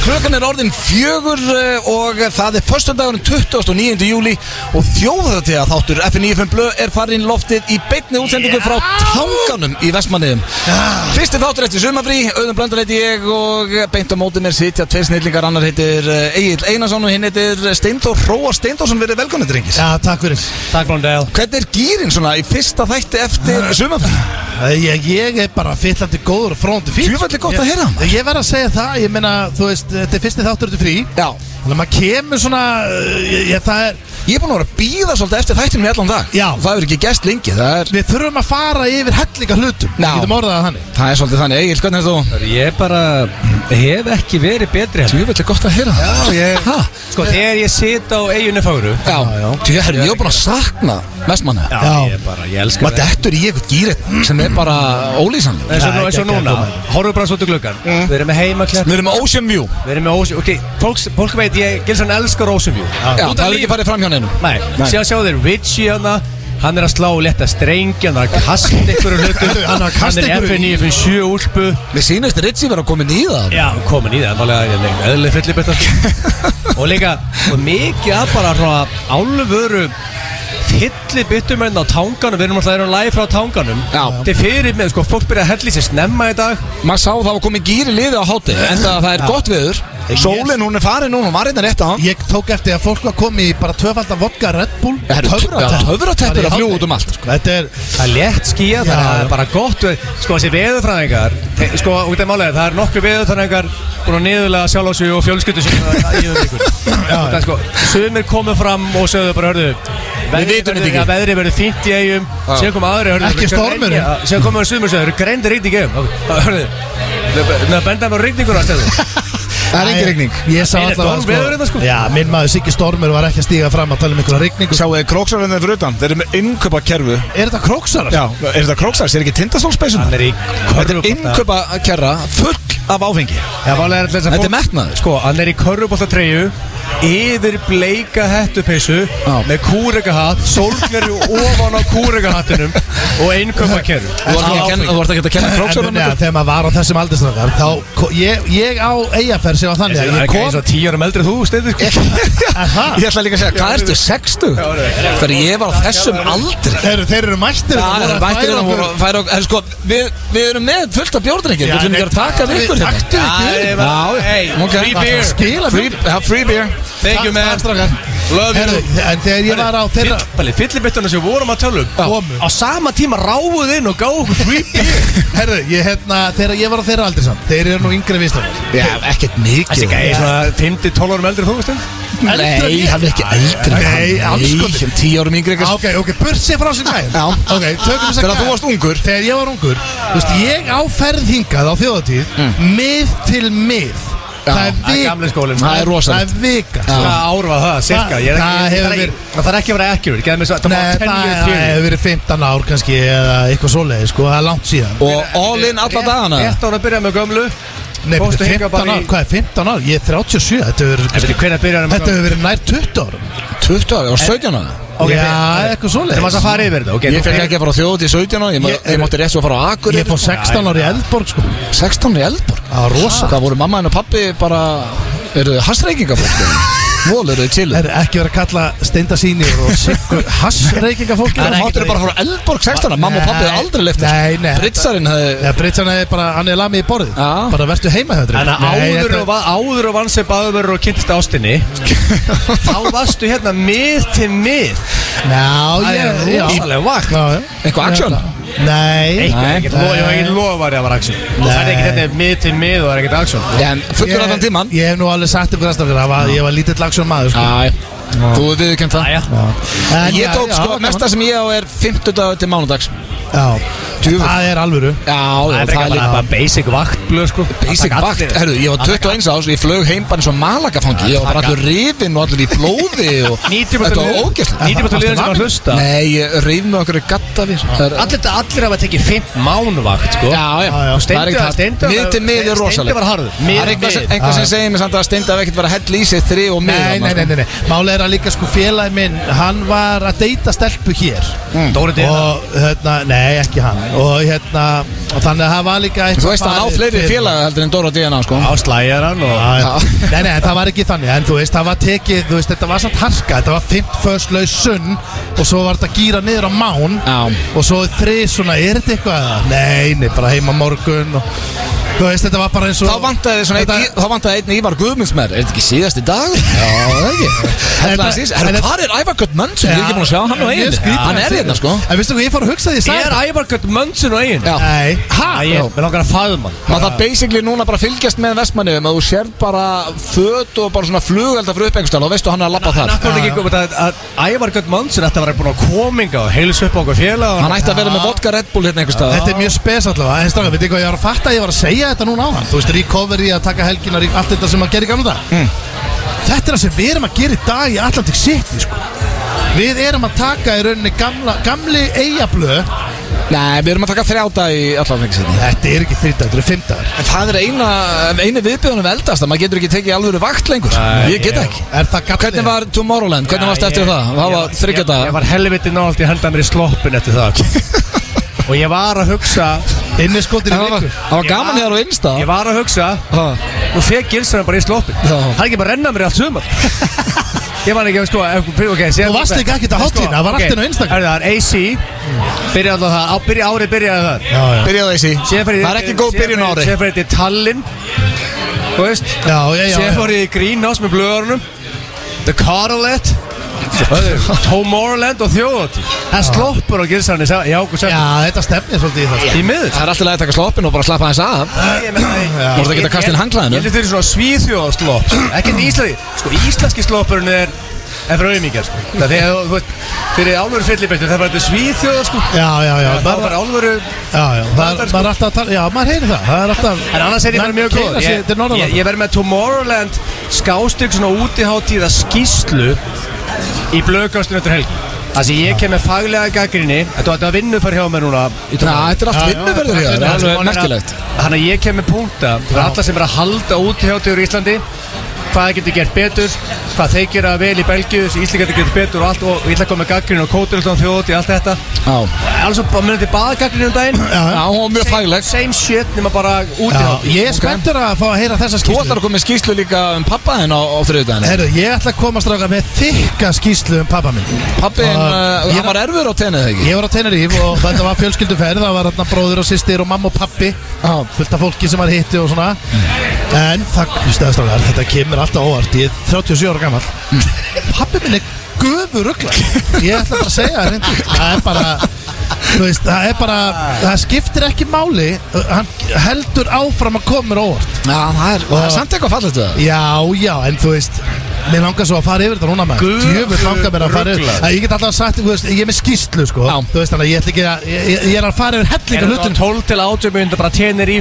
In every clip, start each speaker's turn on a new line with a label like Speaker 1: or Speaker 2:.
Speaker 1: Klukkan er orðin fjögur eh, og það er föstudagurinn 29. júli og þjóðatíða þáttur FN95 Blö er farin loftið í beinni útsendingu frá tanganum í Vestmanniðum. Fyrsti þáttur eftir sumafrí, auðvitað blöndar heiti ég og beint á móti mér sitja tveir snillingar, annar heitir eh, Egill Einarsson og hinn heitir eh, Steindór Róa Steindórsson, verið velkomni drengir.
Speaker 2: Já, takk fyrir
Speaker 3: Takk Blondell
Speaker 1: Hvernig er gýrin svona í fyrsta þætti
Speaker 2: Ah.
Speaker 1: eftir sumafrí?
Speaker 2: Ég, ég er bara fyllandi góður og fróndi fín
Speaker 1: Djúvöld er gott að heyra, maður.
Speaker 2: Ég, ég verð að segja það, ég meina, þú veist, þetta er fyrsti þáttur þetta frí
Speaker 1: Já.
Speaker 2: Þannig að maður kemur svona, uh, ég, ég, það er,
Speaker 1: Ég er búin að vera að býða svolítið eftir þættinum í allan dag
Speaker 2: Já.
Speaker 1: Það hefur ekki gæst lengi, það er
Speaker 2: við þurfum að fara yfir hellinga hlutum
Speaker 1: Já.
Speaker 2: Við getum orðað það þannig
Speaker 1: Það er svolítið þannig, Egil, hvernig er þú?
Speaker 3: Ég bara hef ekki verið betri heldur
Speaker 1: Djúvill er gott að heyra það
Speaker 2: Já, ég
Speaker 1: Ha?
Speaker 3: Sko þegar ég sit á eiginu fagru
Speaker 1: Já, já Tjú, herri, ég er búin að sakna vestmanna
Speaker 2: Já.
Speaker 3: Ég bara, ég elska
Speaker 1: Maður dettur í eitthvað gýrit sem er bara ólýsanleg
Speaker 3: Eins og,
Speaker 2: Já,
Speaker 3: eins og
Speaker 2: geggjað
Speaker 3: núna,
Speaker 2: komandi.
Speaker 3: horfum bara svolítið gluggan Við erum með heimaklett
Speaker 1: Við erum með Ocean View
Speaker 3: Við erum með ósjö Ok, fólk, fólk veit, ég Gilsson elskar ósjöfjú
Speaker 1: Já, það er ekki farið fram hjá neinum
Speaker 3: Nei, sjá, sjá þeir Richie hana Hann er að slá létta strengi, hann er að kasta ykkur um hlutum
Speaker 2: Hann er að kasta
Speaker 3: Hann er
Speaker 2: einhverju í-
Speaker 3: FN957 úlpu
Speaker 1: Við sýnist Ritchie vera komin í það
Speaker 3: Já, komin í það, nálega eðlið fyllibittar Og líka, og mikið að bara svona álfuru fyllibittum enn á tanganum Við erum alltaf erum live frá tanganum
Speaker 1: Já.
Speaker 3: Þetta er fyrir með, sko, fólk byrja að hella í sig snemma í dag
Speaker 1: Maður sá það var komin gýri liði á háti En það, það er gott viður Sólin, hún er farin núna, hún var hérna rétt á hann
Speaker 2: Ég tók eftir að fólk var komið í bara tvöfaldan vodka Red Bull og töfratepp.
Speaker 1: Töfrateppir
Speaker 2: Bara í
Speaker 1: að fljúa
Speaker 2: hádegi.
Speaker 1: út um allt sko.
Speaker 2: Þetta er,
Speaker 3: Það er létt skýja, þannig að
Speaker 2: Já.
Speaker 3: það er bara gott veður. Sko, þessi veðurfræðingar te- Sko, út af málega, það er nokkru veðurfræðingar Búin að niðurlega sjálf á sig og fjölskyldu sig Það er sko, sumir komu fram og sögðu bara, hörðu veðrið
Speaker 1: vitum
Speaker 3: verður-
Speaker 1: þetta ekki.
Speaker 3: að Veðrið verður fínt í eigum
Speaker 1: Já.
Speaker 3: Sér kom aðri, hörðu
Speaker 2: Ekki stormurinn.
Speaker 3: Sér komum við sumir, sögðu, greindir rigning í eigum Það- Hörðu, það benda með rigningur að stæðu
Speaker 1: Það er
Speaker 2: Æ,
Speaker 1: engin rigning
Speaker 2: Ég sá
Speaker 3: Nei, nei,
Speaker 2: allavega,
Speaker 3: stormveður hérna, sko.
Speaker 2: Já, minn maður Siggi Stormur var ekki að stíga fram að tala um einhverja rigningu
Speaker 1: Sjáu þið króksarinn fyrir utan Þeir eru með innkaupa
Speaker 2: Er þetta króksarar?
Speaker 1: Já, er þetta króksars? Er ekki tindastólspeysum?
Speaker 3: Hann er í
Speaker 1: Þetta er
Speaker 3: körfubolta-
Speaker 1: innkaupa kerra full af áfengi
Speaker 3: Já, málega er alltaf þess að
Speaker 1: Þetta er
Speaker 3: fólk-
Speaker 1: metnaður.
Speaker 3: Sko, hann er í körfuboltatreyju Yfir bleika hettupeysu
Speaker 1: Já.
Speaker 3: Með kúrekahatt Sólgleru ofan á kúrekahattinum Og einnköpa kerru
Speaker 1: Þú ert ekki að kenna- þú ert ekki að kenna
Speaker 2: En,
Speaker 1: króksarinn
Speaker 2: ja, þegar maður var á þessum aldursnökar þá, ko- ég, ég á eigaferð sem var þannig að ég
Speaker 3: Ég kom
Speaker 2: kom
Speaker 3: Svo tíu árum eldri en þú, Steindi sko.
Speaker 2: Aha.
Speaker 1: Ég ætla líka að segja, hvað ertu, 60? Þegar ég var á þessum aldri
Speaker 2: Þeir, þeir eru mættir hérna,
Speaker 1: Það er bættir að voru
Speaker 2: okkur-
Speaker 1: að færa okkur En sko, við, við erum með fullt af bjórdrengir
Speaker 2: Já,
Speaker 1: Við viljum ekki að
Speaker 2: nei,
Speaker 1: taka við
Speaker 2: við-
Speaker 1: ykkur
Speaker 2: taktu
Speaker 1: hérna
Speaker 2: ekki við.
Speaker 1: Já,
Speaker 3: Hey,
Speaker 1: ok.
Speaker 3: free beer.
Speaker 2: Skila
Speaker 1: Free- Já, Free beer
Speaker 3: Thank you man
Speaker 2: Takk, strákar.
Speaker 3: Love you
Speaker 2: Herru, En þegar ég var á þeirra
Speaker 3: Fyll- Fyllibittunum sem vorum að tala um
Speaker 2: Komu.
Speaker 3: Á sama tíma ráðuð inn og gáðu okkur free beer
Speaker 2: Herru, ég, hérna, þegar ég var á þeirra aldrei samt Þeir eru nú yngri viðstofar
Speaker 1: Já, ekkert mikið
Speaker 3: Þessi gæði svona 5-12 árum eldri en þú, Steindi
Speaker 2: Eldri en
Speaker 1: Nei,
Speaker 2: ég?
Speaker 1: hann er ekki eldri en
Speaker 2: Nei,
Speaker 1: hann.
Speaker 2: alls sko.
Speaker 1: Nei, um tíu árum yngri ekkert
Speaker 2: Ok, ok, burt sér frá sér gæðin
Speaker 1: Já.
Speaker 2: Ok, tökum þess að
Speaker 1: Þegar þú varst ungur
Speaker 2: Þegar ég var ungur Þú veist, ég á ferð hingað á þjóðatíð Mið til mið
Speaker 1: Mm. Já.
Speaker 2: Það er
Speaker 3: Það er gamli
Speaker 2: vika
Speaker 3: skólinn
Speaker 1: Það er
Speaker 2: Það
Speaker 1: rosalegt
Speaker 2: er vika sko.
Speaker 1: Já.
Speaker 3: Hvað ár var það, cirka?
Speaker 2: Það-
Speaker 3: Ég er ekki-
Speaker 2: það
Speaker 3: það
Speaker 2: hefur
Speaker 3: er ekki-
Speaker 2: verið-
Speaker 3: Það þarf ekki að vera accurate Gæði mig svo Það
Speaker 2: Nei,
Speaker 3: var 10
Speaker 2: það
Speaker 3: year
Speaker 2: það
Speaker 3: period
Speaker 2: hefur verið 15 ár kannski eða eitthvað svoleiði, sko, það er langt síðan
Speaker 1: Og all in alla dagana
Speaker 3: Rétt ára að byrja með gömlu
Speaker 2: Nei,
Speaker 3: Fórstu
Speaker 2: betur
Speaker 3: hingað
Speaker 2: 15
Speaker 3: bara
Speaker 2: ár,
Speaker 3: í-
Speaker 2: hvað er 15 ár? Ég er 37, þetta hefur verið
Speaker 3: Eftir hvernig byrjar hann með
Speaker 2: Þetta
Speaker 3: gömlu
Speaker 2: hefur verið nær 20 árum
Speaker 1: 20 ára, ég var 17 ára
Speaker 3: Ok,
Speaker 2: Já,
Speaker 3: fyrir-
Speaker 2: eitthvað svoleiðis.
Speaker 3: Þeim að það fara yfir þetta ok,
Speaker 1: Ég
Speaker 3: þú-
Speaker 1: fekk ekki að fara á þjóðut í 17 ára Ég, ég,
Speaker 2: Ég-
Speaker 1: ég mátti rétt svo að fara á Akureyri
Speaker 2: Ég fór 16 ári í Eldborg, sko
Speaker 1: 16 í Eldborg
Speaker 2: Það var rosa
Speaker 1: Það voru mamma henn og pappi bara Eru þið hasreikingafólk? Mól eru þið chillu
Speaker 2: Það er ekki verið að kalla steindasýnir og sikkur hassreikinga fólki
Speaker 1: Það máttu þið bara að fara á Eldborg 16 ára Mamma og pappi
Speaker 2: Nei.
Speaker 1: hefði aldrei leift þér.
Speaker 2: Nei, nei,
Speaker 1: Britsarinn hefði
Speaker 2: Já, Britsson er bara, hann er lamið í borðið
Speaker 1: Já.
Speaker 2: Bara verðstu heima hjá
Speaker 3: Þannig að áður og va- áður og vann sem baðurverur og kynntist ástinni Þá varstu hérna mið til mið
Speaker 2: Já,
Speaker 3: Það
Speaker 2: ég
Speaker 3: er
Speaker 2: já.
Speaker 3: rosalega vakt
Speaker 2: Já, já.
Speaker 1: Eitthvað action?
Speaker 2: Nei
Speaker 3: Eitthvað,
Speaker 1: Nei.
Speaker 3: ég var ekki lofari að það var aksjón Það er ekkert þetta er mið til mið og það er ekkert aksjón
Speaker 1: En fullur allan tíman
Speaker 2: Ég, ég hef nú alveg sagt ykkur aðstafir að ég var lítill lagsjón maður sko.
Speaker 1: Æ, þú hefði viðkjönd það
Speaker 3: Æja,
Speaker 2: En
Speaker 1: Ég
Speaker 2: já,
Speaker 1: tók
Speaker 2: já,
Speaker 1: sko,
Speaker 2: gaman.
Speaker 1: mesta sem ég á er 50 dagur til mánudags
Speaker 2: Já,
Speaker 1: Djöfull.
Speaker 2: það er alvöru
Speaker 1: Já, já,
Speaker 3: það er
Speaker 1: það er
Speaker 3: ekkert
Speaker 1: líka
Speaker 3: bara basic vaktblöð sko
Speaker 1: Basic vakt, herru, ég var 21 ás og ég flög heim bara eins og malagafangi Ég var bara allur rifin og allur í blóði og Þetta var ógæslega
Speaker 3: 90% liðin sem var að hlusta
Speaker 1: Nei, ég reyf með okkur gattavir Það er-
Speaker 3: Allir, allir hafa tekið 5 mánvakt sko.
Speaker 1: Já, já,
Speaker 2: Já, já.
Speaker 1: það er
Speaker 3: Steindi-
Speaker 1: ekkert hægt.
Speaker 3: Steindi var-
Speaker 1: Mið til mið er
Speaker 3: Steindi
Speaker 1: rosaleg
Speaker 3: var harður.
Speaker 1: Það
Speaker 3: Mið
Speaker 1: er einhver
Speaker 3: til
Speaker 1: sem,
Speaker 3: mið.
Speaker 1: einhver sem
Speaker 2: Já, já.
Speaker 1: segir mér samt að Steindi hafi ekkert verið að hella í sig þri og sko. mið
Speaker 2: Nei, nei, nei, nei, nei. Málega er að var líka sko félagi minn Hann var að deyta stelpu hér
Speaker 1: Mm.
Speaker 3: Dóri Dina
Speaker 2: Og hérna, nei ekki hann Og hérna, og þannig að það var líka eitthvað
Speaker 1: Þú veist að hann á
Speaker 2: farið
Speaker 1: fleiri
Speaker 2: fyrir-
Speaker 1: félaga heldur en Dóra DNA sko
Speaker 3: Á slæjaran og
Speaker 2: Já, já.
Speaker 1: Já.
Speaker 2: Nei, nei, en það var ekki þannig En þú veist, það var tekið, þú veist, þetta var samt harka Þetta var fimmt föðslaus sunn Og svo var þetta gíra niður á mán
Speaker 1: Já.
Speaker 2: Og svo þrið svona, er þetta eitthvað? eða? Nei, nei, bara heima morgun og, Þú veist, þetta var bara eins og
Speaker 1: Þá vantaði svona einn, í-
Speaker 2: Þetta-
Speaker 1: þá vantaði einn Ívar Guðmunds með Er þetta ekki síðasti dag? Já, það er ekki Hérna
Speaker 2: Þetta-
Speaker 1: síðast Herru,
Speaker 2: þetta-
Speaker 1: hvað er Ævar Guðmundsson? Ég er ekki búin að sjá hann á
Speaker 2: Mjög
Speaker 1: eiginu
Speaker 2: skrýtið
Speaker 1: Hann
Speaker 2: að
Speaker 1: er
Speaker 2: segja
Speaker 1: hérna
Speaker 2: þetta.
Speaker 1: sko
Speaker 2: En veistu hvað, ég fór að hugsa því
Speaker 3: Ég er æfarkvæmt mönnsinn og eigin
Speaker 1: Já.
Speaker 2: Nei, ha?
Speaker 3: Æ, ég er langar að faðum hann
Speaker 1: Eh, Maður það basically núna bara að fylgjast með vestmannum að þú sér bara föt og bara svona flugelda fyrir upp einhverstað og veistu hann er að labba þar
Speaker 3: Nákvæmlega ekki komið að, að æfarkvæmt mönnsinn Þetta var búin að kominga og heilsa upp á okkur félag
Speaker 1: Hann ætti að vera með vodka Red Bull hérna einhverstað
Speaker 2: Þetta er mjög spes allavega, en stráka, veit ég hvað ég var að fatta að ég var að segja þetta núna á hann Þú veist, recovery, að taka helginar, allt þetta sem að gera í gamla dag Þetta er það sem við erum að gera í dag í Atlantic City, sko Við erum að taka í rauninni gamla, gamli eigablöð
Speaker 1: Nei, við erum að taka þrjá dag í allan fengisinni
Speaker 2: Þetta er ekki þrítdagur, þetta er fimmdagur
Speaker 1: En það er eina, eini viðbjöðunum eldast að maður getur ekki tekið alvöru vakt lengur Ég get ekki
Speaker 2: Er það gallið?
Speaker 1: Hvernig var Tomorrowland? Hvernig varst eftir það? Það var þryggja
Speaker 3: Ég, ég
Speaker 1: dag
Speaker 3: var helviti nált, ég hendaði mér í sloppin eftir það Og ég var að hugsa
Speaker 2: Inniskotir í
Speaker 1: Það var-
Speaker 2: viku
Speaker 1: það var gaman hér á Insta
Speaker 3: Ég var að hugsa
Speaker 1: Ha.
Speaker 3: Nú fekk Gilsson bara í sloppin
Speaker 1: Já.
Speaker 3: Hann ekki bara að renna mér í allt sumar Ég man ekki, sko ef- okay, síðan-
Speaker 2: Þú varst líka ekkert á hátíðinni, það var allt inn á Instagram.
Speaker 3: sko, Herðu, Það er AC Byrjaði alltaf það, á, byrja, árið byrjaði það
Speaker 2: Já, já,
Speaker 1: Byrjaði þessi Það er ekki góð byrjun á ári
Speaker 3: Sér fyrir þetta Tallinn Þú veist
Speaker 2: já, já, já,
Speaker 3: Sér
Speaker 2: já.
Speaker 3: fyrir í Greenhouse með blöðarunum The Carlet Tomorrowland og þjóðatí Það sloppur á Gilsson í ágúst
Speaker 2: já þetta stefnir svolítið í það sko.
Speaker 3: Í miður
Speaker 1: Það er alltaf að taka sloppin og bara slappa aðeins af Þú
Speaker 3: Þú
Speaker 1: ert ekki að kasta inn handklæðinu.
Speaker 3: Ég þetta er svona svíþjóðarslopp Ekkert íslandi Sko íslenski sloppurinn er Er fyrir auðmíkjar sko Það er þú veist Fyrir álveru fyllibættu Það er bara þetta svíþjóðar sko
Speaker 2: Já, já, já,
Speaker 3: Það
Speaker 2: bara,
Speaker 3: er bara álveru
Speaker 2: já, já, það er, maður er alltaf að tala, já, maður heyri það, það er alltaf
Speaker 3: En annars er ég bara
Speaker 2: Menn
Speaker 3: mjög
Speaker 2: keyra sig
Speaker 3: góð
Speaker 2: til
Speaker 3: Ég, ég,
Speaker 2: Norðurlanda.
Speaker 3: ég verð með Tomorrowland Skástökk svona útiháttíða skýslu Í blöðgástinu eftir helgi Það sem ég kem með faglega gaggrinni Þetta var vinnu hjá mér núna í
Speaker 1: Ná, þetta er allt
Speaker 2: Já, já,
Speaker 1: vinnuverður
Speaker 2: já,
Speaker 1: hér Það
Speaker 2: já,
Speaker 1: er alveg
Speaker 3: Þannig að-
Speaker 1: merkilegt
Speaker 3: Þannig að ég kem með punkta fyrir alla sem er að halda útihjáttiður í Íslandi hvað það getur gert betur hvað þeir gera vel í Belgíu þessi Íslingar getur gert betur og allt og ég ætla að koma með gaggrinu og kótur alltaf þjóðut í allt þetta
Speaker 1: Já,
Speaker 3: alls og bara munið til baðgaggrinu um daginn
Speaker 1: Já, hún var mjög fagleg
Speaker 3: same shit nema bara
Speaker 2: Já,
Speaker 3: útihjátt
Speaker 2: ég er spenntur að fá að heyra þessa
Speaker 1: Þú
Speaker 2: skýslu
Speaker 1: ætlar að koma með skýslu líka um pappa þinn á, á þriðudaginn
Speaker 2: Herru, ég ætla að koma stráka með þykka skýslu um pappa minn
Speaker 1: Pappin,
Speaker 2: Ah,
Speaker 1: uh,
Speaker 2: ég
Speaker 1: hann var erfur á tennið þegar ekki
Speaker 2: Ég var á Teneríf og þetta var fjölskylduferð Það var hérna bróður og sýstir og mamma og pappi
Speaker 1: Já.
Speaker 2: Fullt af fólki sem var hitti og svona En það, hlustaði strákar, þetta kemur alltaf óvart Ég er 37 ára gammal
Speaker 3: Mm.
Speaker 2: Pappi minn er gufu ruggla Ég ætla bara að segja það reyndi Það er bara Þú veist, það er bara, það skiptir ekki máli Hann heldur áfram að koma mér á óvart
Speaker 1: Já, það er, það er samt eitthvað fallegt við það
Speaker 2: Já, já, en þú veist Mér langar svo að fara yfir þetta núna maður
Speaker 3: Guð,
Speaker 2: Djöfull langar mér að fara yfir
Speaker 3: ruglað.
Speaker 2: Æ, Ég get alltaf sagt, þú veist, ég er með skýslu sko
Speaker 1: Já.
Speaker 2: Þú veist þannig, að ég ætla ekki að Ég, ég- ég er að fara yfir hellinga
Speaker 3: er þetta
Speaker 2: hlutum
Speaker 3: 12 til 18 minnum bara tjenir í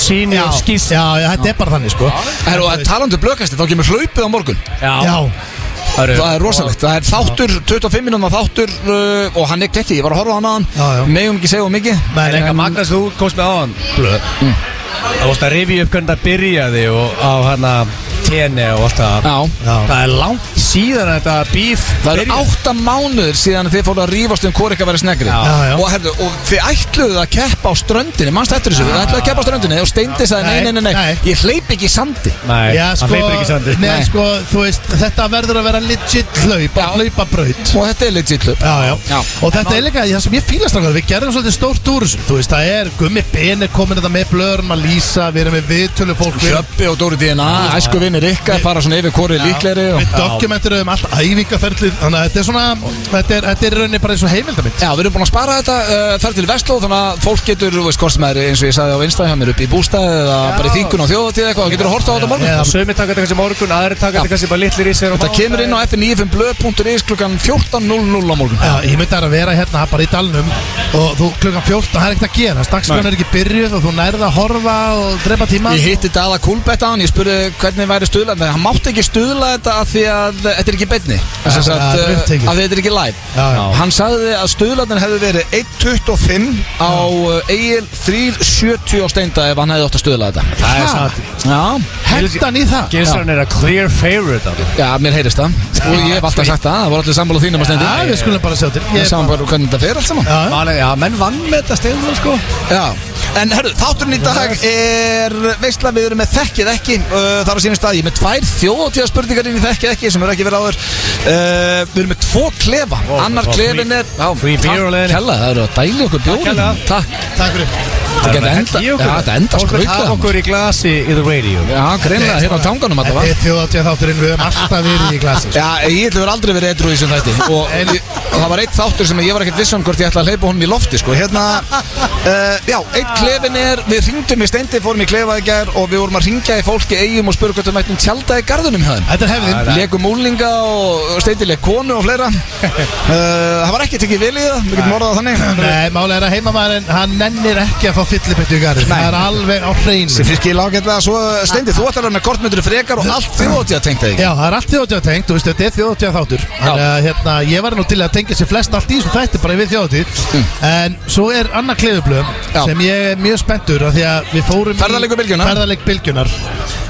Speaker 3: sínu
Speaker 2: já,
Speaker 3: skýst
Speaker 2: já, já, þetta er bara þannig sko
Speaker 1: Herru, og talandu blökastir, þá kemur hlaupið á morgun
Speaker 2: Já,
Speaker 3: það
Speaker 1: Það er rosalegt, það er þáttur, 25 minúna þáttur uh, og hann er gletti, ég var að horfa á hann aðan
Speaker 2: Já, já.
Speaker 1: Megum ekki segja um mikið
Speaker 3: En
Speaker 2: menn,
Speaker 3: eitthvað Magnus, þú komst með á hann Blöð Það vorst að rifja upp hvernig það byrjaði og á hana tenni og allt það
Speaker 1: Já,
Speaker 2: Já.
Speaker 3: Það er langt síðan þetta bíf
Speaker 1: það eru átta mánuður síðan þið fóru að rífast um hvort ekki að vera snegri
Speaker 3: Já.
Speaker 2: Já, já.
Speaker 1: Og, herru, og þið ætluðu að keppa á ströndinni, mannst eftir þessu, þið ætluðu að keppa á ströndinni og Steindi sagði nei,
Speaker 2: Nei,
Speaker 1: nei, nei, nei,
Speaker 2: nei.
Speaker 1: ég hleyp ekki í sandi
Speaker 3: Nei,
Speaker 2: Já, sko,
Speaker 3: hann hleypur ekki sandi
Speaker 2: nei,
Speaker 1: Nei.
Speaker 2: sko, þú veist, þetta verður að vera legit hlaup,
Speaker 1: Já.
Speaker 2: hlaupabraut
Speaker 1: Og þetta er legit hlaup
Speaker 2: Já, já.
Speaker 1: Já.
Speaker 2: og þetta er líka það sem ég fílast ákveð, við gerðum svolítið stórt úr þessu þú veist, það er gummi beni komin þetta með blöðurum að lýsa, við erum með viðtölu fólk við erum-
Speaker 1: Hjöppi og Dóri DNA, æsku vinnir ykkar fara svona yfir hvori líkleri og...
Speaker 2: Við dokumenturum um allt æfingaferlið Þannig að þetta er svona Þetta er, þetta er í rauninni bara eins og heimildamind
Speaker 1: Já, við erum búin að spara þetta uh, þar til Vestló þannig að fólk getur, þú veist, hvort sem er eins og ég sagði á Insta hjá mér upp í bústæði eða bara í þingun á þjóðatíð eitthvað, þá getur þú horta á þetta á morgun
Speaker 2: Já.
Speaker 3: Sumi taka þetta kannski morgun, aðri taka þetta kannski bara litlir í sér
Speaker 1: Þetta kemur inn á f95blöð.is klukkan 14.00 á morgun
Speaker 2: Já, ég myndi að vera hérna bara í dalnum og þú klukkan 14, það er ekkert að gera Stakkskan er ekki byrjuð og þú nærða að horfa og drepa tíma
Speaker 1: Ég hitti Dala Kulbett á hann, ég spurði hvernig væri stuðla þetta Hann mátti ekki stuðla þetta af því að Þetta er ekki beinni
Speaker 2: Já,
Speaker 1: Sem sagt,
Speaker 2: já,
Speaker 1: eh, Af
Speaker 2: upptekið.
Speaker 1: því að þetta er ekki live
Speaker 2: Já, já.
Speaker 1: Hann sagði að stuðlarnir hefði verið 1.25 á eh, Egil 3.70 á steinda Ef hann hefði átt að stuðla þetta
Speaker 3: Það er
Speaker 2: Ha?
Speaker 3: satt
Speaker 1: Já,
Speaker 2: Hendan í það
Speaker 3: Gilsarinn er að clear favorite af því
Speaker 1: já mér heyrist það Og ég hef alltaf sagt það, það voru allir sammála þínum að steindi
Speaker 2: Já, við skulum bara sjá til
Speaker 1: Við
Speaker 2: Ég er
Speaker 1: sáum bara hvernig þetta fer allt saman
Speaker 2: Já,
Speaker 3: Málið- Já, menn vann með þetta steindur sko
Speaker 1: Já, en herru, þátturinn í dag er veistla við erum með þekkið ekki uh, þar á sínum stað, ég er með tvær þjóðtíða spurningar inn í þekkið ekki sem eru ekki verið áður uh, Við erum með tvo klefa,
Speaker 3: Ó,
Speaker 1: annar
Speaker 3: ó,
Speaker 1: klefin er
Speaker 3: frí- frí
Speaker 1: takk,
Speaker 3: bjór á leiðinni.
Speaker 1: Kjalla, það eru að dæli okkur bjórin
Speaker 3: Kjalla.
Speaker 1: Takk,
Speaker 2: takk fyrir
Speaker 1: það geta enda, já, þetta enda
Speaker 3: Hafa
Speaker 1: skraukað
Speaker 3: okkur í glasi í the radio
Speaker 1: Já, greinlega, hérna á tanganum
Speaker 2: Þetta
Speaker 1: alltaf
Speaker 2: er þjóðatíða þátturinn Við höfum alltaf verið í glasi
Speaker 1: Já, ég ætlum verið aldrei verið edru í þessum þætti og,
Speaker 2: En-
Speaker 1: ég- og það var eitt þáttur sem ég var ekkert viss um hvort ég ætla að hleypa honum í lofti sko. hérna, uh, já, eitt klefin er við ringdum í steindi, fórum í klefa í gær og við vorum að ringja í fólki eigum og spurgum hvernig mættum tjálta í garðunum hjá þeim
Speaker 2: Þetta er hefðin
Speaker 1: Legum úlinga og og steindi leg konu og fleira uh, Það var ekki tekið vel í það, við getum orðað það þannig
Speaker 2: Nei, málega er að heimamaðurinn, hann nennir ekki að fá fyllibettu í garðin
Speaker 1: Nei.
Speaker 2: Það er alveg á hreinu
Speaker 1: Sem fyrst ekki lágætlega svo uh, steindi, þú ætlar að vera með kortmyndur frekar og allt þjóðtíð að tengta þig
Speaker 2: Já, það er allt þjóðatíða tengt, þú veist, þetta er þjóðatíða þáttur Þannig að hérna, ég var nú til að tengja sér flest allt í þessum þætti bara við þjóðatíð En svo er annar kleðublöð
Speaker 1: Mm. Já.
Speaker 2: sem ég er mjög spenntur af Því að við fórum í-
Speaker 1: Ferðaleikur Bylgjunnar.
Speaker 2: Ferðaleik bylgjunar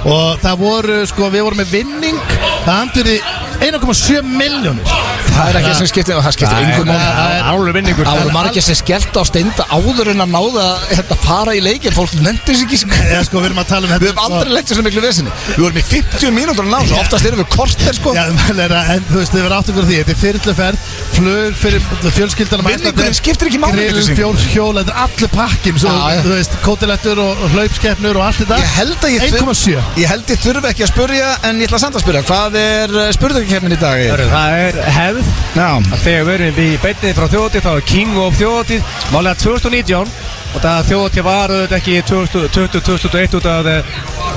Speaker 2: Og það voru, sko, við vorum með vinning Það andurði 1,7 miljónir
Speaker 1: Það er ekki sem skiptir, það skiptir
Speaker 3: Nei,
Speaker 1: yngum máli
Speaker 2: það er-
Speaker 3: Álur vinningur
Speaker 1: Það voru margir sem skellt á steinda áður en að náða hérna, fara í leikin Fólk nefndi sig ekki sem
Speaker 2: Já, sko, við erum að tala um þetta
Speaker 1: Við höfum aldrei leitt þessu miklu vesinni Við vorum í 50 mínútur að ná þessu Oftast erum við korter sko
Speaker 2: Já, er, en þú veist, þið verður átt ykkur á því Þetta er fyrirluferð, flug fyrir fjölskyldanum
Speaker 1: Vinningurinn skiptir ekki máli í
Speaker 2: Grill,
Speaker 1: þessu.
Speaker 2: fjór, hjól, þetta er allir pakkin svo,
Speaker 1: Já, já.
Speaker 2: Þú veist, kótilettur og, og hlaupskeppnur og allt þetta
Speaker 1: Ég held að ég þur-
Speaker 2: 1,7
Speaker 1: Ég held ég þurfi ekki að spurja En ég ætla samt að spurja Hvað er spurðarkefnin í dag? Egill?
Speaker 3: Það er hefð
Speaker 1: Já
Speaker 3: að þegar við erum í beinni frá þjóðatíð þá er King of þjóðatíð Málega 2019 og það þjóðatíð var auðvitað ekki 2020-2021 út af eh,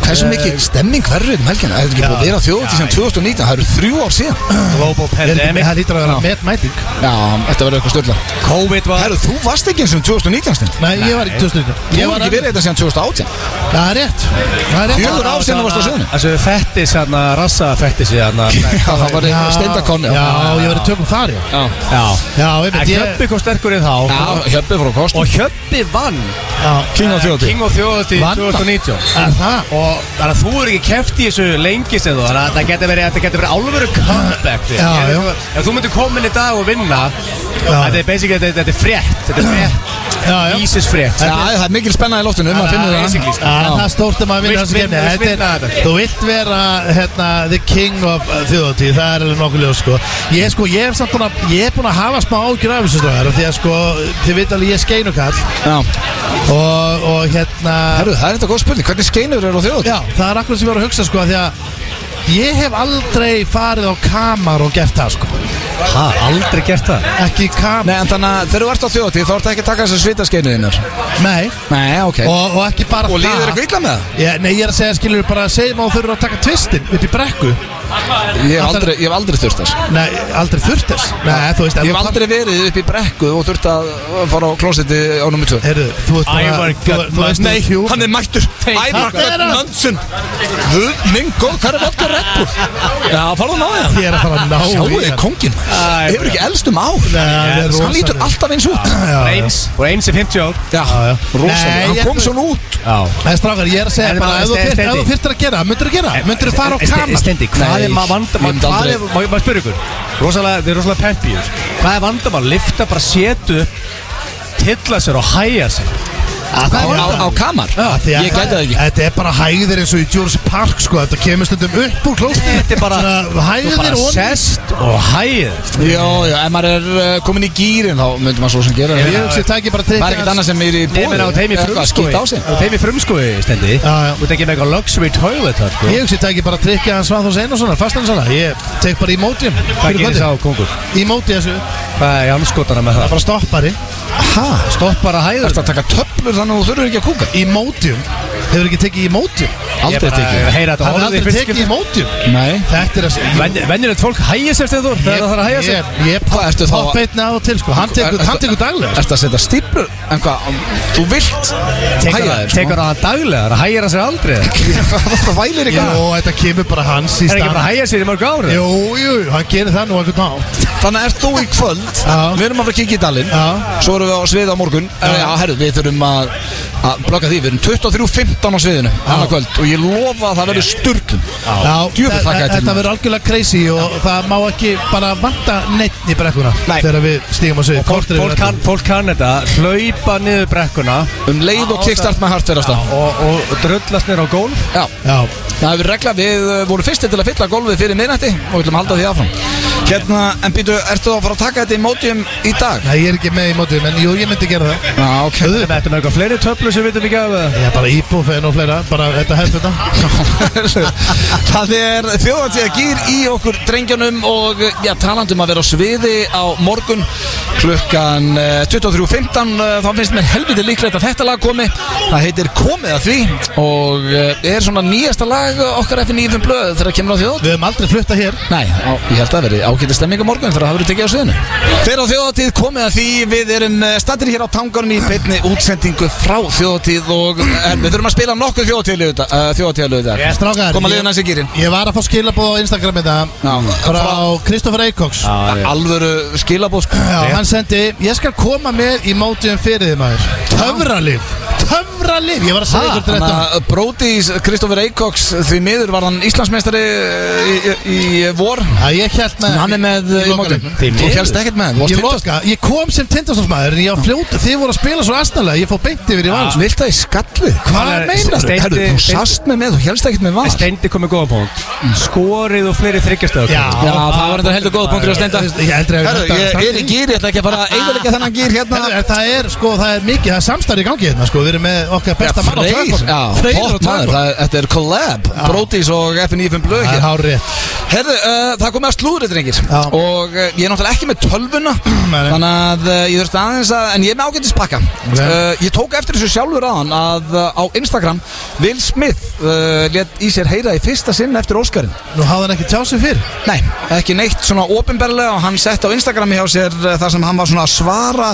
Speaker 1: Hversu mikið stemming verður um helgina? Það er ekki búið að vera þjóðið sem 2019 Það eru þrjú ár síðan
Speaker 3: global
Speaker 2: Er ekki-
Speaker 3: pandemic
Speaker 2: Það lítur að vera metmæting
Speaker 1: Já, þetta verður eitthvað stöðla
Speaker 3: COVID var
Speaker 1: Herru, þú varst ekki eins og 2019 stund
Speaker 2: Nei, ég var í 2000
Speaker 1: Þú
Speaker 2: Ég
Speaker 1: var
Speaker 2: var
Speaker 1: ekki verið þetta síðan 2018
Speaker 2: Það er rétt Það er rétt
Speaker 1: Fjögur ár síðan þú varst á sviðinu.
Speaker 3: Þessu fettis hérna, rassa fettis hérna
Speaker 1: Já, það var steindakonni
Speaker 2: Já, ég var í tökum þar, já
Speaker 1: já
Speaker 3: Já
Speaker 2: Já, ég veit,
Speaker 3: En
Speaker 2: ég
Speaker 3: Hjöppi kom sterkur en þá
Speaker 1: Já, hjöppi frá kost
Speaker 3: Og Hjöppi vann
Speaker 2: já,
Speaker 1: King of
Speaker 3: eh,
Speaker 1: þjóðatíð.
Speaker 3: King of þjóðatíð
Speaker 2: Vann það?
Speaker 3: 2019
Speaker 2: Er það?
Speaker 3: Og þannig að þú er ekki keft í þessu lengi sem þú Þannig að það getur verið, þetta getur verið alvöru comeback þér.
Speaker 2: Já,
Speaker 3: Ef
Speaker 2: já.
Speaker 3: þú- Ef þú myndir koma inn í dag og vinna Þetta er basically, þetta, þetta er frétt Þetta er frétt
Speaker 2: Já, já.
Speaker 3: Ísis frétt
Speaker 1: Já, það er mikil spenna í loftinu
Speaker 3: Já,
Speaker 1: Maður finnur það
Speaker 3: basically, sko.
Speaker 2: Já,
Speaker 1: Já.
Speaker 2: það er stórt um að maður vinna
Speaker 3: Vilt
Speaker 2: þessu
Speaker 3: vinna-
Speaker 2: kemni
Speaker 3: vilt vinna þetta.
Speaker 2: Þú vilt vera hérna, the king of uh, þjóðatíð Það er alveg nokkuð ljóð sko. Ég, sko, ég, er samt búinn að- ég er búin að hafa smá ágjur af þessu stráðar Því að sko, þið veit alveg ég er skeinukall
Speaker 1: Já
Speaker 2: Og, og hérna
Speaker 1: Herru, það er þetta góð spurning, hvernig skeinur eru á þjóðatíð?
Speaker 2: Já, það er akkur sem ég var að hugsa sko Því að ég hef aldrei farið á kamar og gert það sko
Speaker 3: Hæ, aldrei gert það
Speaker 2: Ekki
Speaker 1: Nei,
Speaker 2: kamar
Speaker 1: en þannig að þegar þú ert á þjóðatíð þá ertu ekki að taka þessar svitaskeinuð þinnar
Speaker 2: Nei,
Speaker 1: Nei, ok Og,
Speaker 2: og, og ekki bara
Speaker 1: og líður
Speaker 2: það
Speaker 1: eitthvað illa með það?
Speaker 2: Já, Nei, ég er að segja, skilur bara að segja maður þurfur að taka tvistin upp í brekku
Speaker 1: Ég hef aldrei, ég hef aldrei þurft þess
Speaker 2: Nei, aldrei þurft þess Nei, þú veist, ef
Speaker 1: Ég
Speaker 2: þú
Speaker 1: hef aldrei verið upp í brekku og þurft að fara á klósetti á nummer 2
Speaker 2: Heyrðu, þú ert
Speaker 3: Ævar
Speaker 2: bara þú-
Speaker 3: Gat-
Speaker 2: Þú veist,
Speaker 1: Nei,
Speaker 2: jú
Speaker 1: hann er mættur Ævar
Speaker 2: það er
Speaker 1: Gat
Speaker 2: hann.
Speaker 1: Mönsson Guð minn góð, hvað er vodka Red Bull? Já, farðu að ná það
Speaker 2: Ég er að fara að ná sko.
Speaker 1: Sjáu
Speaker 2: í
Speaker 1: þið
Speaker 2: hann.
Speaker 1: kongin
Speaker 3: Æ,
Speaker 1: Hefur ekki elst um ár
Speaker 2: Nei, það er rosa
Speaker 1: Hann lítur alltaf eins út
Speaker 3: Eins, og eins er 50 ár
Speaker 1: Já,
Speaker 2: já.
Speaker 1: rosalega
Speaker 2: Nei,
Speaker 1: Hann
Speaker 2: ég-
Speaker 1: kom svona út
Speaker 3: Já
Speaker 2: Nei, strafgar, ég er að segja
Speaker 3: En
Speaker 2: bara
Speaker 3: bara
Speaker 2: Ef þú
Speaker 3: ste-
Speaker 2: þyrt- ef
Speaker 3: stendi.
Speaker 2: þú þyrftir að gera, myndir þú gera Myndir þú fara á
Speaker 3: Stendi,
Speaker 2: kamar
Speaker 3: Stendi, hvað
Speaker 1: Nei,
Speaker 3: er maður
Speaker 1: ég myndi
Speaker 3: vandamál Hvað
Speaker 1: aldrei-
Speaker 3: er, má ég bara spyrja ykkur Rosalega, þið er rosalega pempíur Hvað er vandamál, lifta bara setu upp Tilla sér og hæja sér
Speaker 2: Það
Speaker 1: Á,
Speaker 2: er
Speaker 1: á, á
Speaker 2: vandamál.
Speaker 1: kamar
Speaker 2: Já, því að-
Speaker 1: Ég gæti það ekki
Speaker 2: Þetta er bara hæðir eins og í Jurassic Park sko Þetta kemur stundum upp úr klóstinu
Speaker 3: Þetta er bara
Speaker 2: Svona
Speaker 3: Þú
Speaker 2: Hæðir
Speaker 3: bara
Speaker 2: og
Speaker 3: sest og hæja
Speaker 1: sko. Já, já, ef maður er uh, komin í gýrin þá myndum maður svo sem gera
Speaker 2: Ég
Speaker 1: það
Speaker 2: hugsi, tæki bara
Speaker 1: Það er ekkert annað sem er í bóði
Speaker 3: Nefnir á teimi frumskói
Speaker 1: skýt á sig
Speaker 3: Á teimi frumskói, Stendi
Speaker 2: sko. Já, já.
Speaker 3: Þú tekið með eitthvað luxury toilet þar, sko
Speaker 2: Ég hugsi, tæki bara trikja hans Svanþórs Einarssonar Fastansala, ég tek bara í móti um.
Speaker 3: Hvað gerir sá kongur?
Speaker 2: Í móti þessu
Speaker 3: Hvað er anskotana með
Speaker 2: Það
Speaker 3: það?
Speaker 2: bara stoppari
Speaker 1: Hæ?
Speaker 3: Stoppar að hæða
Speaker 1: Þetta að taka töflur þannig að þú þurfur ekki að kúka
Speaker 2: Í mótium um. Hefur ekki tekið um? í móti
Speaker 1: Aldrei
Speaker 3: bara-
Speaker 1: tekið.
Speaker 3: ég er að heyra þetta
Speaker 2: Hefur
Speaker 3: orðið í
Speaker 2: aldrei
Speaker 3: fyrst
Speaker 2: tekið
Speaker 3: skipti.
Speaker 2: í móti
Speaker 1: Nei
Speaker 2: Þetta er að
Speaker 3: Venj- Venjulegt fólk hægir sér stegur þegar það þarf að hægja sér
Speaker 2: Ég, ég
Speaker 1: Hvað ertu þá að-
Speaker 2: popp einni á og til sko Hann tekur, hann tekur daglega sko.
Speaker 1: Ertu að setja stíplur? En hvað, þú vilt
Speaker 3: Tekur
Speaker 1: hægja
Speaker 3: það- sko.
Speaker 1: þér sko?
Speaker 3: Tekur það daglega, það hægir það sér aldrei Er
Speaker 1: Það vælir
Speaker 2: Jó,
Speaker 1: eitthvað
Speaker 2: þetta kemur bara hans í
Speaker 3: ekki bara að
Speaker 2: stað
Speaker 3: hægja sér í mörg ári
Speaker 2: Jú, jú, hann gerir það nú einhvern nátt
Speaker 1: Þannig að ert þú í kvöld
Speaker 2: Já.
Speaker 1: Við erum að fara að kikið í dalinn
Speaker 2: Já.
Speaker 1: Svo erum við á sviði á morgun Já, já herru, við þurfum að, að blokka því Við erum 23.15 á sviðinu Anna kvöld Og ég lofa að það verður sturglum
Speaker 2: Já,
Speaker 1: Djöfull
Speaker 2: þa-
Speaker 1: hlakka ég til
Speaker 2: þetta
Speaker 1: maður.
Speaker 2: verður algjörlega crazy og það má ekki bara vanta neitt í brekkuna
Speaker 1: Nei.
Speaker 2: þegar við stígum á svið
Speaker 3: Fólk, fólk, kann, fólk kann þetta, hlaupa niður brekkuna
Speaker 1: Um leið og kickstart með hartverðasta
Speaker 3: og, og drullast niður á gólf
Speaker 1: Já,
Speaker 2: Já,
Speaker 1: það hefur regla Við uh, vorum fyrstir til að fylla golfið fyrir minnætti Og við ætlum að halda því áfram Hérna, en býtu, ertu að fara að taka þetta í mótium í dag?
Speaker 2: nei, ég er ekki með í mótið, menn jú, ég myndi gera það
Speaker 1: Já, ok
Speaker 3: Við ættum eitthvað fleiri töflu sem við vitum ekki af eða?
Speaker 2: Ég er bara íbúfen og fleira, bara þetta hefði þetta
Speaker 1: Það er þjóðatíða gýr í okkur drengjanum og já, talandum að vera á sviði á morgun klukkan eh, 23.15 eh, þá finnst mér helviti líklegt að þetta lag komi það heitir Komið að því og eh, er svona nýjasta lag okkar FN Ífum Blöð þegar kemur á þjóðatíð
Speaker 2: Við höfum aldrei flutta hér
Speaker 1: Nei, á, ég held að það verði ágæti stemming á morgun þegar það verður tekið á sviðinu Þegar á þjóðatíð komið að því við erum statir hér á tangarni í beinni útsendingu frá þjóðatíð og eh, við þurfum að spila nokkuð þjóðatíðalöðu eh, í dag
Speaker 2: Strákar,
Speaker 1: Koma
Speaker 2: ég,
Speaker 1: liðin hans í gýrin
Speaker 2: ég var að fá skilabóð á Instagram þetta
Speaker 1: Já.
Speaker 2: frá Kristoffer Eikoks Já,
Speaker 1: Alvöru skilabóð sko.
Speaker 2: hann sendi, ég skal koma með í mótiðum fyrir þið maður Töfralif, töfralif, ég var að segja ykkur til
Speaker 1: Þannig
Speaker 2: þetta
Speaker 1: að Brodís Kristoffer Eikoks Því miður var hann Íslandsmeistari eh, í, í, í vor
Speaker 2: Já, ég held með
Speaker 1: Hann er með eh, uh,
Speaker 2: í
Speaker 1: í
Speaker 2: lokaleiknum.
Speaker 1: morgun Þú helst ekkert með hann
Speaker 2: Ég,
Speaker 1: Þú varst
Speaker 2: loka, ég kom sem tindastofsmæður en ég á fljóta, þið voru að spila svo astalega ég fór beint yfir í val
Speaker 1: Vilt Vilt það í skallið? Hvað
Speaker 3: Hann er-
Speaker 1: meinar
Speaker 3: Steindi-
Speaker 1: Herru, þú
Speaker 3: Steindi-
Speaker 1: sast með með, þú helst ekkert með val
Speaker 3: Steindi komið góða punkt Skorið og fleiri þryggjastöð
Speaker 1: Já, það var þetta heldur góð punktur á Steinda
Speaker 2: Ég heldur að
Speaker 1: Herru, ég er í gýr, ég ætla ekki að fara að eiginlega þennan gýr hérna
Speaker 2: Herru, en það er sko, það er mikið, það er samstarf í gangi hérna sko, við erum með okkar besta mann á
Speaker 1: Freyr,
Speaker 2: tvöfum
Speaker 1: já, pott maður, það er- þetta er collab Brodís og FNÍFM Blöð
Speaker 2: Það
Speaker 1: hér
Speaker 2: er hár rétt
Speaker 1: Herðu, uh, það komið að slúðrið, drengir
Speaker 2: Já.
Speaker 1: Og uh, ég er náttúrulega ekki með tölvuna
Speaker 2: nei.
Speaker 1: Þannig að uh, ég þurfti aðeins að En ég er með ágætis pakka
Speaker 2: Ok.
Speaker 1: uh, Ég tók eftir þessu sjálfur aðan Að uh, á Instagram Will Smith uh, Let í sér heyra í fyrsta sinn eftir Óskarinn
Speaker 2: Nú hafði hann ekki tjáð sig fyrr
Speaker 1: Nei, ekki neitt svona opinberlega og hann sett á Instagrami hjá sér eh, þar sem hann var svona að svara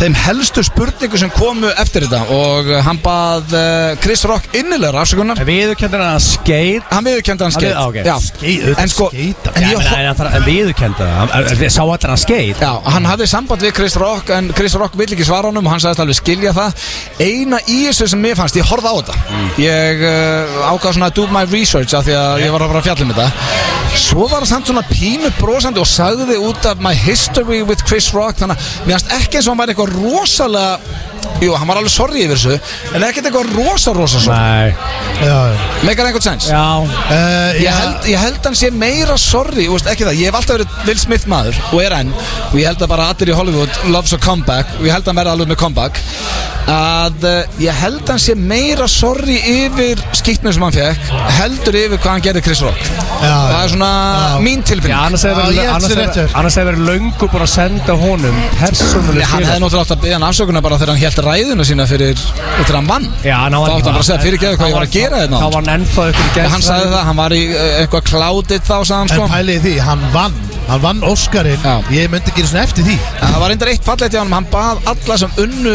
Speaker 1: þeim helstu spurningu sem komu eftir þetta og eh, hann bað eh, Chris Rock innilegur afsökunar
Speaker 3: Viðurkendur hann að skeit
Speaker 1: hann viðurkendi hann
Speaker 3: Hann
Speaker 1: skeit
Speaker 3: við- á, ok.
Speaker 2: Skeið, auðvitað
Speaker 1: en sko
Speaker 2: skeit,
Speaker 1: en
Speaker 3: Já,
Speaker 1: ég,
Speaker 3: menn, en hann viðurkendur það Sá allir hann skeit
Speaker 1: Já, hann hafði samband við Chris Rock en Chris Rock vill ekki svara honum og hann sagðist alveg skilja það Eina í þessu sem mér fannst, ég horfði á þetta Ég uh, ákvað svona að do my research af því að ég var að fara að fjalla um þetta Svo var hann samt svona pínu brosandi og sagði út af my history with Chris Rock Þannig að mér fannst ekki eins og hann væri eitthvað rosalega Jú, hann var alveg sorry yfir þessu En ekkert eitthvað rosa rosa sorry
Speaker 3: Nei
Speaker 2: Já, já
Speaker 1: Megar einhvern sens
Speaker 3: Já
Speaker 2: Uh,
Speaker 1: Ég
Speaker 2: já,
Speaker 1: held, ég held hann sé meira sorry þú veist, ekki það, ég hef alltaf verið Will Smith maður og er enn, og ég held að bara allir í Hollywood loves a comeback, og ég held að hann verði alveg með comeback að uh, ég held hann sé meira sorry yfir skýtnum sem hann fekk, heldur yfir hvað hann gerði Chris Rock það
Speaker 2: já,
Speaker 1: er svona mín tilfinning
Speaker 3: Já, annars hefur
Speaker 2: Já, ég held sér rétt hjá
Speaker 3: verið
Speaker 2: þér.
Speaker 3: Annars hefur verið löngu búin að senda honum Persónuleg
Speaker 1: Nei, hann hefði náttúrulega átt að byggja hann afsökunar bara þegar hann held ræðuna sína fyrir, fyrir hann vann
Speaker 3: Já, hann
Speaker 1: þá átt hann bara að segja fyrirgeðu hvað ég var að gera
Speaker 3: Þá
Speaker 1: þetta
Speaker 3: var hann ennþá ykkur
Speaker 1: og hann sagði það, hann var í uh, eitthvað clouded þá sagði hann
Speaker 2: en
Speaker 1: sko
Speaker 2: pæliði því, hann vann Hann vann Óskarinn,
Speaker 1: Já.
Speaker 2: ég myndi ekki svona eftir því
Speaker 1: En Það var reyndar eitt fallegt í honum, hann bað alla sem unnu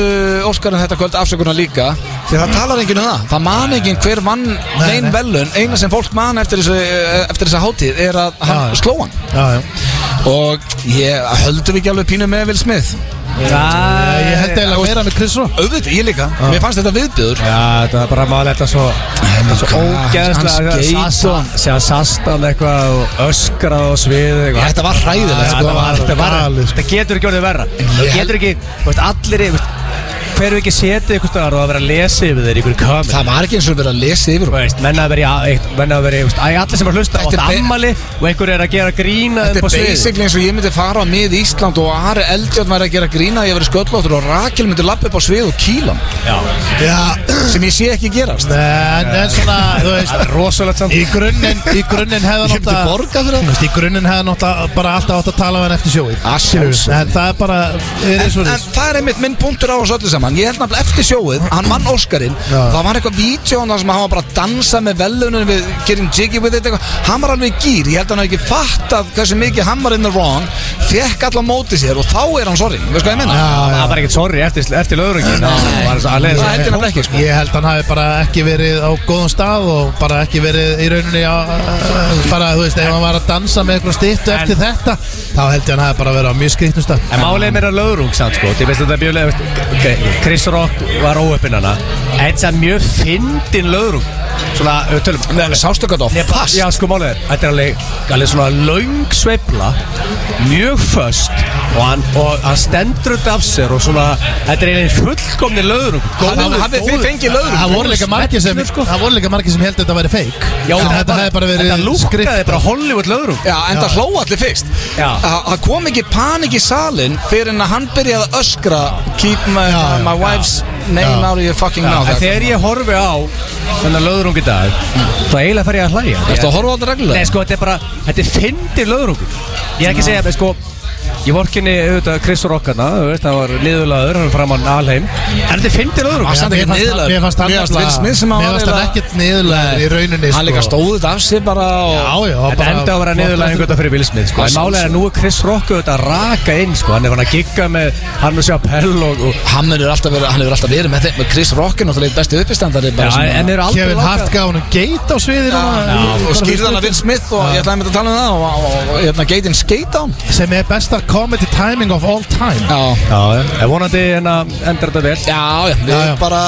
Speaker 1: Óskarinn þetta kvöld afsökunar líka Því það talar enginn um það, það man enginn hver vann neinn
Speaker 2: nei.
Speaker 1: velun Eina sem fólk man eftir, þessu, eh, eftir þessa hátíð er að hann
Speaker 2: Já, já.
Speaker 1: sló hann
Speaker 2: Já, já
Speaker 1: Og ég höldum við ekki alveg pínu með Will Smith
Speaker 3: Nei,
Speaker 2: Ég held eiginlega meira með Chris Rock
Speaker 1: Auðvitað, ég líka, mér fannst þetta viðbjöður
Speaker 3: Já, þetta var bara maður þetta svo Svo ógeðslega
Speaker 1: Hann skeit og-
Speaker 3: Sér að sast hann eitthvað og öskrað og svið
Speaker 1: Já, Þetta var hræðilegt
Speaker 3: Þetta
Speaker 1: sko
Speaker 3: var- þetta var-
Speaker 2: galið, sko.
Speaker 3: þetta getur ekki orðið verra Þú getur ekki, þú veist, allir þú veist, Hver er ekki setið ykkur staðar og að vera að lesa yfir þeir ykkur komið
Speaker 1: Það var ekki eins og verið að lesa yfir honum.
Speaker 3: veist, menn að vera, í- eitt- menn að vera, í, þú veist, æ, allir sem er að hlusta á
Speaker 1: Þetta er
Speaker 3: þetta
Speaker 1: be-
Speaker 3: ammali og einhver er að gera grína
Speaker 1: Þetta er basically eins og ég myndi fara á mið Ísland og Ari Eldjátt væri að gera grína að ég verið sköllóttur og Rakel myndi lappa upp á svið og kíla hann, sko.
Speaker 3: Já,
Speaker 2: Já,
Speaker 1: sem ég sé ekki gerast
Speaker 2: en, en svona, þú veist
Speaker 3: það er rosalegt samt
Speaker 2: Í grunninn, í grunninn hefði
Speaker 1: Ég myndi
Speaker 2: náttúrulega
Speaker 1: borga fyrir það.
Speaker 2: Þú veist, Í grunninn hefði náttúrulega bara alltaf átt að tala við hann eftir sjói
Speaker 1: Að sjálfsögðu.
Speaker 2: En það er bara, er eins og
Speaker 1: en
Speaker 2: þess
Speaker 1: það er einmitt minn punktur á þessu öllu saman hann Ég held nafnilega eftir sjóið, hann vann Óskarinn
Speaker 2: Já.
Speaker 1: Það var eitthvað vídjón þar sem hann var bara að dansa með velunum við Getting Jiggy with it eitthvað Hann var alveg í gýr, ég held að hann hafi ekki fattað hversu mikið hann var in the wrong Fekk allan mótið sér og þá er hann sorry, veist hvað ég minna?
Speaker 2: já,
Speaker 3: Það var ekkert sorry eftir, eftir löðuröngin Það var
Speaker 1: Það held
Speaker 3: að leiða
Speaker 1: ég
Speaker 3: sér
Speaker 1: nefnilega ekki, sko
Speaker 2: Ég held hann hafi bara ekki verið á góðum stað og bara ekki verið í rauninni á, eh, bara, þú veist, ef hann var að dansa með einhvern stýttu
Speaker 3: En-
Speaker 2: eftir þetta þá held ég hann hafi bara verið á mjög skrýtnum stað
Speaker 3: En málið er meira löðrung samt sko Ég veist að þetta er mjög leið okay. Chris Rock var óöppin hana En það er mjög fyndin löðrung Svona, ef við tölum
Speaker 1: Sástu hvað það
Speaker 3: Nei,
Speaker 1: var fast
Speaker 3: Já, sko málið er Þetta er alveg, alveg svona laung sveifla Mjög föst Og hann, og hann stendur þetta af sér Og svona, þetta er einnig fullkomni löðrung
Speaker 1: Hann- hafið þið fengið löðrung?
Speaker 2: Það voru líka margir sem,
Speaker 1: sko.
Speaker 2: það voru líka margir sem held að þetta væri fake
Speaker 3: sko. Já,
Speaker 2: En þetta hefði bara
Speaker 3: Þetta
Speaker 2: verið
Speaker 3: lúkkaði
Speaker 2: skrift
Speaker 3: bara Hollywood löðrung
Speaker 1: Já, en það
Speaker 2: Já.
Speaker 1: hló allir fyrst
Speaker 3: Já.
Speaker 1: Þa- Það kom ekki panik í salin fyrir en að hann byrjaði að öskra Keep my, my wife's name
Speaker 2: Já.
Speaker 1: out of your fucking
Speaker 3: Já,
Speaker 1: mouth
Speaker 3: en þegar ég horfi á þennan löðrung í dag þá eiginlega fer ég að hlæja
Speaker 1: Ertu að horfa á þetta reglulega?
Speaker 3: Nei, sko, þetta er bara, þetta er fyndið löðrungur Ég er ekki að segja, sko Ég vorkinni auðvitað Chris Rockana, þú veist, það var liðulagur, hann fram á alheim En þetta er fyndið
Speaker 1: Var
Speaker 3: löðrungur
Speaker 1: samt ekki niðurlægður.
Speaker 2: Mér fannst hann
Speaker 1: Mér fannst
Speaker 2: nefnilega-
Speaker 1: Will Smith sem hann
Speaker 2: mér
Speaker 1: var
Speaker 2: fannst hann
Speaker 1: eiginlega-
Speaker 2: ekkert niðurlega í rauninni
Speaker 1: Hann líka
Speaker 2: sko.
Speaker 1: stóð þetta af sér bara og...
Speaker 2: Já, já,
Speaker 3: Þetta
Speaker 2: bara-
Speaker 3: enda að vera niðurlæðing auðvitað fyrir Will Smith sko.
Speaker 1: Að
Speaker 3: En málega er að nú er Chris Rock auðvitað að raka inn sko. Hann er fann að gigga með hann og sjá pell og, og
Speaker 1: Hann hefur alltaf verið, hann hefur alltaf verið með, þeim- með Chris Rock er náttúrulega einn besti uppistandari bara
Speaker 3: Já, en eru aldrei
Speaker 2: Kevin
Speaker 3: lokað.
Speaker 2: Hart gaf hann geit á sviðir
Speaker 1: Og skýrði hann að Will Smith og ég ætlaði með að tala um það og, og, og, og hérna geit inn skate á hann
Speaker 2: sem er besta comedy timing of all time
Speaker 1: Já,
Speaker 3: Já, já. en vonandi en að endur þetta vel
Speaker 1: já, já, við
Speaker 2: Já, já.
Speaker 1: bara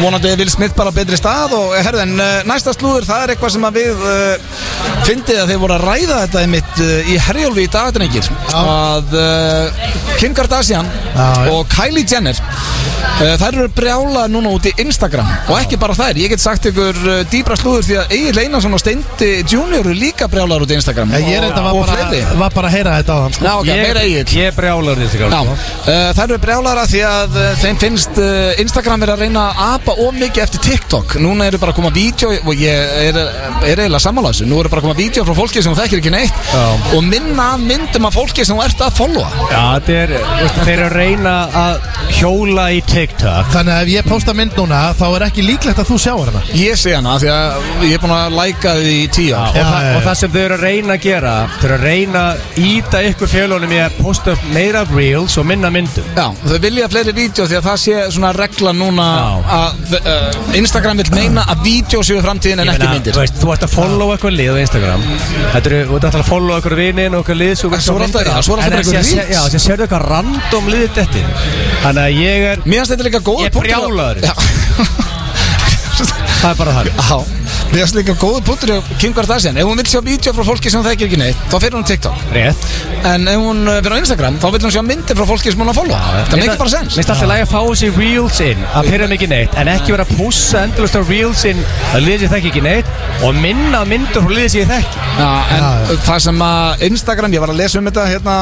Speaker 1: vonandi er Will Smith bara á betri stað og herðu en eh, næsta slúður það er eitthvað sem að við uh, fyndið að þeir voru að ræða þetta einmitt uh, í herjólfi í dagatningir að uh, Kim Kardashian
Speaker 2: Já, já.
Speaker 1: og Kylie Jenner uh, þær eru brjála núna út í Instagram og ekki bara þær, ég get sagt ykkur uh, dýbra slúður því að Egil Einarsson og Steindi Junior eru líka brjálar út í Instagram
Speaker 2: Já, Ég er þetta
Speaker 1: og,
Speaker 2: var
Speaker 1: og fleiri
Speaker 2: bara, var bara að heyra þetta sko. á hann
Speaker 1: Já, ok, meira
Speaker 3: Ég,
Speaker 1: Egil
Speaker 3: ég brjálar því
Speaker 1: Já, uh, það eru brjálara því að uh, þeim finnst uh, Instagram verið að reyna að apa of mikið eftir TikTok Núna eru bara að koma vídeo og ég er, er eiginlega sammála þessu Nú eru bara að koma vídeo frá fólki sem þú þekkir ekki neitt
Speaker 3: Já.
Speaker 1: og minna af myndum af fólki sem þú ert að followa
Speaker 3: Já, þetta er, veistu, þeir eru að reyna að hjóla í TikTok
Speaker 2: Þannig að ef ég posta mynd núna þá er ekki líklegt að þú sjáur hana
Speaker 1: Ég sé hana því að ég er búin að læka því í tíu
Speaker 3: Já,
Speaker 1: ár
Speaker 3: og,
Speaker 2: Já,
Speaker 3: það,
Speaker 2: já, já.
Speaker 3: og það sem þau eru að reyna að gera Þau eru að reyna að íta ykkur fjölunum Ég að posta upp meira af reels og minna myndum
Speaker 1: Já, þau vilja fleiri vídeo því að það sé svona regla núna
Speaker 3: Já.
Speaker 1: að uh, Instagram vil meina að vídeo séu framtíðin en
Speaker 3: Ég
Speaker 1: ekki
Speaker 3: meina,
Speaker 1: myndir
Speaker 3: þú veist, Þú ert að follow eitthvað lið á Instagram Þetta eru, þú ert alltaf að follow eitthvað vinin og eitthvað lið
Speaker 1: En svo er alltaf- já, svo er alltaf bara
Speaker 3: eitthvað
Speaker 1: einhver
Speaker 3: reels
Speaker 1: reels.
Speaker 3: Já, sem sérðu eitthvað random liðið þetta Þannig að ég er,
Speaker 1: Mér finnst þetta líka góð
Speaker 3: Ég er brjálaður. það er bara þannig
Speaker 1: Já, við erum líka góðu punktur hjá Kim Kardashian Ef hún vil sjá vídeo frá fólki sem hún þekkir ekki neitt Þá fyrir hún á TikTok
Speaker 3: Rétt
Speaker 1: En ef hún uh, fyrir á Instagram Þá vil hún sjá myndir frá fólki sem hún er að followa Það meikir bara sens
Speaker 3: Minnst alltaf lægi að fá þessi reels inn að pyrra mikið neitt en ekki vera að pússa endurlust á reels inn að liðið sér þekki ekki neitt og minna af myndur frá liðið sér þekki
Speaker 1: Já, en
Speaker 2: Já, já.
Speaker 1: uh, það sem að Instagram, ég var að lesa um þetta hérna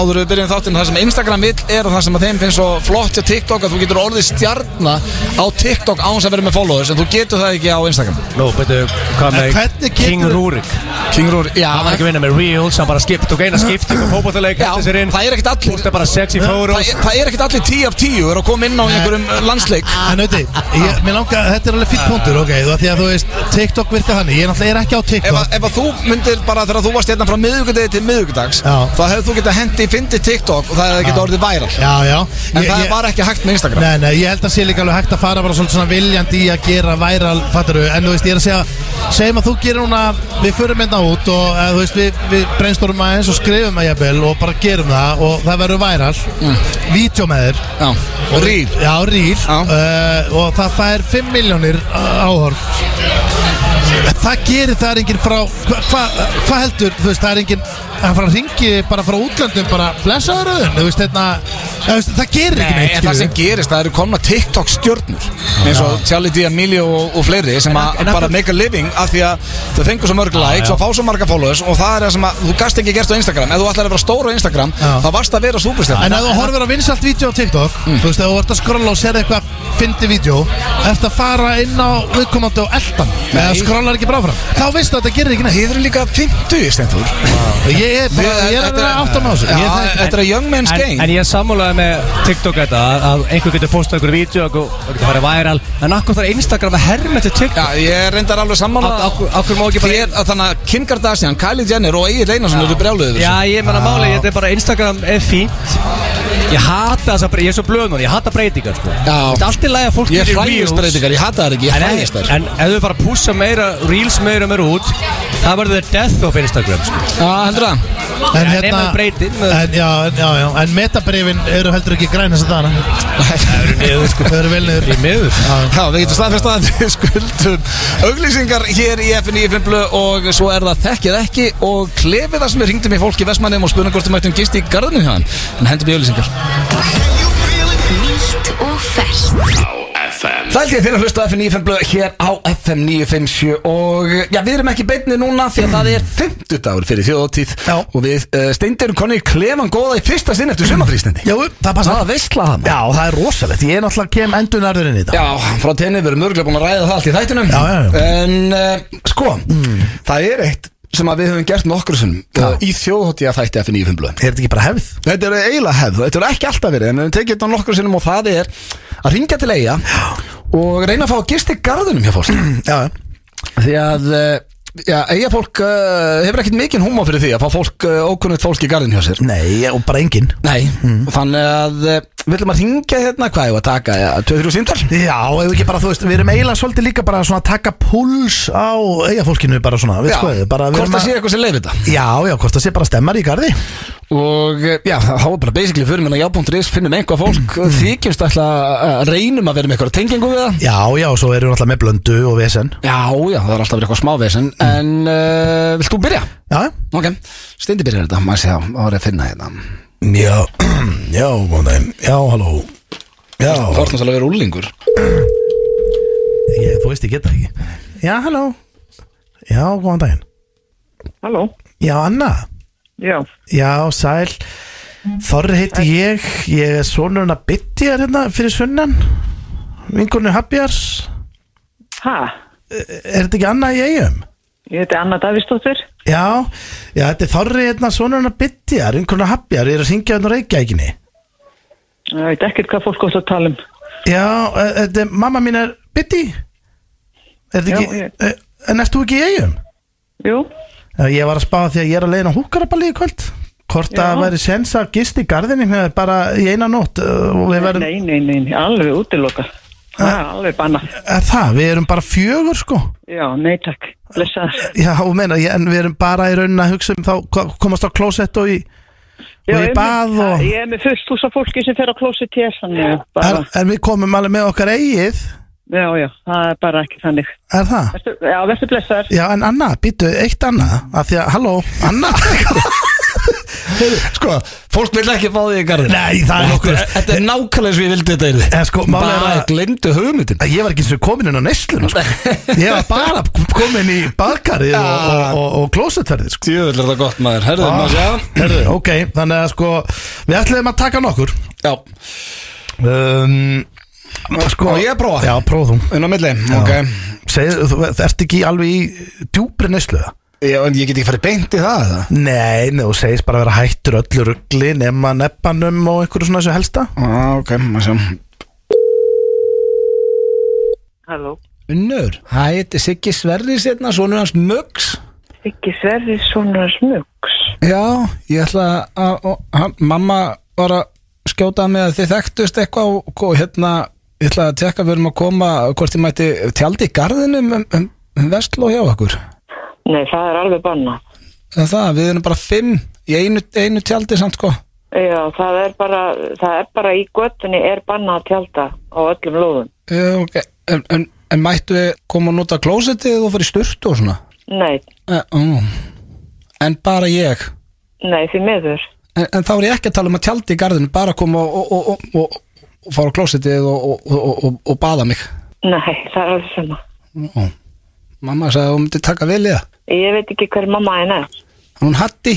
Speaker 1: áður við byrjum þáttinn, það sem Instagram vill er og það sem að þeim finnst svo flott hjá TikTok að þú getur orðið stjarna á TikTok án þess að vera með followers en þú getur það ekki á Instagram
Speaker 3: Nú, betur, hvað
Speaker 2: En
Speaker 3: með
Speaker 2: hvernig getur-
Speaker 3: King Rúrik?
Speaker 1: King Rúri, já,
Speaker 3: Hann var ekki að vinna með reels, hann bara skipt og geina skipt og fókbóttaleik,
Speaker 1: Já,
Speaker 3: hætti sér inn
Speaker 1: það er ekkert allir-
Speaker 3: Pústa bara sexy
Speaker 1: það,
Speaker 3: photos
Speaker 1: er- það er ekkert allir 10 af 10 er að koma inn á í einhverjum uh, landsleik
Speaker 2: En auðviti, mér langar, þetta er alveg fýtt punktur, ok, þú, því að þú veist, TikTok virka þannig, ég náttúrulega er ekki á
Speaker 1: Ef, að,
Speaker 2: TikTok
Speaker 1: ef að þú myndir bara þegar þú varst hérna frá miðugudegi til miðugudags
Speaker 2: Já.
Speaker 1: þá hefur þú getað hendi í fyndi TikTok og það hefði getað orðið væral
Speaker 2: Já, já
Speaker 1: en það var ekki hægt með Instagram
Speaker 2: Nei, nei, ég held að sé líka alveg hægt að fara bara svolítið svona viljandi í að gera væral, fattur en þú veist, ég er að segja, segjum að þú gerir núna, við förum hérna út og eða, þú veist, við, við brainstormum aðeins og skrifum að jafnvel og bara gerum það og það verður væral, mm. vídeo með þér,
Speaker 1: Já, rýr
Speaker 2: já, rýr,
Speaker 1: Já.
Speaker 2: uh, og það fær 5 miljónir áhorf. Það gerir það er enginn frá, hvað hva, hva heldur, þú veist, það er enginn, það er frá ringi bara frá útlöndum, bara blessaður auðvun, þú veist, hérna, þú veist, það gerir ekki
Speaker 1: Nei, en
Speaker 2: neitt,
Speaker 1: það
Speaker 2: skilurðu.
Speaker 1: sem gerist, það eru komna TikTok stjörnur eins og Charlie D'Amelio og, og fleiri sem að
Speaker 3: en af
Speaker 1: bara
Speaker 3: hverju-
Speaker 1: make a living af því að þau fengur svo mörg likes og fá svo marga followers og það er það sem að þú gast ekki gerst á Instagram ef þú ætlar að vera stór á Instagram
Speaker 2: Já.
Speaker 1: þá varst að vera
Speaker 2: En
Speaker 1: súperstjörn
Speaker 2: ef þú horfir á vinsalt vídeo á TikTok
Speaker 1: Mm.
Speaker 2: Þú veist, ef þú ert að skrolla og sér eitthvað Fyndi vídeo, ert að fara inn á Viðkomandi og eldan Eða skrollar ekki bara áfram Þá veistu að þetta gerir ekki neitt
Speaker 1: Þið eru líka 50 stendur
Speaker 2: Ég er bara,
Speaker 1: Við-
Speaker 2: ég er að
Speaker 1: þetta-
Speaker 2: vera áttam á þessu Ég
Speaker 1: Já,
Speaker 2: er það-
Speaker 1: þetta er young man's
Speaker 3: En,
Speaker 1: game
Speaker 3: en ég sammálaði með TikTok þetta að, að einhver getur postað einhver vídeo og og getur farið viral en akkur þarf Instagram að herma til TikTok
Speaker 1: Já, ég reyndar alveg sammála
Speaker 3: Á- á- á hverju má ekki bara-
Speaker 1: Þér, að þannig að Kim Kardashian, Kylie Jenner og Egil Einarsson eru brjáluðið
Speaker 3: Já, ég menna
Speaker 1: Ah.
Speaker 3: máli, þetta er bara Instagram er fínt Ég hata þess að breytingar, ég er svo blöð núna, ég hata breytingar sko
Speaker 1: Já.
Speaker 3: Þetta er allt í lagi að fólk
Speaker 1: Ég
Speaker 3: gerir
Speaker 1: hræðist
Speaker 3: reels.
Speaker 1: breytingar, ég hata það ekki, ég
Speaker 3: En, en,
Speaker 1: hræðist þær
Speaker 3: en ef þau bara pússa meira, reels meira og meira út Það verður the death of Instagram sko
Speaker 1: Já, heldur það
Speaker 2: En
Speaker 3: nema
Speaker 2: hérna
Speaker 3: við breytir, með-
Speaker 2: En já, en- já, já En metabrifin eru heldur ekki græn þess að dana
Speaker 1: Nei.
Speaker 2: Niður sko Þau eru vel niður
Speaker 3: Í miður
Speaker 1: Já, við getum staðfest að við skuldum auglýsingar hér í FNÍ Fimblu og svo er það þekkið ekki og klefið það sem við ringdum í fólk í Vestmannum og spurning hvort þú mættum gist í garðinu hjá hann en hendum í auglýsingar
Speaker 4: Nýtt og ferskt
Speaker 1: Það held ég þeirra hlusta á FM 957 hér á FM 957 og eh, já, við erum ekki beinni núna því að það er 50 dagur fyrir þjóðtíð
Speaker 2: Já.
Speaker 1: og við uh, steindirum konni klefan góða í fyrsta sinn eftir sumafrístendi.
Speaker 2: Já, það passa
Speaker 1: Það veistla það maður.
Speaker 2: Já, það er rosalegt Ég er náttúrulega kem endunarður inn í þetta
Speaker 1: Já, frá tenni við erum örgulega búin að ræða það allt í þættinum
Speaker 2: Já, já, já.
Speaker 1: En uh, sko, það er eitt sem að við höfum gert nokkur sinnum uh, í þjóðhóttíða þætti FM 957
Speaker 2: Er þetta ekki bara hefð?
Speaker 1: Þetta eru eiginlega hefð, þetta eru ekki alltaf verið En við höfum tekið þetta nokkur sinnum og það er að ringja til eiga og reyna að fá að gist í garðinum hjá fólk
Speaker 2: Já, já
Speaker 1: Því að eh, já, eiga fólk uh, hefur ekkert mikinn húma fyrir því að fá fólk, uh, ókunnigt fólk í garðin hjá sér
Speaker 2: Nei, og bara engin
Speaker 1: Nei, þannig að uh, við ætlum að ringja hérna hvað ég að taka, ja, 2-3 síndal
Speaker 2: Já, ef ekki bara, þú veist, við erum eiginlega svolítið líka bara svona að taka púls á eigafólkinu bara svona, við skoðum, bara við
Speaker 1: hvort
Speaker 2: erum
Speaker 1: það sé eitthvað sem leið þetta
Speaker 2: Já, já, hvort það sé bara stemmar í garði
Speaker 1: Og eh, já, þá er bara basically fyrir minna já.is, finnum einhvað fólk mm. þykjumst ætla að reynum að vera með eitthvað tengingu við það
Speaker 2: Já, já, og svo erum við alltaf með blöndu og vesen
Speaker 1: Já, já, það er alltaf verið eitthvað smávesen
Speaker 2: Mm.
Speaker 1: En uh, vilt þú byrja?
Speaker 2: Já,
Speaker 1: Ok, steindi byrjar þetta, maður sé að það var að finna hérna
Speaker 2: já, já, mánægum, já, halló Já,
Speaker 1: Það var náttúrulega að vera úlingur
Speaker 2: ég, þú veist, ég geta ekki Já, halló Já, góðan daginn
Speaker 5: Halló,
Speaker 2: Já, Anna
Speaker 5: já,
Speaker 2: Já, sæl Þorri heiti ég, ég er sonurinn að bytti hérna fyrir sunnan Vinkurinn Habjars
Speaker 5: hæ,
Speaker 2: E, Er þetta ekki Anna í eigum?
Speaker 5: ég heiti Anna Davísdóttir,
Speaker 2: Já, já, þetta er þorri hérna sonurinn að byttja, einhvern hafjar, ég er að syngja hérna á reykjækinni.
Speaker 5: ég veit ekkert hvað fólk átt að tala um.
Speaker 2: Já, eh, þetta er, mamma mín er bytti. Er þetta
Speaker 5: Já,
Speaker 2: ekki,
Speaker 5: ég-
Speaker 2: eh, en erst þú ekki í eigum?
Speaker 5: Jú,
Speaker 2: Já, Eh, ég var að spá því að ég er að leiðin á húkarabalíu kvöld. Hvort að
Speaker 5: Já.
Speaker 2: það væri sens að gist í garðinni með bara í eina nótt eh, og við verðum,
Speaker 5: nei, nei, nei, nei, alveg útiloka, hæ, alveg bannað,
Speaker 2: er Eh, það, við erum bara fjögur sko.
Speaker 5: já, nei takk, blessaður.
Speaker 2: Já, og meina, ég- en við erum bara í raunin að hugsa um þá hva- komast á klósett og í,
Speaker 5: Já,
Speaker 2: og í
Speaker 5: ég er
Speaker 2: bað
Speaker 5: með-
Speaker 2: og...
Speaker 5: Ég er með fullt hús af fólki sem fer á klósi til þess, þannig að
Speaker 2: En,
Speaker 5: bara,
Speaker 2: en við komum alveg með okkar eigið,
Speaker 5: já, já, það er bara ekki þannig.
Speaker 2: er það?
Speaker 5: Vertu, já, verður blessaður.
Speaker 2: Já, en Anna, býtu, eitt Anna af því að, halló, Anna
Speaker 1: Sko, fólk vil ekki fá því í garðin
Speaker 2: Nei, það er nokkuð
Speaker 1: Þetta þetta er nákvæmlega sem ég vildi þetta yrði
Speaker 2: En sko, málið er
Speaker 1: Bara
Speaker 2: að-
Speaker 1: glemdu hugmyndin
Speaker 2: Eh, Ég var ekki eins og komin inn á nesluna, sko Ég var bara komin í baðkarið og, og, og, og klósetverðið, sko
Speaker 1: Tjöfull er það gott maður, herðu
Speaker 2: Ah.
Speaker 1: maður sjá
Speaker 2: Herðu, ok, þannig að sko Við ætliðum að taka nokkur
Speaker 1: Já,
Speaker 2: um, Sko
Speaker 1: Á ég að prófa?
Speaker 2: Já, prófa þú
Speaker 1: inn á milli, ok
Speaker 2: Segð, þú ert ekki alveg í djúpri neslu það?
Speaker 1: Já, en ég get ekki farið beint í það eða?
Speaker 2: Nei, nei, þú segist bara að vera hættur öllu rugli nema neppanum og einhverju svona þessu helsta
Speaker 1: Já, Ah, ok, maður sjá
Speaker 5: Halló,
Speaker 1: Unnur, hæ, þetta er Siggi Sverri setna, sonur hans Muggs
Speaker 5: ekki sverðið svona smugs.
Speaker 1: Já, ég ætla að, og, hann, mamma var að skjóta með að þið þekktust eitthvað og, og hérna, ég ætla að tekka við erum að koma, hvort ég mætti tjaldi í garðinum um, um, um vestló hjá okkur
Speaker 5: Nei, það er alveg bannað.
Speaker 1: Það, það, við erum bara fimm í einu, einu tjaldi samt sko
Speaker 5: Já, það er bara, það er bara í göttunni er bannað að tjálta á öllum lóðum.
Speaker 1: uh, okay. en, en, en mættu við koma að nota klósetið og fara í sturt og svona
Speaker 5: Nei,
Speaker 1: uh, uh. En bara ég
Speaker 5: nei, því meður.
Speaker 1: en, en þá er ég ekki að tala um að tjaldi í garðinu bara að koma og, og, og, og, og, og fara á klósetið og, og, og, og, og baða mig
Speaker 5: Nei, það er alveg sama.
Speaker 1: Ó. Mamma sagði að hún myndi taka vel í það
Speaker 5: Ég veit ekki hver mamma henni er.
Speaker 1: Hún Hatti,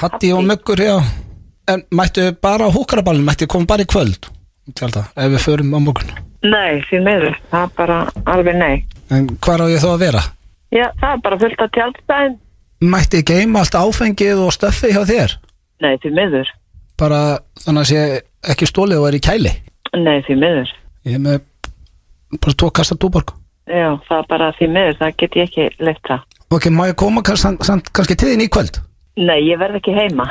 Speaker 1: Hatti og Möggur já. En mættu við bara á húkaraballin Mættu við koma bara í kvöld Tjálta, ef við förum á morgun
Speaker 5: Nei, því meður. Það er bara alveg nei.
Speaker 1: En hvar á ég þá að vera?
Speaker 5: Já, það er bara fullt af tjálstæðin.
Speaker 1: mætti geima allt áfengið og stöffi hjá þér
Speaker 5: Nei, því miður.
Speaker 1: bara þannig að sé ekki stólið og er í kæli
Speaker 5: Nei, því miður.
Speaker 1: ég er með bara tvo kasta túborg
Speaker 5: Já, það er bara því miður, það get ég ekki leitt það.
Speaker 1: ok, má ég koma kann- samt- samt kannski til þín í kvöld
Speaker 5: Nei, ég verð ekki heima.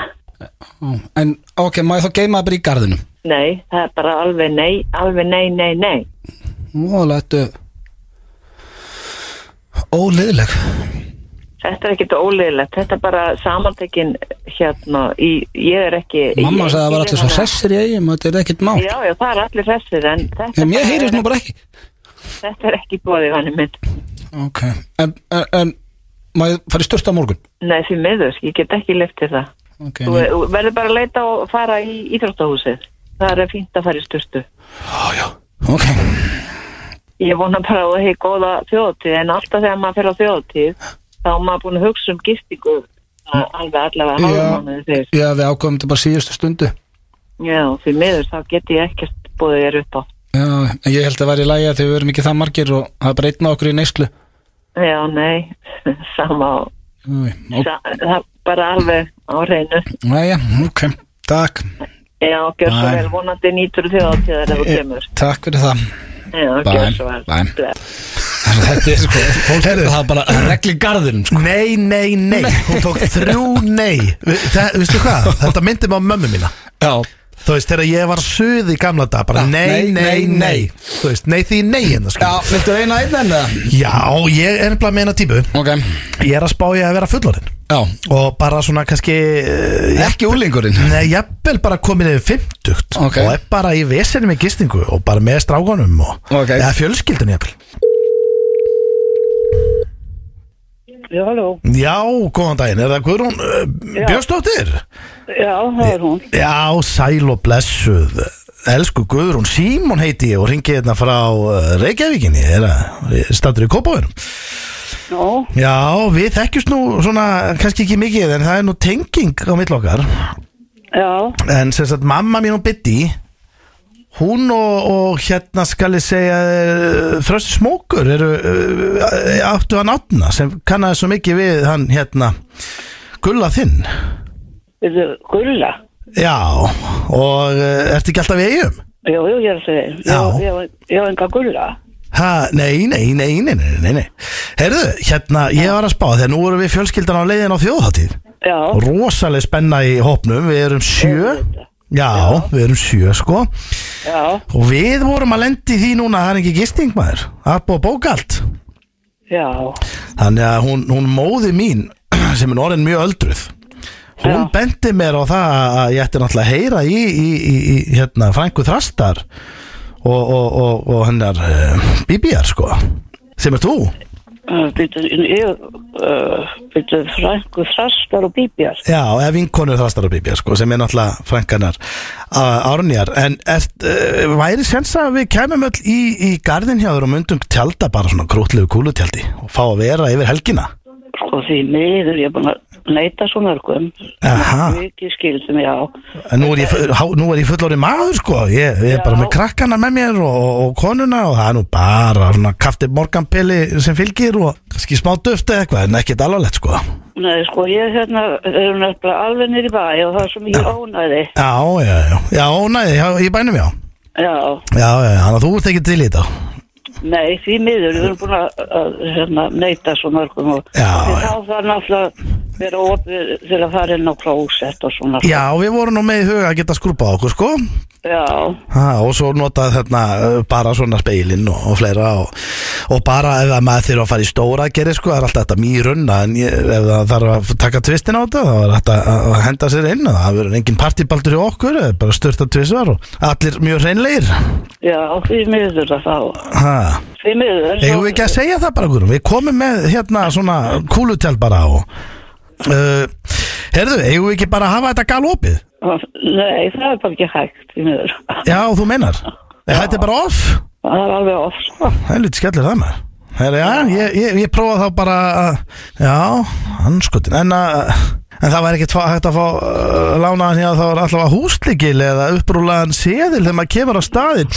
Speaker 1: Ó, en ok, má ég þá geima það bara í garðinum
Speaker 5: Nei, það er bara alveg nei, alveg nei, nei, nei.
Speaker 1: móðalega þetta óliðleg
Speaker 5: Þetta er ekkit óleðilegt, þetta er bara samantekin hérna í, ég er ekki...
Speaker 1: mamma
Speaker 5: ég-
Speaker 1: sagði að það var
Speaker 5: ég-
Speaker 1: allir svo hressir í eigum þetta er ekkert mál
Speaker 5: Já, já, það er allir hressir en þetta,
Speaker 1: en ég heyrist nú bara ekki
Speaker 5: þetta er ekki bóðið hann minn.
Speaker 1: ok, en, en, en má ég fara í sturt á morgun
Speaker 5: Nei, því miður, ég get ekki leiftið það.
Speaker 1: ok,
Speaker 5: Þú
Speaker 1: en-
Speaker 5: þú verður bara að leita og fara í Íþróttahúsið. Það er fínt að fara í sturtu.
Speaker 1: ok,
Speaker 5: Ég vona bara að það hefur góða þjóðtíð en alltaf þegar maður fer á þjóðtíð þá er maður búin að hugsa um gistingu a- alveg allavega hálfmánuði fyrst.
Speaker 1: já við ákvæmum þetta bara síðustu stundu
Speaker 5: Já, því miður þá get ég ekkert búið þér upp á.
Speaker 1: já, en ég held að vera í lægi að þegar við erum ekki það margir og það er bara einn á okkur í neyslu
Speaker 5: Já, nei, sama á.
Speaker 1: Új, ok,
Speaker 5: Sa, það er bara alveg á reynu.
Speaker 1: næja, ok, takk
Speaker 5: Já, gjör svo
Speaker 1: Bye.
Speaker 5: vel, vonandi nýtur þjóðtíðar ef þú kemur.
Speaker 1: takk fyrir það
Speaker 5: Já, gjör svo vel.
Speaker 1: Bye.
Speaker 5: Bless.
Speaker 1: þetta er sko, fólk er það bara regli garðin sko.
Speaker 2: Nei, nei, nei, hún tók þrjú nei Það, veistu hvað, þetta myndi mig á mömmu mína
Speaker 1: já,
Speaker 2: Þú veist, þegar ég var suð í gamla dag bara
Speaker 1: Já,
Speaker 2: Ah,
Speaker 1: nei,
Speaker 2: nei, nei,
Speaker 1: nei,
Speaker 2: nei Þú veist, nei því nei hérna
Speaker 1: já,
Speaker 2: sko
Speaker 1: viltu eina einn enn það?
Speaker 2: Já, ég er nefnilega með eina típu
Speaker 1: ok,
Speaker 2: Ég er að spá ég að vera fullorinn
Speaker 1: já,
Speaker 2: Og bara svona kannski eh,
Speaker 1: ekki úlingurinn
Speaker 2: Nei, jafnvel bara komin yfir fimmtugt
Speaker 1: Ok.
Speaker 2: Og er bara í vesinni með gistingu Og bara með strákanum og,
Speaker 1: Ok.
Speaker 2: Eða fjölskyldun jafnvel
Speaker 6: Já, halló.
Speaker 2: Já, góðan daginn, er það Guðrún uh, Björnsdóttir?
Speaker 6: Já, það er hún.
Speaker 2: Já, sæl og blessuð Elsku Guðrún, Símon heiti ég og ringi hérna frá eh, Reykjavíkinni er að standur í Kópavírum
Speaker 6: Já,
Speaker 2: Já, við þekkjumst nú svona kannski ekki mikið en það er nú tenging á mill okkar
Speaker 6: já,
Speaker 2: en sem sagt mamma mín og Biddi hún og, og hérna skal ég segja eh, Frösti Smókur eru eh, áttu hann átna sem kannaði svo mikið við hann hérna gulla þinn
Speaker 6: við erum gulla.
Speaker 2: Já, og eh, ertu ekki alltaf í eigum?
Speaker 6: Jú, jú, ég er að segja.
Speaker 2: Já.
Speaker 6: Já. Ég var enga gulla.
Speaker 2: Ha, nei, nei, nei, nei, nei, nei, nei. Herðu, hérna, ég var að spá þegar nú erum við fjölskyldan á leiðin á þjóðháttíð
Speaker 6: Já,
Speaker 2: Rosaleg spenna í hópnum, við erum sjö Já, við erum sjö sko
Speaker 6: já,
Speaker 2: Og við vorum að lendi því núna að það er ekki gisting maður Það er búið að bóka allt
Speaker 6: já,
Speaker 2: Þannig að hún, hún móði mín sem er orðin mjög öldruð Hún
Speaker 6: Já.
Speaker 2: bendi mér á það að ég ætti náttúrulega að heyra í, í, í, í hérna, frængu þrastar og, og, og, og hennar uh, bíbíjar sko sem er þú
Speaker 6: Uh, Býtu, ég, uh, býtu, frængu, þrastar og bíbjar.
Speaker 2: Já, eða vinkonu þrastar og bíbíjar sko sem er náttúrulega frænganar uh, árnjar en er, uh, væri sens að við kemum öll í, í garðin hjá þér og myndum tjálta bara svona grútlegu kúlutjaldi og fá að vera yfir helgina
Speaker 6: Sko því miður, ég er búin að neita svo mörgum.
Speaker 2: Aha.
Speaker 6: Mikið skildum, já.
Speaker 2: En nú er ég, fu- há- nú er ég fullorinn maður sko Ég, ég er bara
Speaker 6: Já.
Speaker 2: með krakkana með mér og, og, og konuna og það er nú bara svona kafti morganpili sem fylgir og kannski smá duft eða eitthvað en ekkert alvarlegt sko Já,
Speaker 6: Nei, sko, ég hérna, erum nefnilega alveg nýri bæ og það er svo mikið ónæði.
Speaker 2: já, já, já, næði, já, ég bænum já
Speaker 6: Já,
Speaker 2: Já, já, já, þannig að þú ert ekki til í þetta
Speaker 6: nei, því miður, við erum búin að, að hérna, neita svo mörgum og
Speaker 2: Já,
Speaker 6: Því
Speaker 2: já.
Speaker 6: þá þarf náttúrulega að vera opið til að fara inn á klósett og svona.
Speaker 2: Já, við vorum nú með í huga að geta skrúpað okkur sko
Speaker 6: Já,
Speaker 2: Ha, og svo notað þarna uh, bara svona speilin og, og fleira og, og bara ef að maður þurfa að fara í stóra að gera sko, það er alltaf þetta mýrunna en ég, ef það þarf að taka tvistin á þetta þá er þetta að að henda sér inn og það verður engin partibaldur í okkur eh, bara störta tvisvar og allir mjög hreinlegir
Speaker 6: já, því miður það þá.
Speaker 2: ha,
Speaker 6: Því miður.
Speaker 2: eigum við ekki að segja það bara okkur við komum með hérna svona kúlutel bara og uh, herðu, eigum við ekki bara að hafa þetta galopið
Speaker 6: Nei, það er bara ekki hægt, því miður.
Speaker 2: já, þú meinar, Eh, þetta er bara off
Speaker 6: Það er alveg off, sko.
Speaker 2: Helviti skellir það maður Herra, já, ég, ég, ég prófa þá bara að Já, anskotin En, að, en það var ekkert fá- hægt að fá uh, Lánaðan hér þá var alltaf húslikil Eða upprúlaðan seðil þegar maður kemur á staðin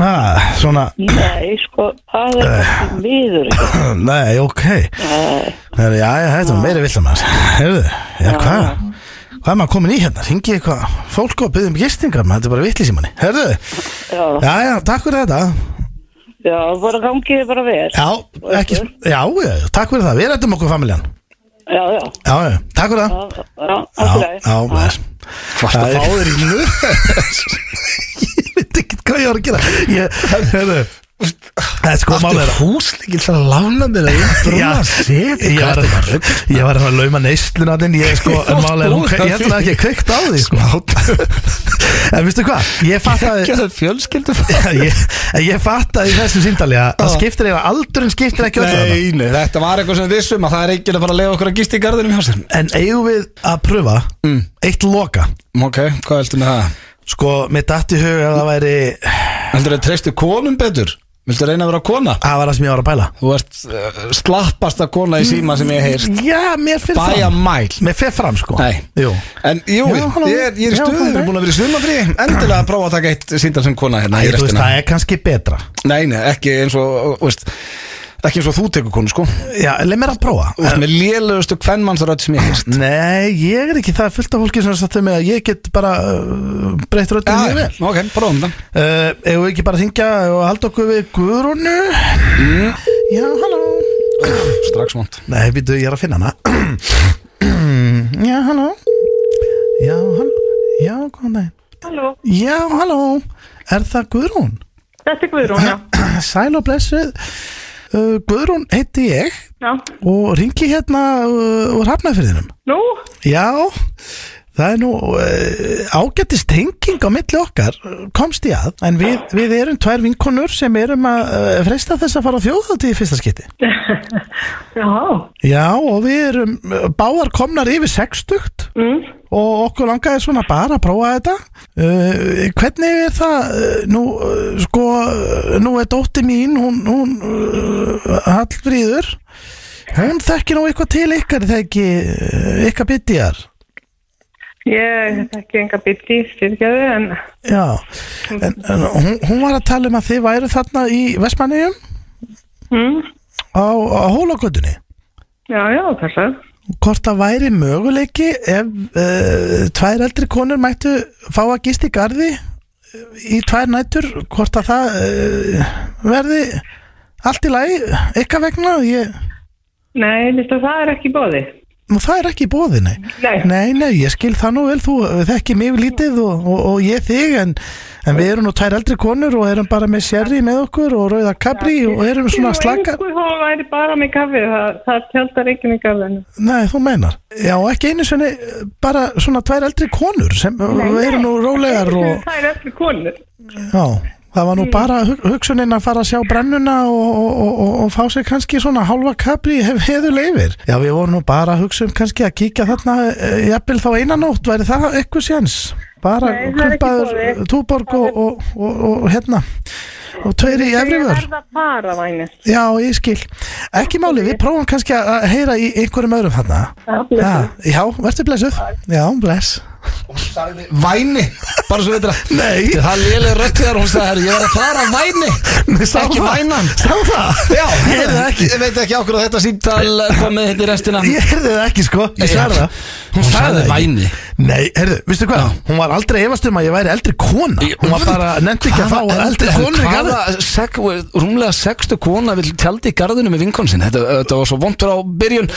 Speaker 2: ah, Svona,
Speaker 7: Nei, sko, það
Speaker 2: Eh.
Speaker 7: er ekki viður ekki.
Speaker 2: nei, ok Herri, já, já, þetta var meira vilt að maður Herðu, já, hvað Hvað er maður komin í hérna? Ringi eitthvað fólk og byrðum gistingar maður, þetta er bara vitlis í manni Herðu,
Speaker 7: Já,
Speaker 2: já, já, takk fyrir þetta
Speaker 7: já, bara gangið þið bara vel.
Speaker 2: Já, ekki, já, já, takk fyrir það Við rættum okkur familjan
Speaker 7: Já, já,
Speaker 2: Já, já, takk fyrir það Sko,
Speaker 7: já, já,
Speaker 2: Já,
Speaker 7: allt í lagi.
Speaker 2: já, maður
Speaker 1: Hvort
Speaker 2: Það
Speaker 1: að
Speaker 2: er-
Speaker 1: fá þér í nöð
Speaker 2: Ég veit ekki hvað ég var að gera Ég, herðu Það er sko málið
Speaker 1: Máttu
Speaker 2: er að-
Speaker 1: húsleikil til að lána mér að
Speaker 2: Já,
Speaker 1: brúna set
Speaker 2: ég var að- ég var að lauma neysluna þinn ég sko, en málega, hún, ég held að það ekki kveikt á því sko. en veistu hvað ég fattaði
Speaker 1: það fjölskyldu
Speaker 2: ég, en ég fattaði í þessum síndali að það skiptir eða aldurinn skiptir ekki öllu
Speaker 1: Nei, nei, þetta var eitthvað sem við vissum að það er ekkert að fara að lega okkur að gista í garðinum hjá sér
Speaker 2: en eigum við að pröfa eitt loka
Speaker 1: Ok, hvað heldur með það?
Speaker 2: sko, með datt í hug að það væri
Speaker 1: Heldur að treystu konum betur? Viltu reyna að vera kona?
Speaker 2: að var það sem ég var að pæla
Speaker 1: Þú ert uh, slappasta kona í síma sem ég heyrst
Speaker 2: já, mér fyrir
Speaker 1: Bæja
Speaker 2: fram
Speaker 1: mæl
Speaker 2: mér fyrir fram sko
Speaker 1: Nei.
Speaker 2: Jú.
Speaker 1: En jú,
Speaker 2: Já, halló.
Speaker 1: ég er, ég er í
Speaker 2: Já,
Speaker 1: stuði,
Speaker 2: kom
Speaker 1: við erum
Speaker 2: þér.
Speaker 1: búin að vera í sumafrí Endilega að prófa að taka eitt síndar sem kona hérna í
Speaker 2: Ég, þú veist,
Speaker 1: restina
Speaker 2: það er kannski betra
Speaker 1: Nei, nei, ekki eins og, þú veist, ekki eins og þú tekur konu, sko Þú
Speaker 2: já, leið mér að prófa
Speaker 1: veist, með lélegustu kvennmannsrödd sem ég
Speaker 2: Mm,
Speaker 1: heyrst
Speaker 2: Nei, ég er ekki það er fullt af fólki sem er satt um að ég get bara uh, breytt röddum mjög vel
Speaker 1: ok, prófum það
Speaker 2: uh, Ef við ekki bara hringja og halda okkur við Guðrúnu
Speaker 1: Mm.
Speaker 2: Já, halló
Speaker 1: Strax vond
Speaker 2: Nei, býtu, ég er að finna hana Já, halló Já, halló Já, góðan daginn
Speaker 6: Halló,
Speaker 2: Já, halló Er það Guðrún?
Speaker 6: þetta er Guðrún, já.
Speaker 2: Sæl og blessuð uh, Guðrún heiti ég
Speaker 6: já.
Speaker 2: og ringi hérna uh, úr hafnafyrðinum
Speaker 6: Nú,
Speaker 2: Já, það er nú uh, ágættist tenging á milli okkar eh, komst ég að, en við, við erum tvær vinkonur sem erum að uh, freysta þess að fara á þjóðhaldi í fyrsta skipti
Speaker 6: já,
Speaker 2: Já, og við erum eh, báðar komnar yfir sextugt
Speaker 6: mm.
Speaker 2: og okkur langaði svona bara að prófa þetta uh, hvernig er það uh, nú uh, sko uh, nú er dótti mín hún, hún uh, Hallfríður hún þekkir nú eitthvað til ykkar þekki uh, ykkar byttjar
Speaker 6: ég þekki enga bytti, styrkjaðu, en
Speaker 2: Já, en, en hún, hún var að tala um að þið væru þarna í Vestmanniðum
Speaker 6: mm.
Speaker 2: á, á Hólagötunni
Speaker 6: já, já, passar.
Speaker 2: hvort það væri möguleiki ef uh, tvær eldri konur mættu fá að gist í garði eh, í tvær nætur hvort að það uh, verði allt í lagi eitthvað vegna ég,
Speaker 6: Nei, veistu, það er ekki bóði.
Speaker 2: nú, það er ekki í bóði nei.
Speaker 6: Nei.
Speaker 2: nei, nei, ég skil það nú vel þú eh, þekkir mig lítið og, og, og ég þig en, en við erum nú tvær eldri konur og erum bara með sherry með okkur og rauða kabri og erum svona slakar
Speaker 6: Ég hún væri bara með kaffið, það, það tjaldar ekki með kaffinu.
Speaker 2: Nei, þú meinar. Já, ekki einu sinni eh, bara svona tvær eldri konur sem Nei, eru nú rólegar og
Speaker 6: Það er eftir konur.
Speaker 2: já, það
Speaker 6: Mm.
Speaker 2: var nú bara hug- hugsunin að fara að sjá brennuna og, og, og- og, og fá sér kannski svona hálfa kapri hef heðu leifir. Já, við vorum nú bara að hugsa um kannski að kíkja þarna eh, jafnvel þá einanótt, væri það eitthvað séns? Bara
Speaker 6: Nei, það er ekki boðið.
Speaker 2: krumpaður túborg og, og, og, og hérna og tveiri í
Speaker 6: Ég
Speaker 2: efrivör.
Speaker 6: verð að fara, væni.
Speaker 2: Já, ég skil. Ekki máli, við prófum kannski að heyra í einhverjum öðrum þarna.
Speaker 6: Já, blessuð.
Speaker 2: Já, já, verður blessuð Já, bless
Speaker 1: Væni, bara svo veitur að
Speaker 2: Nei,
Speaker 1: Það er léleg rödd þér, hún sagði, herri, ég var að fara að væni
Speaker 2: sá
Speaker 1: Ekki
Speaker 2: það.
Speaker 1: vænan
Speaker 2: sá það
Speaker 1: Já,
Speaker 2: Ég heyrði það ekki
Speaker 1: Ég veit ekki ákveð að þetta símtal komið hitt í restina
Speaker 2: Ég heyrði það ekki sko, ég sverða það
Speaker 1: Hún sagði
Speaker 2: það ekki.
Speaker 1: væni
Speaker 2: Nei, heyrðu, veistu hvað, hún var aldrei efast um að ég væri eldri kona Hún var bara, nefndi ekki að fá eldri konur í garði
Speaker 1: Hvaða sek, rúmlega sextu kona vil tjaldi í garðinu með vinkon sinni þetta, þetta var svo vondur á byrjun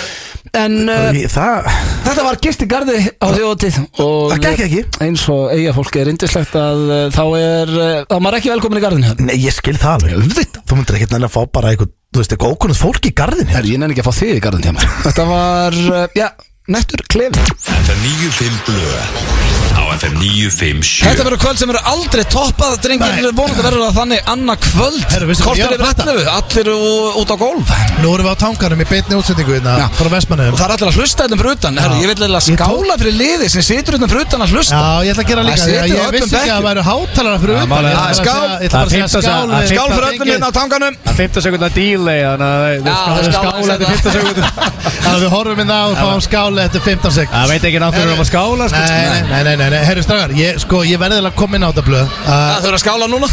Speaker 1: En uh,
Speaker 2: Ég- Það,
Speaker 1: þetta var gist í garði á þjóðatið Og
Speaker 2: Það gekk ekki.
Speaker 1: Eins og eiga fólki er indislegt að uh, þá er uh, Þá maður er ekki velkomin í hérna. garðinu
Speaker 2: nei, ég skil það alveg Þú myndir ekki nægilega að fá bara eitthvað, þú veist, eitthvað ókunnum fólk í garðinu
Speaker 1: Herri, ég nenni ekki að fá þig í garðinu hjá mér Þetta var, uh, já, nettur klefið
Speaker 8: FM 95 Blöð Á FM 95
Speaker 1: Þetta verður kvöld sem verður aldrei toppað Drengir
Speaker 2: Nei.
Speaker 1: eru vonandi verður það þannig annað kvöld
Speaker 2: Herru, veistu
Speaker 1: Kortir
Speaker 2: hvað, ég var
Speaker 1: yfir
Speaker 2: að fatta.
Speaker 1: allu, allir ú- út á gólf
Speaker 2: Nú erum við á tanganum í beinni útsendingu
Speaker 1: Já.
Speaker 2: hérna, frá
Speaker 1: Og
Speaker 2: Vestmannum
Speaker 1: það er allir að hlusta hérna fyrir utan Herru,
Speaker 2: Já.
Speaker 1: ég vil eða
Speaker 2: Ég tók-
Speaker 1: skála fyrir liði sem situr hérna fyrir utan að hlusta
Speaker 2: Já, ég ætla að gera líka
Speaker 1: Það situr
Speaker 2: því að Ég
Speaker 1: öllum
Speaker 2: vissi ekki að
Speaker 1: bekkjum.
Speaker 2: það væru hátalara fyrir utan
Speaker 3: málið
Speaker 2: Ég ætla bara að
Speaker 3: er-
Speaker 1: skál.
Speaker 2: segja- ég ætla bara að
Speaker 1: Skál
Speaker 2: segja skál við-
Speaker 3: Það er fimmta- það er
Speaker 1: fyrir öllum
Speaker 2: drengir.
Speaker 1: hérna á tanganum
Speaker 3: Það er 15 sekundar delay, þannig að
Speaker 1: Já, það
Speaker 3: það
Speaker 1: er
Speaker 3: er
Speaker 1: skála
Speaker 3: skála eftir 15 sekundar
Speaker 2: Þannig að við horfum inn hérna á og fáum skáli eftir 15 sekund
Speaker 3: Það veit ekki náttúrulega um að skála, sko
Speaker 2: Nei, nei, nei, nei, nei, nei, herru strafgar ég, Sko, ég verði að koma inn á þetta blöð uh,
Speaker 1: Það þurfa að skála núna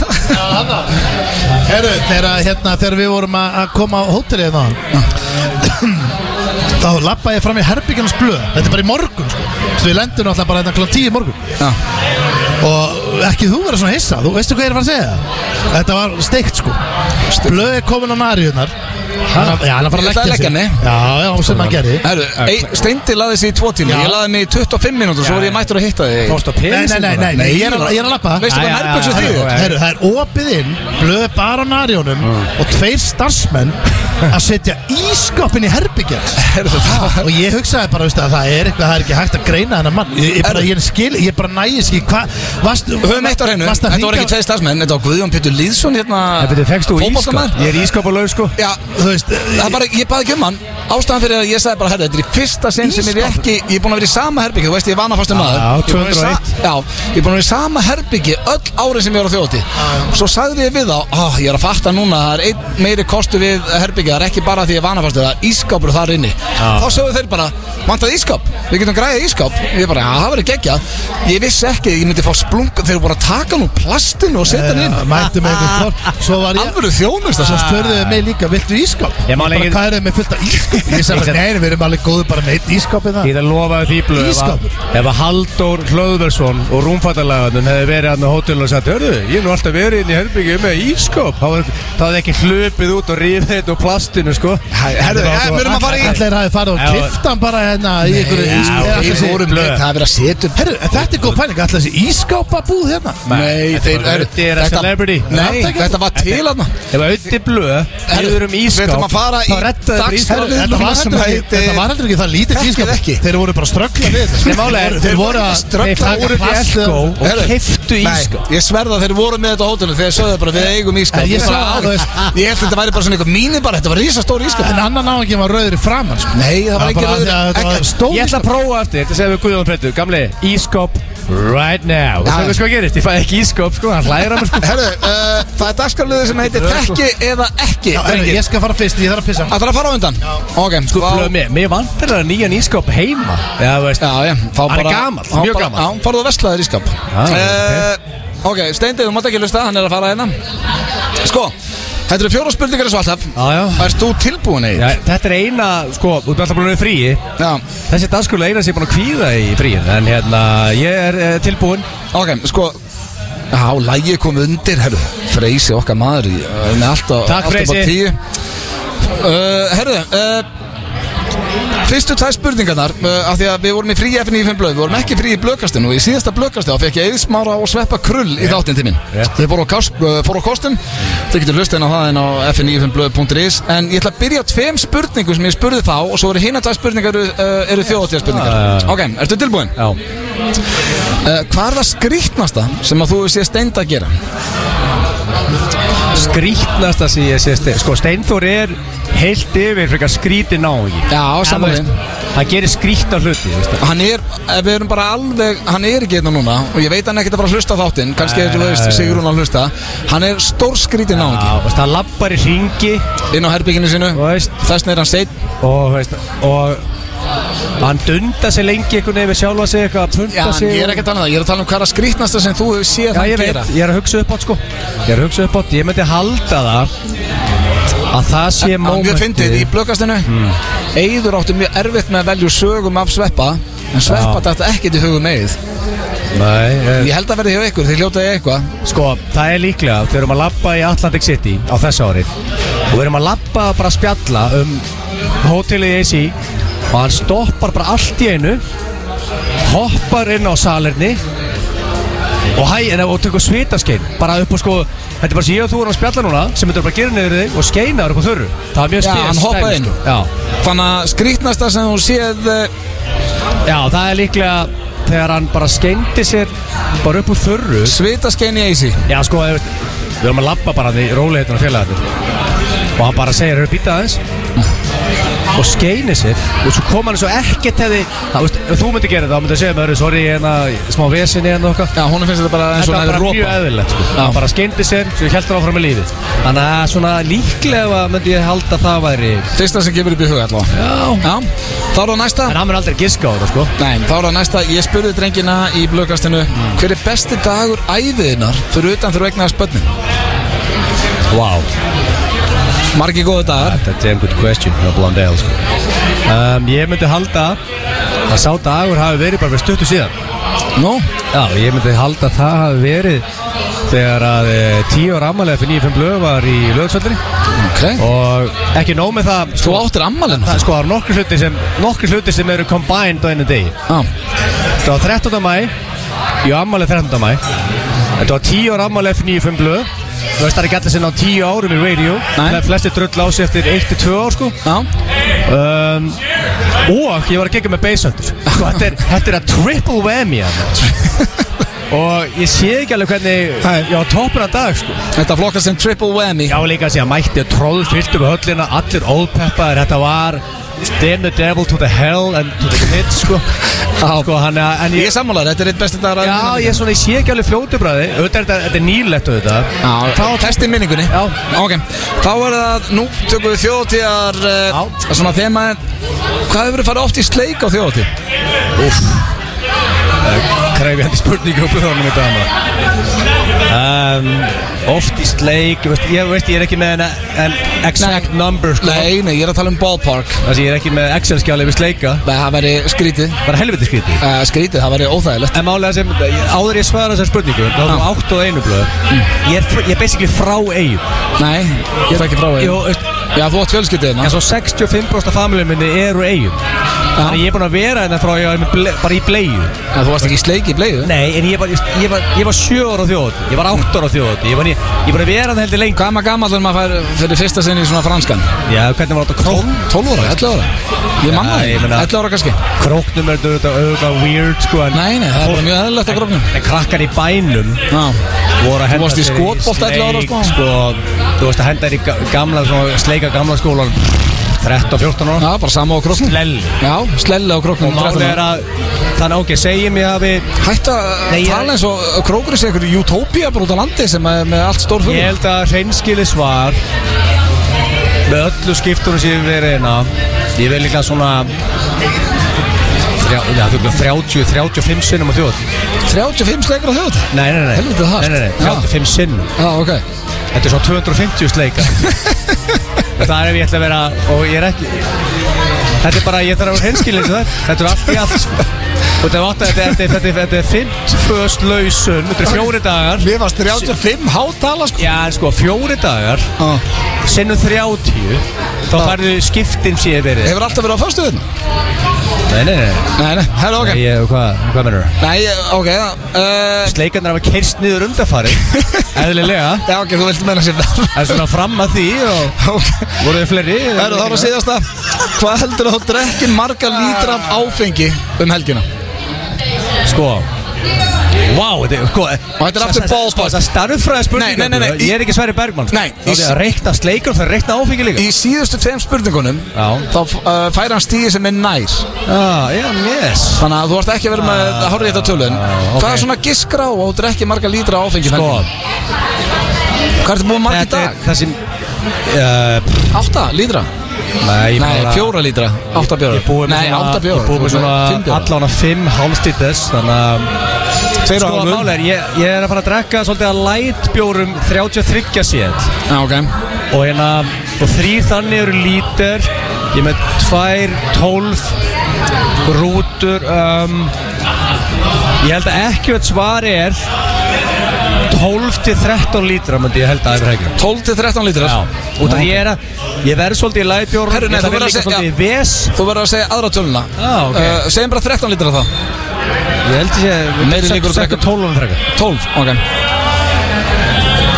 Speaker 2: Herru, þegar, að, hérna, þegar við vorum að að koma á hótelið hérna þá þá lappaði ég fram í herbyggjans blöð þetta er bara í morgun sko. Svo við lendum náttúrulega bara hérna kl. 10 í morgun
Speaker 1: Já.
Speaker 2: og ekki þú verið svona hissa þú veistu hvað ég er að fara að segja þetta var steikt sko blöð er komin á nariðunar hann er já, hann er að fara að
Speaker 1: Ég ætlaði að
Speaker 2: leggja
Speaker 1: leggja
Speaker 2: sig
Speaker 1: henni.
Speaker 2: já, já, sem hann gerði
Speaker 1: Herru, ein- Steindi laði sig í tvo tíma Ég laði mig í 25 mínútur Svo var ég mættur að hitta þig
Speaker 3: Fórst á
Speaker 2: nei, nei, nei, nei, nei, ég er að, ég er að lappa
Speaker 1: Veistu
Speaker 3: Já,
Speaker 1: hvað
Speaker 3: já,
Speaker 1: nærböksu
Speaker 3: já,
Speaker 1: þýðir?
Speaker 3: já, já.
Speaker 2: Herru, það er opið inn Blöð er bara á nariðunum Og tveir starfsmenn Að setja ískapin í herbyggjans
Speaker 1: Herru, það
Speaker 2: og ég hugsaði bara, veistu, að það er eitthvað, það er ekki hægt að greina þennan mann ég, ég, bara, ég, skil, ég bara nægis ekki hvað, varst
Speaker 1: Höfum eitt á hreinu
Speaker 2: varst að
Speaker 1: Þetta voru
Speaker 2: hringa-
Speaker 1: ekki tvei starfsmenn Þetta var Guðjón Pétur Lýðsson hérna
Speaker 3: Þetta fegst þú ískap
Speaker 1: fótboltamaður.
Speaker 3: Ég er ískap og lauf sko
Speaker 1: Já,
Speaker 2: þú veist,
Speaker 1: það bara, ég baði ekki um hann Ástæðan fyrir að ég sagði bara, herru, þetta er í fyrsta sinn sem ég er ekki Ég er búin að vera í sama herbyggi, þú veist, ég er vanafastur maður Ég er
Speaker 3: já,
Speaker 1: búinn að vera í sa- Já, ég er búin að vera í sama herbyggi öll árið sem ég var á þjóti Svo sagði ég við þá, á, ég er að fatta núna Það er einn meiri kostu við herbyggi Það er ekki bara því ég er vanafastur, það er ískapur þar inni Þá sögðu þeir bara, vantaði ískap Við getum græðið ískap Ég bara, já, það verður geggja Ég vissi ekki, að ég myndi fá splunk Þeir voru bara að taka nú plastinu og setja hann
Speaker 2: eh,
Speaker 1: inn
Speaker 2: mættu með einhvern kort svo var ég
Speaker 1: Alvöru þjónust
Speaker 2: Svo spörðuðu mig líka, viltu ískap?
Speaker 3: Ég man
Speaker 2: bara,
Speaker 3: ekki-
Speaker 2: Hvað eru þið með fullt af ískap? Ég sagði bara, neina, við erum alveg góðu bara með eitt ískap í það
Speaker 3: Ég það lofaði því blöð ef að-
Speaker 2: Ísskápur.
Speaker 3: Ef að Halldór Hlöðversson og Rúmfattalagarnum hefði verið hann á hótelun og sagt Hörðu, ég er nú alltaf verið inn í herbyggju með ískap Þá hefði- þá hefði ekki hlupið út og rífið þetta úr plastinu sko
Speaker 1: Herðu,
Speaker 3: Þetta var-
Speaker 1: eh, við erum að fara í
Speaker 2: Allir hafið farið
Speaker 3: Já.
Speaker 2: og kliftan bara hérna í einhverju
Speaker 3: já,
Speaker 2: ískap
Speaker 3: við
Speaker 2: Allir sem-
Speaker 3: vorum-
Speaker 1: Nei, Það er verið að setja upp
Speaker 2: Herru, en þetta er góð pæling, allir þessi ískapabúð hérna
Speaker 1: Nei, þeir
Speaker 3: var
Speaker 1: eru
Speaker 3: Auddi er að celebrity.
Speaker 1: Nei, þetta var til aðna
Speaker 3: Ef að auði blöð,
Speaker 1: Herðu,
Speaker 3: hefur um
Speaker 1: við
Speaker 3: ískap
Speaker 1: ætlum að fara í
Speaker 3: Þá reddaði þeir ískap
Speaker 1: dagsferðir.
Speaker 2: Þetta var heldur ekki,
Speaker 1: heitir-
Speaker 2: þetta var heldur ekki það lítið
Speaker 1: Þekkið
Speaker 2: ískap
Speaker 1: ekki.
Speaker 2: Þeir voru bara að ströggla við þetta sko.
Speaker 3: Nei, málega er-
Speaker 2: Þeir voru að
Speaker 3: Þeir fóru upp í Elko og
Speaker 1: Herðu,
Speaker 3: keftu ískap
Speaker 1: Ég sverða þeir voru með þetta á hótelinu Þegar sögðu bara við eigum ískap
Speaker 2: En ég
Speaker 1: Ég bara,
Speaker 2: sá það,
Speaker 1: á,
Speaker 2: þú veist.
Speaker 1: Ég held þetta væri bara svona einhver mínibar Þetta var risastór ískap
Speaker 2: En annan áhengi var rauður í framann sko.
Speaker 1: Nei, það var
Speaker 2: Það var
Speaker 1: engin rauður-
Speaker 2: bara því að þetta
Speaker 1: ekki-
Speaker 2: var stór
Speaker 3: Ég ætla að prófa eftir, þetta segir við Guðjón Pétur Gamli, ískap right now
Speaker 1: Já.
Speaker 3: Það er sko að gerist, ég fæði ekki ískap sko, hann hlæra mér sko
Speaker 1: Herðu, uh, það er dagskarliður sem heitir Tekki eða ekki
Speaker 2: Herru,
Speaker 1: drengir.
Speaker 2: Ég skal fara fyrst, ég þarf að pissa
Speaker 1: Ætlarðu að fara á undan Ok,
Speaker 3: Sko,
Speaker 1: þá-
Speaker 3: blöð mér, mér vantar það nýjan ískap heima Já, þú veist,
Speaker 1: Já, já, þá
Speaker 3: Hann er
Speaker 1: bara-
Speaker 3: gamall,
Speaker 1: þá
Speaker 3: mjög
Speaker 1: bara-
Speaker 3: gamall.
Speaker 1: Já, farðu að vesla þér í skap uh, Ok, Steindi, þú mátt ekki lusta, hann er að fara hérna Sko, þetta eru fjóra spurningar eins og alltaf
Speaker 3: Já, já.
Speaker 1: Erst þú tilbúin í?
Speaker 3: já, þetta er eina, sko, þú ert alltaf búin að vera í fríi
Speaker 1: já
Speaker 3: Þessi dagskulega eina sem ég er búin að kvíða í fríin En hérna, ég er eh, tilbúin
Speaker 1: Ok, sko Já, lægi kom undir, herru Freysi okkar maður í, uh, með allt á
Speaker 3: Takk,
Speaker 1: allt upp á
Speaker 3: Freysi.
Speaker 1: tíu. uh, Herru, uh, Fyrstu tæð spurningarnar, uh, af því að við vorum í frí FNI 5 blöð, við vorum ekki frí í blökastinu og í síðasta blökasti þá fekk ég eðismára og sveppa krull í þáttinn til minn.
Speaker 3: Rétt.
Speaker 1: Þið fóru á, kast, uh, fóru á kostum, þið getur hlustið inn á það en á FNI 5 blöð.is en ég ætla að byrja á tveim spurningum sem ég spurði þá og svo eru hinna tæð spurningar uh, eru þjóðatíðarspurningar.
Speaker 3: Ah.
Speaker 1: Ok, ertu tilbúin?
Speaker 3: Já,
Speaker 1: Uh, hvað er það skrýtnasta sem að þú hefur séð steind að gera?
Speaker 3: skrítnasta sem ég sé stein Sko, Steinþór er heilt yfir frekar skríti náingi
Speaker 1: Já, saman við.
Speaker 3: Það gerir skrítna hluti, þú veist
Speaker 1: Hann er, ef við erum bara alveg, hann er ekki hérna núna og ég veit hann ekkert að fara að hlusta á þáttinn, kannski er þú veist Sigur hún að hlusta, hann er stór skrýtin á
Speaker 3: Já, veist, það lappar í ringi
Speaker 1: inn á herbygginu sinu,
Speaker 3: Þú veist.
Speaker 1: þess vegna er hann seitt,
Speaker 3: og, veist, og hann dunda sig lengi einhvern veginn við sjálfa sig eitthvað að
Speaker 1: já
Speaker 3: punta
Speaker 1: en
Speaker 3: sig
Speaker 1: ég
Speaker 3: og-
Speaker 1: er ekkert annað, ég er að tala um hvað er það skrýtnasta sem þú hefur séð
Speaker 3: Já,
Speaker 1: hann
Speaker 3: ég veit,
Speaker 1: gera
Speaker 3: ég er að hugsa upp átt sko Ég er að hugsa upp átt, ég myndi halda það að það sé
Speaker 1: Hann
Speaker 3: mómentið
Speaker 1: við fyndið í blökastinu,
Speaker 3: Hmm.
Speaker 1: Eyður áttu mjög erfitt með að velja úr sögum af sveppa, en sveppa þetta ekkert í hugum Eyð,
Speaker 3: Nei, eh,
Speaker 1: ég held að verði hjá ykkur, þið hljótaði eitthvað,
Speaker 3: sko, það er líklega þegar við erum að labba í Atlantic City á þessu ári og við erum að labba bara að spjalla um hótelið í AC og hann stoppar bara allt í einu hoppar inn á salerni og hæ, en, og tekur svitaskein bara upp og sko, þetta er bara sem ég og þú erum að spjalla núna sem þetta er bara að gera niður þig og skeinaður upp á þörru það er mjög
Speaker 1: Já,
Speaker 3: spes
Speaker 1: hann hoppaði
Speaker 3: dæmi,
Speaker 1: inn.
Speaker 3: sko. Já,
Speaker 1: þannig að skrýtnasta sem þú séð eh,
Speaker 3: Já, það er líklega þegar hann bara skeindi sér bara upp úr þörru
Speaker 1: Svitaskein í Eysi
Speaker 3: Já, sko, þú veist, við erum að labba bara því róleitun og félagarnir og hann bara segir, hefur býtað aðeins og skeini sér og svo kom hann eins og ekkert hefði það, veist, ef þú myndi gera þetta, þá myndi að segja mér sorry, hérna, smá vesinni hérna og okkar
Speaker 1: Já, honum finnst þetta bara eins
Speaker 3: Þetta
Speaker 1: og hann
Speaker 3: var bara
Speaker 1: hefur
Speaker 3: mjög
Speaker 1: rópað
Speaker 3: eðlilegt sko.
Speaker 1: Já.
Speaker 3: Hann bara skeindi sér, svo held hann áfram með lífið Þannig að svona líklega myndi ég halda að það væri
Speaker 1: Fyrsta sem gefur upp í huga allavega Já, þá er það næsta
Speaker 3: En hann mun aldrei giska á það sko
Speaker 1: Nei, þá er það næsta Ég spurði drengina í blöðkastinu Hver er besti dagur æðiðinnar Fyrir utan fyrir vegna að spönnin
Speaker 3: Vá wow.
Speaker 1: Margi góði dagar
Speaker 3: Þetta er damn good question hjá Blondale sko. um, Ég myndi halda að sá dagur hafi verið bara fyrir stuttu síðan
Speaker 1: Nú,
Speaker 3: Já, ég myndi halda að það hafi verið þegar að e, tíu ára afmælega fyrir 95 blöð var í löðsvöldri
Speaker 1: ok
Speaker 3: og ekki nóg með það
Speaker 1: Þú
Speaker 3: sko,
Speaker 1: áttir ammalinn
Speaker 3: það, sko, það eru nokkri hluti sem nokkri hluti sem eru combined á einu degi
Speaker 1: Já,
Speaker 3: Það var 13. mæ Ég á ammali 13. mæ Þetta var 10 ára ammali F95 blöð Þú veist það er ekki allir sinna á 10 árum í radio
Speaker 1: Nei.
Speaker 3: Það er flestir drull á sig eftir 1-2 ár sko
Speaker 1: já
Speaker 3: um, Og ég var að gegja með beisöndur sko, þetta, er- þetta er að triple whammy hérna. Og ég sé ekki alveg hvernig
Speaker 1: Nei.
Speaker 3: Ég var toppur að dag sko
Speaker 1: Þetta flokkar sem triple whammy
Speaker 3: Já líka að sé að mætti að tróð fyllt um höllina Allir ópeppaðir, þetta var Damn the devil to the hell and to the pit sko, sko hann, en
Speaker 1: Ég er sammálaður, þetta er eitt besti dagur
Speaker 3: Já, ég, svona, ég sé ekki alveg fljótu bræði Þetta er, þetta er nýlegt auðvitað
Speaker 1: Já, þá testi minningunni
Speaker 3: Já.
Speaker 1: Ok, þá er það, nú tökum við þjóðtíðar uh,
Speaker 3: Já.
Speaker 1: Svona þema Hvað hefur þið farið oft í sleik á þjóðtíð?
Speaker 3: Krefjandi spurningu og blöðunum í dama um, Oft í sleik veist, Ég veist, ég er ekki með en, en exact number sko.
Speaker 1: Nei, nei, ég er að tala um ballpark
Speaker 3: Þessi, ég er ekki með Excel-skjáli við sleika
Speaker 1: Nei, það væri skrítið
Speaker 3: Bara helviti skriti
Speaker 1: uh, Skrítið, það væri óþægilegt
Speaker 3: En málega sem, áður ég svara þessar spurningu Þá erum átt og einu blöð Ég er, fr- ég er basically frá eigum
Speaker 1: Nei, þú ert ekki frá því
Speaker 3: Jó, veist,
Speaker 1: Já, þú átt fjölskyldið hérna.
Speaker 3: En svo 65% af familjum minni eru eigum Þannig ég er búinn að vera hérna frá ég var með ble- bara í bleiðu
Speaker 1: Þú varst ekki í sleik í bleiðu
Speaker 3: Nei, en ég var, ég var, ég var sjö ára á þjóðhátíð, ég var átt ára á þjóðhátíð, ég var, ég, ég var að vera það heldur lengi.
Speaker 1: Hvað er maður gammal en maður fær fyrir fyrsta sinni í svona franskan?
Speaker 3: Já, hvernig var þetta krók?
Speaker 1: 12 ára, 11 ára Ég manna
Speaker 3: Já,
Speaker 1: það,
Speaker 3: ég meina-
Speaker 1: 11 ára kannski
Speaker 3: Króknum er þetta auðvitað weird, sko, en...
Speaker 1: Nei, nei, það er bara mjög eðlilegt á króknum.
Speaker 3: En krakkar í bænum
Speaker 1: Já,
Speaker 3: voru að henda
Speaker 1: varst í
Speaker 3: sér
Speaker 1: skotbolta 11 ára,
Speaker 3: sleik,
Speaker 1: sko.
Speaker 3: sko. Þú veist að henda þér í ga- gamla, svona, sleika gamla skólan, 13-14 ára.
Speaker 1: Já, bara sama á króknum
Speaker 3: Lell.
Speaker 1: Já, slella á króknum
Speaker 3: Og máli er að, þannig ok, segjum ég að við,
Speaker 1: Hætt að
Speaker 3: Nei, ég-
Speaker 1: tala eins og krókurinn sé einhverju utópía bara út á landi sem er með allt stór
Speaker 3: ég
Speaker 1: fyrir
Speaker 3: held að hreinskilis var, með öllu skiptunum sem ég hef verið hérna, ég verið líka svona, þrjá, já, þú veist, 30, 35 sinnum á þjóð
Speaker 1: 35 sleikur á þjóð
Speaker 3: Nei, nei, nei
Speaker 1: Helviti hart.
Speaker 3: Nei, nei, nei, 35 sinnum
Speaker 1: Já, ok
Speaker 3: Þetta er svo 250 sleikar Það er ef ég ætla að vera Og ég er ekki Þetta er bara, ég þarf að vera henskilin sem það Þetta er allt í allt sko. Og þetta er átt að þetta er- þetta er Þetta er 50 lausun Þetta er fjóri dagar
Speaker 1: Mér varst 35 hátala sko
Speaker 3: Já, en sko, fjóri dagar
Speaker 1: Já.
Speaker 3: Sinnum 30 Þá færðu skiptin síðan verið
Speaker 1: Hefur alltaf verið á föstuðin?
Speaker 3: Nei, nei, nei
Speaker 1: Nei, nei, herra ok
Speaker 3: Nei, ég, hvað, hvað mennur það?
Speaker 1: Nei, ok, uh,
Speaker 3: Sleikarnar hafa kerst niður undarfari Eðlilega
Speaker 1: já ok, þú vilt meina sér það
Speaker 3: En svona fram að því og
Speaker 1: Ok.
Speaker 3: voru þið fleiri
Speaker 1: Það eru þá að síðast að Hvað heldur þú drekkin marga lítra af áfengi um helgina?
Speaker 3: Sko Vá, þetta er sko Og
Speaker 1: þetta er aftur ballpark.
Speaker 3: Það starffræði spurningar sko.
Speaker 1: Nei, nei, nei, nei,
Speaker 3: Ég er ekki Sverri Bergmann
Speaker 1: Nei,
Speaker 3: Það er
Speaker 1: ég-
Speaker 3: að reikna sleikur og það er að reikna áfengi líka
Speaker 1: Í síðustu tveim spurningunum
Speaker 3: Já.
Speaker 1: þá uh, fær hann stíði sem er nær
Speaker 3: Já, já, yes
Speaker 1: Þannig að þú ert ekki að vera með að horfa í þetta tölun
Speaker 3: Ah, ok.
Speaker 1: Hvað er svona giskra á og drekki marga lítra af áfengi um
Speaker 3: Sko,
Speaker 1: helgina? Hvað ertu búin marga í
Speaker 3: þetta er
Speaker 1: dag?
Speaker 3: það sem uh, pff,
Speaker 1: Átta lítra?
Speaker 3: Nei, ég
Speaker 1: Nei,
Speaker 3: bara-
Speaker 1: fjóra lítra Átta
Speaker 3: Ég
Speaker 1: bjóra
Speaker 3: búið með
Speaker 1: Nei,
Speaker 3: svona-
Speaker 1: átta bjóra
Speaker 3: Ég búið með
Speaker 1: Fimm
Speaker 3: svona
Speaker 1: bjóra.
Speaker 3: allan að fimm hálfstítis Þannig að
Speaker 1: Tveir og
Speaker 3: Sko,
Speaker 1: hálfur.
Speaker 3: máli er, ég, ég er að fara að drekka svolítið að light bjórum 33 sétt
Speaker 1: Já, ok
Speaker 3: og hérna og þrýr þannig eru lítir ég er með tvær, tólf rútur um, ég held að ekki veit svari er 12 til 13 lítra myndi ég held að það er hægur
Speaker 1: 12 til 13 lítra
Speaker 3: Já, út af ég er að ég verð svolítið í lætbjór
Speaker 1: Herru, nei,
Speaker 3: ég
Speaker 1: þú verður að
Speaker 3: líka
Speaker 1: segja-
Speaker 3: svolítið í ves
Speaker 1: Þú verður að segja aðra töluna
Speaker 3: Já, Ah, ok.
Speaker 1: uh, Segjum bara 13 lítra þá
Speaker 3: ég held að ég
Speaker 1: Meiri líkur að drekka.
Speaker 3: 12 um frekar
Speaker 1: 12, ok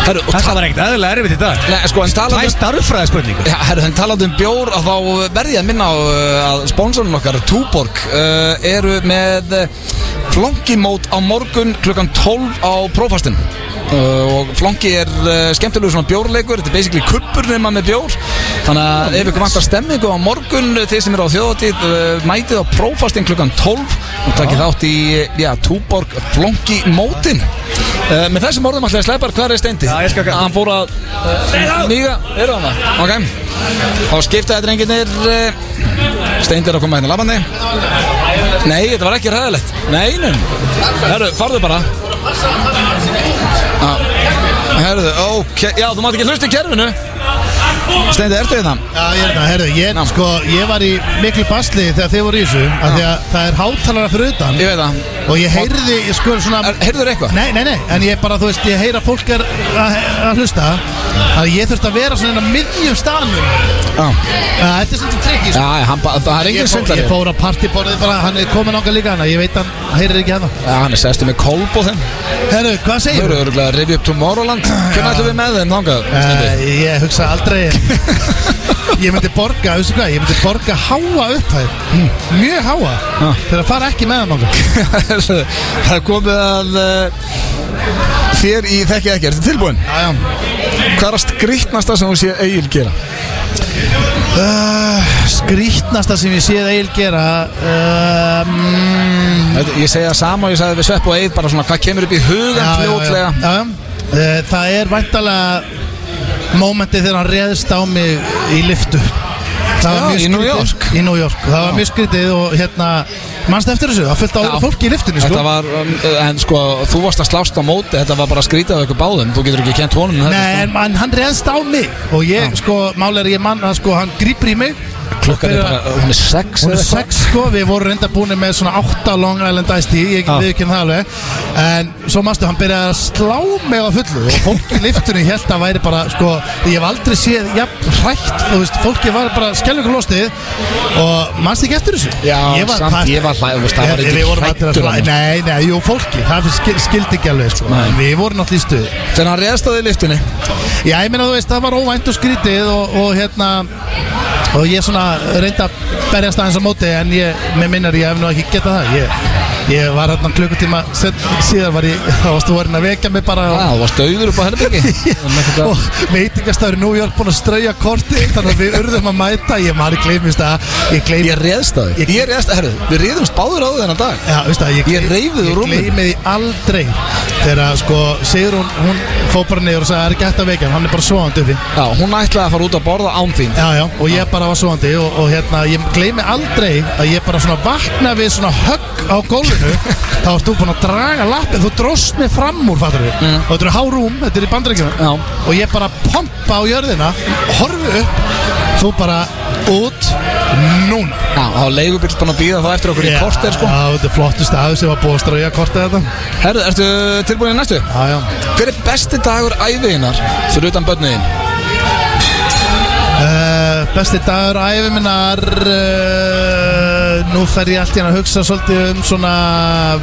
Speaker 1: Herru, og
Speaker 3: þetta var ekkert aðeinslega erfitt í dag
Speaker 1: Nei, sko, en
Speaker 3: það
Speaker 1: talandi
Speaker 3: er
Speaker 1: um
Speaker 3: starffræði spurningu
Speaker 1: Já, herru, en talandi um bjór að þá verði ég að minna á uh, að sponsorinn okkar, Túborg uh, eh, eru með uh, flonkimót á morgun klukkan 12 á prófastin uh, og flongi er uh, skemmtilegu svona bjórleikur þetta er basically kuppur nema með bjór þannig að ef ykkur vantar stemmingu á morgun uh, þið sem eru á þjóðatíð uh, mætið á prófastin klukkan 12 og takkið þátt í uh, já, túborg flongi mótin uh, með þessum orðum alltaf sleipar hvað er steindi?
Speaker 3: Já, ég skal-
Speaker 1: hann fór að uh, nýga eru hann það? ok og skiptaði drenginir uh, steindi er að koma hérna labandi Nei, þetta var ekki ræðilegt Nei, nei Herru, farðu bara ah. Herru, ok Já, þú mátt ekki hlusta í kerfinu Steindi, ertu hérna?
Speaker 2: Já, ég er það, herðu, ég,
Speaker 1: Ná.
Speaker 2: sko, ég var í miklu basli þegar þið voru í þessu af því að það er hátalara fyrir utan
Speaker 1: Ég veit það
Speaker 2: og ég heyrði, ég sko, svona
Speaker 1: Er- Heyrðurðu eitthvað?
Speaker 2: Nei, nei, nei, en ég bara, þú veist, ég heyra fólk er að að hlusta að ég þurfti að vera svona inn á miðjum staðnum
Speaker 1: Já,
Speaker 2: að þetta er svolítið trikk í
Speaker 1: já hann, ba- það er
Speaker 2: Ég,
Speaker 1: engin hérna.
Speaker 2: fó,
Speaker 1: svindlari
Speaker 2: ég
Speaker 1: Já,
Speaker 2: fór á partyborðið bara, hann er komin ánga líka hana, ég veit hann heyrir ekki hana
Speaker 1: hann er sestu með kolb og þeim
Speaker 2: Herru, hvað
Speaker 1: Þú
Speaker 2: segir
Speaker 1: eru öruglega að rifja upp Tomorrowland Hvernig ætlum við með þeim þangað? Steindi?
Speaker 2: Uh, ég hugsa aldrei Ég myndi borga, veistu hvað Ég myndi borga háa upphæð Mjög háa
Speaker 1: Ah.
Speaker 2: Þegar að fara ekki með hann okkur
Speaker 1: Það er komið að uh, Þér í þekki ekki, ertu tilbúin?
Speaker 2: Jájá
Speaker 1: Hvað er að skrýtnasta sem þú sé Egil gera?
Speaker 2: uh, Skrítnasta sem ég séð Egil gera uh, mm,
Speaker 1: Þetta- Ég segja sama og ég sagði við Svepp og Eið bara svona hvað kemur upp í hugan fljótlega
Speaker 2: já, já. Uh, Það er væntalega Mómenti þegar hann reðst á mig Í liftu Það var
Speaker 1: Já,
Speaker 2: mjög
Speaker 1: í New
Speaker 2: skrítið-
Speaker 1: York.
Speaker 2: Í New York, það var mjög skrítið og hérna Manst eftir þessu, það fyllt á
Speaker 1: Já.
Speaker 2: fólki í liftinu sko.
Speaker 1: Þetta var, um, en sko, þú varst að slást á móti, þetta var bara að skrýtað okkur báðum, þú getur ekki kent honum með
Speaker 2: Nei, en man, hann reðst á mig Og ég, sko, málega er ég mann að sko, hann grýpur í mig
Speaker 1: sko. Klukkan er bara, hún er sex
Speaker 2: Hún er
Speaker 1: eða eitthvað.
Speaker 2: sex, sko, við vorum reynda búin með svona átta Long Island Ice Tea, ég
Speaker 1: Já.
Speaker 2: við ekki um það alveg En svo manstu, hann byrjaði að slá mig á fullu Og fólk í liftunni held að væri bara, sko Ég hef aldrei séð, jafn, hrætt, þú veist Fólki var bara skellur lostið Og manstu ekki eftir þessu
Speaker 1: Já, samt,
Speaker 2: það-
Speaker 1: ég var hlæ- þú veist, það var um
Speaker 2: Ég-
Speaker 1: enginn
Speaker 2: Við vorum allir að
Speaker 1: hræddur
Speaker 2: hlæ,
Speaker 1: þarna.
Speaker 2: nei, nei, jú, fólki Það skil- skildi ekki alveg, sko
Speaker 1: Nei.
Speaker 2: Við vorum allir í stuði
Speaker 1: Þannig að hann reðst á þig í liftinni.
Speaker 2: Já, ég meina þú veist, það var óvænt og skrítið og, og hérna og ég svona reyndi að berjast aðeins á móti en ég, með minnar, ég hef nú ekki getað það ég, ég var hérna klukkutíma set, síðan var ég, þá varstu vorin að vekja mig bara
Speaker 1: Já,
Speaker 2: og,
Speaker 1: þú varst auður upp á herbyggi. Ah,
Speaker 2: og veitingastafur í New York búin að strauja korti þannig að við urðum að mæta ég maður gleymist að, ég
Speaker 1: Ég
Speaker 2: gleymist
Speaker 1: reðst á þig. Ég reðst, herru, við reðumst báður á þig þennan dag.
Speaker 2: Já, veistu það, ég,
Speaker 1: Ég reif þig úr rúminu.
Speaker 2: Ég gleymi því aldrei Þegar að, sko, Sigrún, hún fór bara niður og sagði, það er ekki hægt að vekja hann, hann er bara svoðandi uppi
Speaker 1: Já, hún ætlaði að fara út að borða án þín.
Speaker 2: Já, já, og ég bara var svoandi og, og hérna, ég gleymi aldrei að ég bara svona vakna við svona högg á gólfinu þá ert þú búin að draga lappin, þú dróst mig fram úr, fattur við
Speaker 1: Mm.
Speaker 2: og þetta eru hárúm, þetta er í bandrækjuna
Speaker 1: Já.
Speaker 2: og ég bara pompa á jörðina horfi upp, þú bara út núna
Speaker 1: Já, þá leigubill búin að býða það eftir okkur í korter, sko.
Speaker 2: Já, þetta er flottu staðu sem var búið að strauja kortið þetta
Speaker 1: Herru, ertu tilbúin í næstu?
Speaker 2: Já, já
Speaker 1: Hver er besti dagur æfiðinnar fyrir utan börniðin?
Speaker 2: Uh, besti dagur æfi minnar uh, Nú fer ég allt í hann að hugsa svolítið um svona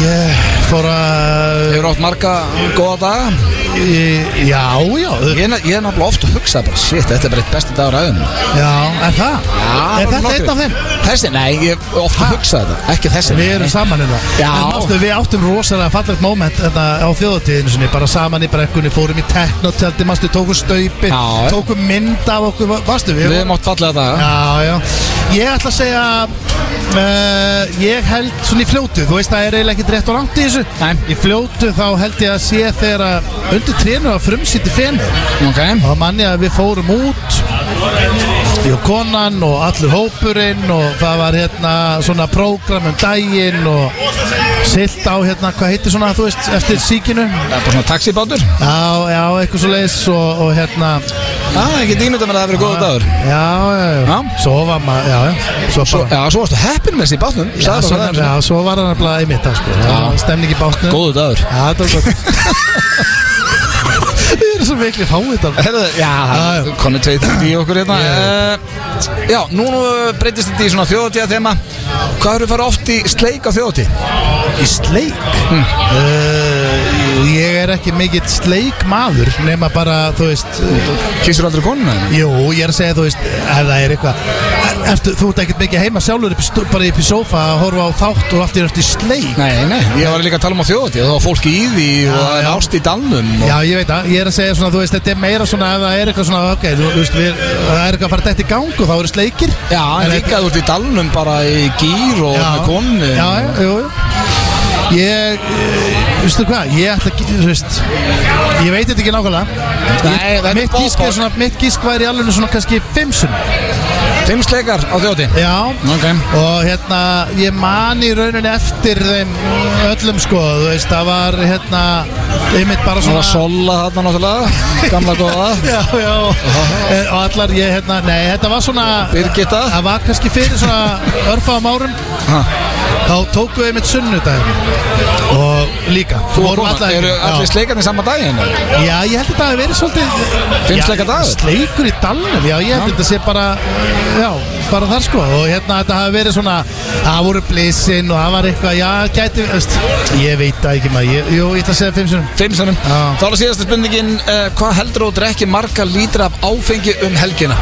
Speaker 2: Ég fór að
Speaker 1: Hefur átt marga góða daga?
Speaker 2: í- Já, já
Speaker 1: Ég er nef- ég er náttúrulega oft að hugsa bara, shit, þetta er bara eitt besti dagur æfiðinnar.
Speaker 2: Já, er það? er þetta einn af þeim?
Speaker 1: Þessi, nei, ég hef ofta hugsað þetta Ekki þessi
Speaker 2: Við erum saman um það
Speaker 1: Já.
Speaker 2: En mástu, Við áttum rosalega fallegt moment þetta, á þjóðatíðinu sinni, bara saman í brekkunni fórum í teknotjaldi, mástu, tókum staupi
Speaker 1: Já.
Speaker 2: tókum mynd af okkur Mástu,
Speaker 1: Við
Speaker 2: við
Speaker 1: erum oft fallega daga
Speaker 2: Já, já Ég ætla að segja uh, Ég held svona í fljótu Þú veist það er eiginlega ekkert rétt og langt í þessu
Speaker 1: Nei.
Speaker 2: Í fljótu þá held ég að sé þegar að Undir trénu að frumsýtti fenni
Speaker 1: Ok
Speaker 2: Og það manni að við fórum út Ég og konan og allur hópurinn Og það var hérna svona prógram um daginn Og silt á hérna Hvað heitir svona þú veist eftir síkinu
Speaker 1: Það er bara svona taxibátur
Speaker 2: Já, já, eitthvað svo leiðis og, og hérna
Speaker 1: Já, ah, ekki dýmynda með að það hafi verið góða dagur
Speaker 2: Já, já, já,
Speaker 1: Já.
Speaker 2: Svo var maður, já, já Svo,
Speaker 1: Svo,
Speaker 2: bara-
Speaker 1: Já, svo varstu heppin með þessi í bátnum
Speaker 2: Já,
Speaker 1: Sagði
Speaker 2: svo,
Speaker 1: bara það
Speaker 2: já, svo var hann nefnilega einmitt það sko Það var Stemning í bátnum
Speaker 1: Góðu dagur
Speaker 2: Já, þetta var gott Við erum svo miklu fáið þetta
Speaker 1: Herðu, já,
Speaker 2: Já,
Speaker 1: það
Speaker 2: já.
Speaker 1: konu tveið þrjú í okkur hérna uh, Já, nú breytist þetta í svona þjóðatíða þema Hvað eru farið oft í sleik á þjóðatíð?
Speaker 2: Hmm. Í sleik mm. uh, Ég er ekki mikill sleik maður nema bara, þú veist
Speaker 1: Kýstur aldrei konuna þína?
Speaker 2: Jú, ég er að segja, þú veist, ef það er eitthvað er- ertu, Þú ert ekkert mikið heima sjálfur upp, í stó- bara upp í sófa að horfa á þátt og allt er eftir sleik
Speaker 1: Nei, nei, ég var líka að tala um á þjóðati og það var fólk í því og það er
Speaker 2: já.
Speaker 1: ást í dalnum og...
Speaker 2: Já, ég veit það, ég er að segja svona, þú veist, þetta er meira svona ef það er eitthvað svona, ok, þú þú veist, við, það er eitthvað að fara dætt í gang og þá eru sleikir
Speaker 1: Já, en
Speaker 2: En
Speaker 1: líka þú ert í dalnum bara í gýr og með konu
Speaker 2: Já, já, jú, jú Ég, eh, veistu hvað, ég ætla að, þú veist, ég veit þetta ekki nákvæmlega
Speaker 1: Nei, það er
Speaker 2: Mitt gísk er
Speaker 1: bóðbóð
Speaker 2: svona, mitt gísk væri alveg svona kannski fimm sunni
Speaker 1: Fimm sleikar á þjóðati
Speaker 2: Já
Speaker 1: Ok
Speaker 2: Og hérna, ég man í rauninni eftir þeim öllum sko, þú veist, það var hérna, einmitt bara
Speaker 1: Það
Speaker 2: svona
Speaker 1: var sola þarna náttúrulega Gamla góða
Speaker 2: Já, já, og, og allar ég hérna, nei, þetta var svona
Speaker 1: Birgitta
Speaker 2: Það var kannski fyrir svona örfáum árum
Speaker 1: Ha.
Speaker 2: Þá tókum við einmitt sunnudaginn Og líka
Speaker 1: Þú og
Speaker 2: vorum
Speaker 1: kona Eru allir
Speaker 2: já.
Speaker 1: sleikarnir sama daginn?
Speaker 2: já, ég held að það hef verið svolítið
Speaker 1: Fimmsleika
Speaker 2: Já,
Speaker 1: dagur?
Speaker 2: Sleikur í dalnum, já, ég held þetta sé bara Já, bara þar sko Og hérna þetta hafi verið svona Það voru blissinn og það var eitthvað Já, gæti, veist Ég veit það ekki maður, ég- jú, ég ætla að segja fimm sinnum
Speaker 1: Fimm sannum
Speaker 2: Já.
Speaker 1: Þá er það síðasta spurningin uh, Hvað heldur þú að drekki marga lítra af áfengi um helgina?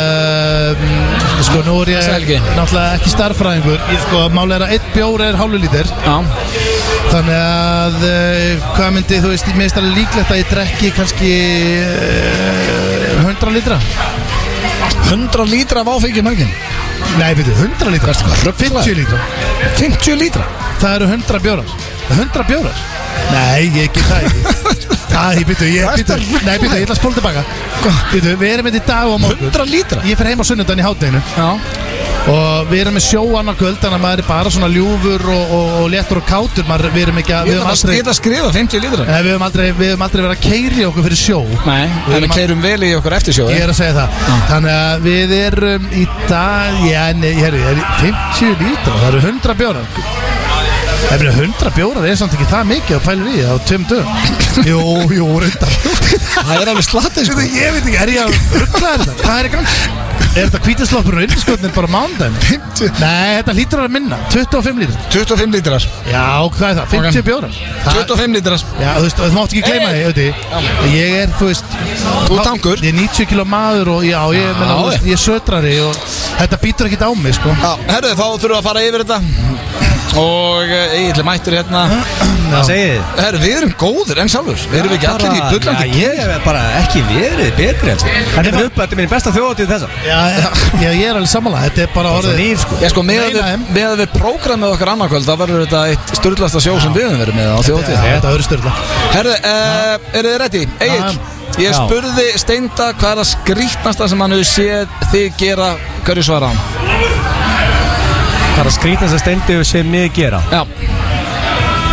Speaker 2: Ehm, Sko, nú er ég
Speaker 1: Þessa helgi.
Speaker 2: náttúrulega ekki starffræðingur Ég sko, máli er að einn bjór er hálfu lítir
Speaker 1: Já
Speaker 2: Þannig að, uh, hvað myndi, þú veist, mér finnst alveg líklegt að ég drekki kannski uh, 100 litra
Speaker 1: 100 lítra af áfengi um helgin
Speaker 2: Nei, veitu, 100 litra, 50 litra
Speaker 1: 50 lítra
Speaker 2: Það eru 100 bjórar 100 bjórar? Nei, ég ekki það ekki Það, ég byrju, ég
Speaker 1: Hvað ertu að
Speaker 2: byrju Nei, byrju, ég ætla að spóla tilbaka Byrju, við erum hérna í dag og á morgun
Speaker 1: 100 lítra?
Speaker 2: Ég fer heim á sunnundan í hátteginu
Speaker 1: Já
Speaker 2: Og við erum með sjó annar kvöld Þannig að maður er bara svona ljúfur og, og, og léttur og kátur maður, Við erum ekki að,
Speaker 1: Ég
Speaker 2: við
Speaker 1: ætla
Speaker 2: höfum
Speaker 1: bara að
Speaker 2: aldrei
Speaker 1: geta að skrifa 50 lítra
Speaker 2: Nei, við höfum aldrei, við höfum aldrei verið að keiri okkur fyrir sjó
Speaker 1: Nei En
Speaker 2: Við
Speaker 1: við
Speaker 2: erum að-
Speaker 1: keirum vel í okkur eh? eftirsjóð
Speaker 2: Ég er að segja það Þannig að við erum í dag Já, nei, ég er, er 50 lítra Það eru 100 bjórar Það eru 100 bjórar, er samt ekki það mikið og pælir í það á tveim dögum Jú, jú, reyndar
Speaker 1: Það er alveg slatið sko.
Speaker 2: Þetta ég veit ekki, er ég að ruggla þetta? Hvað er í gangi? Er þetta hvítisloppurinn og innskotnir bara mándaginn? Nei, þetta lítur að minna, 25 lítur
Speaker 1: 25 lítrar
Speaker 2: Já, hvað er það, 50
Speaker 1: Ok.
Speaker 2: bjórar Það-
Speaker 1: 25 lítrar
Speaker 2: Já, þú veist, og þú mátt ekki gleyma því, auðvitað Ég er, þú veist
Speaker 1: Þú
Speaker 2: há-
Speaker 1: tankur.
Speaker 2: Ég er 90 kilo maður og já, ég, meina,
Speaker 1: Já,
Speaker 2: þú veist, ég er sötrari og þetta býtur ekkit á mig, sko
Speaker 1: Já, herruðu, þá þurfum við að fara yfir þetta Og eiginlega mættur hérna
Speaker 3: Það segið þið
Speaker 1: Herru, við erum góðir en sjálfur Erum við ekki allir í
Speaker 3: Bara-
Speaker 1: bullandi
Speaker 3: Já, Ég hef bara ekki verið betri en Þetta er upp, þetta er mín besta þjóðatíð þessa
Speaker 2: Já, já, ég er alveg sammála, þetta er bara
Speaker 3: Svo
Speaker 2: orðið
Speaker 3: nýr sko
Speaker 1: Já sko, með að
Speaker 2: Meina
Speaker 1: við,
Speaker 2: þeim.
Speaker 1: með að við prógramið okkar annarkvöld Það verður þetta eitt styrlasta sjó sem við höfum verið með á
Speaker 2: Já,
Speaker 1: þjóðtíð
Speaker 2: Þetta verður styrla
Speaker 1: Herðu, uh, eru þið ready? Egil, ég
Speaker 3: Já.
Speaker 1: spurði Steinda hvað er að skrýtnasta sem hann hefur séð þig gera Hverju svara hann?
Speaker 3: Það er að skrýta þess að stendi og sé mig gera
Speaker 1: Já,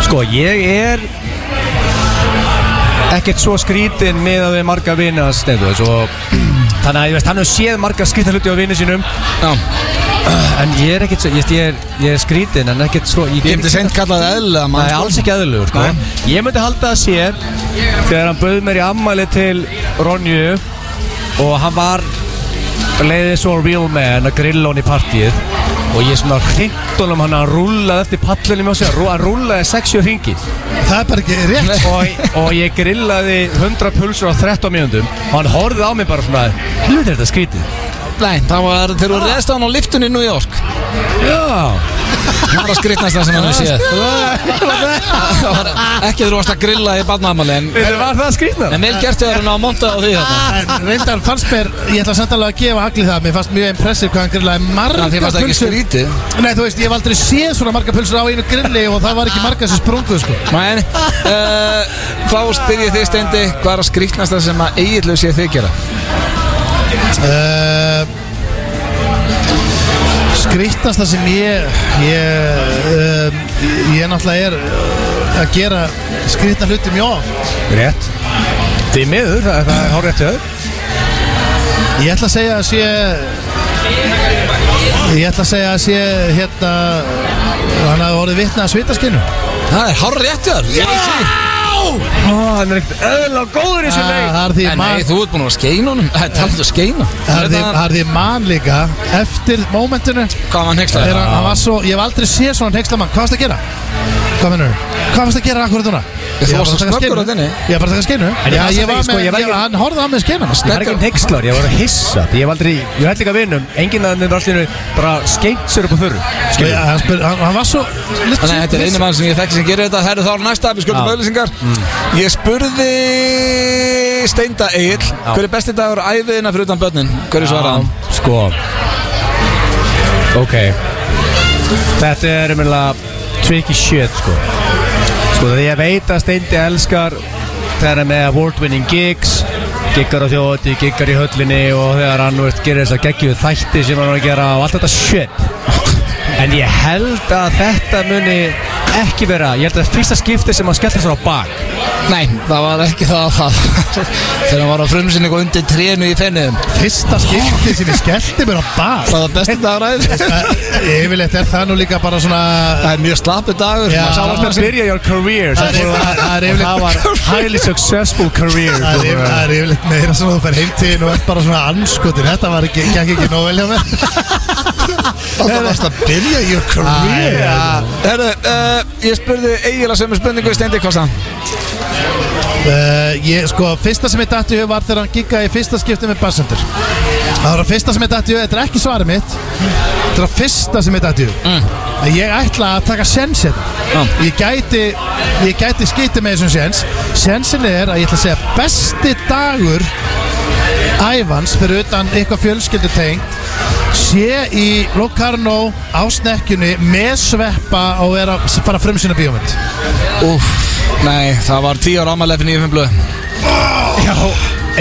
Speaker 3: Sko, ég er ekkert svo skrítin með að við marga vina stendu svo, Þannig að ég veist, hann hefur séð marga skrýta hluti á vini sínum
Speaker 1: já
Speaker 3: En ég er ekkert svo, ég, veist, ég, er, ég er skrítin en ekkert svo
Speaker 1: Ég myndi seint kallað eðlilega mann
Speaker 3: Nei,
Speaker 1: sko.
Speaker 3: alls ekki aðlugur sko. Ég myndi halda að sér Þegar hann bauð mér í ammæli til Ronju Og hann var Leiðið svo real man að grilla hann í partíið Og ég svona hringt honum hann að rúllaði eftir pallinu mjög sér Hann rúllaði 60 hringi
Speaker 2: Það er bara ekki rétt
Speaker 3: og, og ég grillaði 100 pulsur á 13 mínúndum Og hann horfði á mig bara svona Hlut er þetta skrítið
Speaker 1: Nei, það var þegar þú reðst á hann á liftunni í New York
Speaker 3: Já
Speaker 1: Það var að skrýtnasta sem hann hefur séð Það var Ekki þegar þú varst að grilla í barnaðamali En,
Speaker 3: Þetta var það skrítið
Speaker 1: en vel gert þegar hann á monta á því þarna
Speaker 2: En reyndar fannst mér, ég ætla samt alveg að gefa allir það Mér fannst mjög impressiv hvað hann grillaði marga
Speaker 1: Þannig þið varst ekki
Speaker 2: pulsur.
Speaker 1: skrítið
Speaker 2: Nei, þú veist, ég hef aldrei séð svona marga pulsur á einu grilli Og það var ekki marga sem sprungu, sko
Speaker 1: Men, uh, Klaus, byrjið þið stendi Hvað er að skrýtnasta sem að eiginlega sé þig gera?
Speaker 2: Uh, Skrýtnasta sem ég ég, um, ég náttúrulega er uh, að gera skrýtna hluti mjög oft
Speaker 3: Rétt Því miður, það, það er hár rétt hjá þér
Speaker 2: ég ætla að segja að sé ég ætla að segja að sé hérna hann hafði orðið vitna að svitaskinu
Speaker 1: Það er hár réttjar yeah!
Speaker 3: Hann er ekkert öðla góður í þessu leik
Speaker 2: Það er því
Speaker 1: En nei,
Speaker 2: mann
Speaker 1: þú ert búin að vera að skeina honum Það er talað að skeina
Speaker 2: Það er því- það er því mann líka Eftir mómentinu
Speaker 1: Hvað var hann hengslaði?
Speaker 2: Þegar hann var svo Ég hef aldrei séð svona hengslamann Hvað varst að gera? Hvað minnur? Hvað varst að gera akkurat núna?
Speaker 1: Þú varst svo
Speaker 2: var bara að taka
Speaker 1: snöggur
Speaker 2: skeinu.
Speaker 1: á þinni.
Speaker 2: Ég var bara að taka skeinu
Speaker 3: En ég
Speaker 2: Já,
Speaker 3: var
Speaker 2: ég
Speaker 3: samt
Speaker 2: var
Speaker 3: ekki, sko,
Speaker 2: með
Speaker 3: ég var
Speaker 2: ég
Speaker 3: ekki-
Speaker 2: var- Hann horfði á mig skeinu
Speaker 3: Ég var ekki nexlar, ég var að hissa Ég var aldrei, ég var held líka vinum Enginn að þeim rastlinu bara skeitt sér upp á þurru
Speaker 2: Skilur. Já, hann, spyr, hann, hann var svo
Speaker 1: Þannig að þetta er einu mann sem ég þekki sem gerir þetta Það eru þá næsta, við skuldum
Speaker 3: Já.
Speaker 1: auðlýsingar Ég spurði Steinda Egil Hver er besti dagur æfiðina fyrir utan börnin? Hver er svarað hann?
Speaker 3: Sko Ok Þetta er umjörlega tricky shit sko Sko því ég veit að Steindi elskar þegar hann er með award winning gigs giggar á þjóti, giggar í höllinni og þegar hann veist, gerir þess að geggju þætti sem hann er að gera og allt þetta shit En ég held að þetta muni ekki vera Ég held að fyrsta skipti sem hann skellir sér á bak
Speaker 1: Nei, það var ekki það það Þegar hann var á frumsinni og undir trénu í fenniðum
Speaker 2: Fyrsta skipti sem ég skellti mér á bak
Speaker 1: Það var besti dagur æfið
Speaker 2: Yfirleitt er það nú líka bara svona
Speaker 1: Það er mjög slappi dagur
Speaker 2: Já.
Speaker 1: maður sá
Speaker 3: Sáast
Speaker 1: alveg-
Speaker 3: með að byrja your career
Speaker 2: Það er- það er yfirleitt-
Speaker 3: Það var highly successful career
Speaker 2: Það er yfir- það er yfirleitt meira svona þú fer heim til og er bara svona anskotin Þetta var ekki, gekk ekki nóg vel hjá mér Þetta varst að byrja your career
Speaker 1: Herru, uh, ég spurði Egil að sömu spurningu í Steindi Kosta
Speaker 2: uh, ég, Sko, fyrsta sem ég dætti í hug var þegar hann giggaði í fyrsta skipti með Bassendur Það var að fyrsta sem ég dætti í hug, þetta er ekki svarið mitt Þetta er að fyrsta sem ég dætti í hug Að Ég ætla að taka sjens þetta Ég gæti, ég gæti skýti með þessum sjens Sjensin er að ég ætla að segja besti dagur Ævans fyrir utan eitthvað fjölskyldu tengt sé í Locarno á snekkjunni með sveppa og er að fara frum sína bíómynd
Speaker 1: Úff, nei, það var 10 ára ámæli fyrir 9.5 blöð
Speaker 3: Já,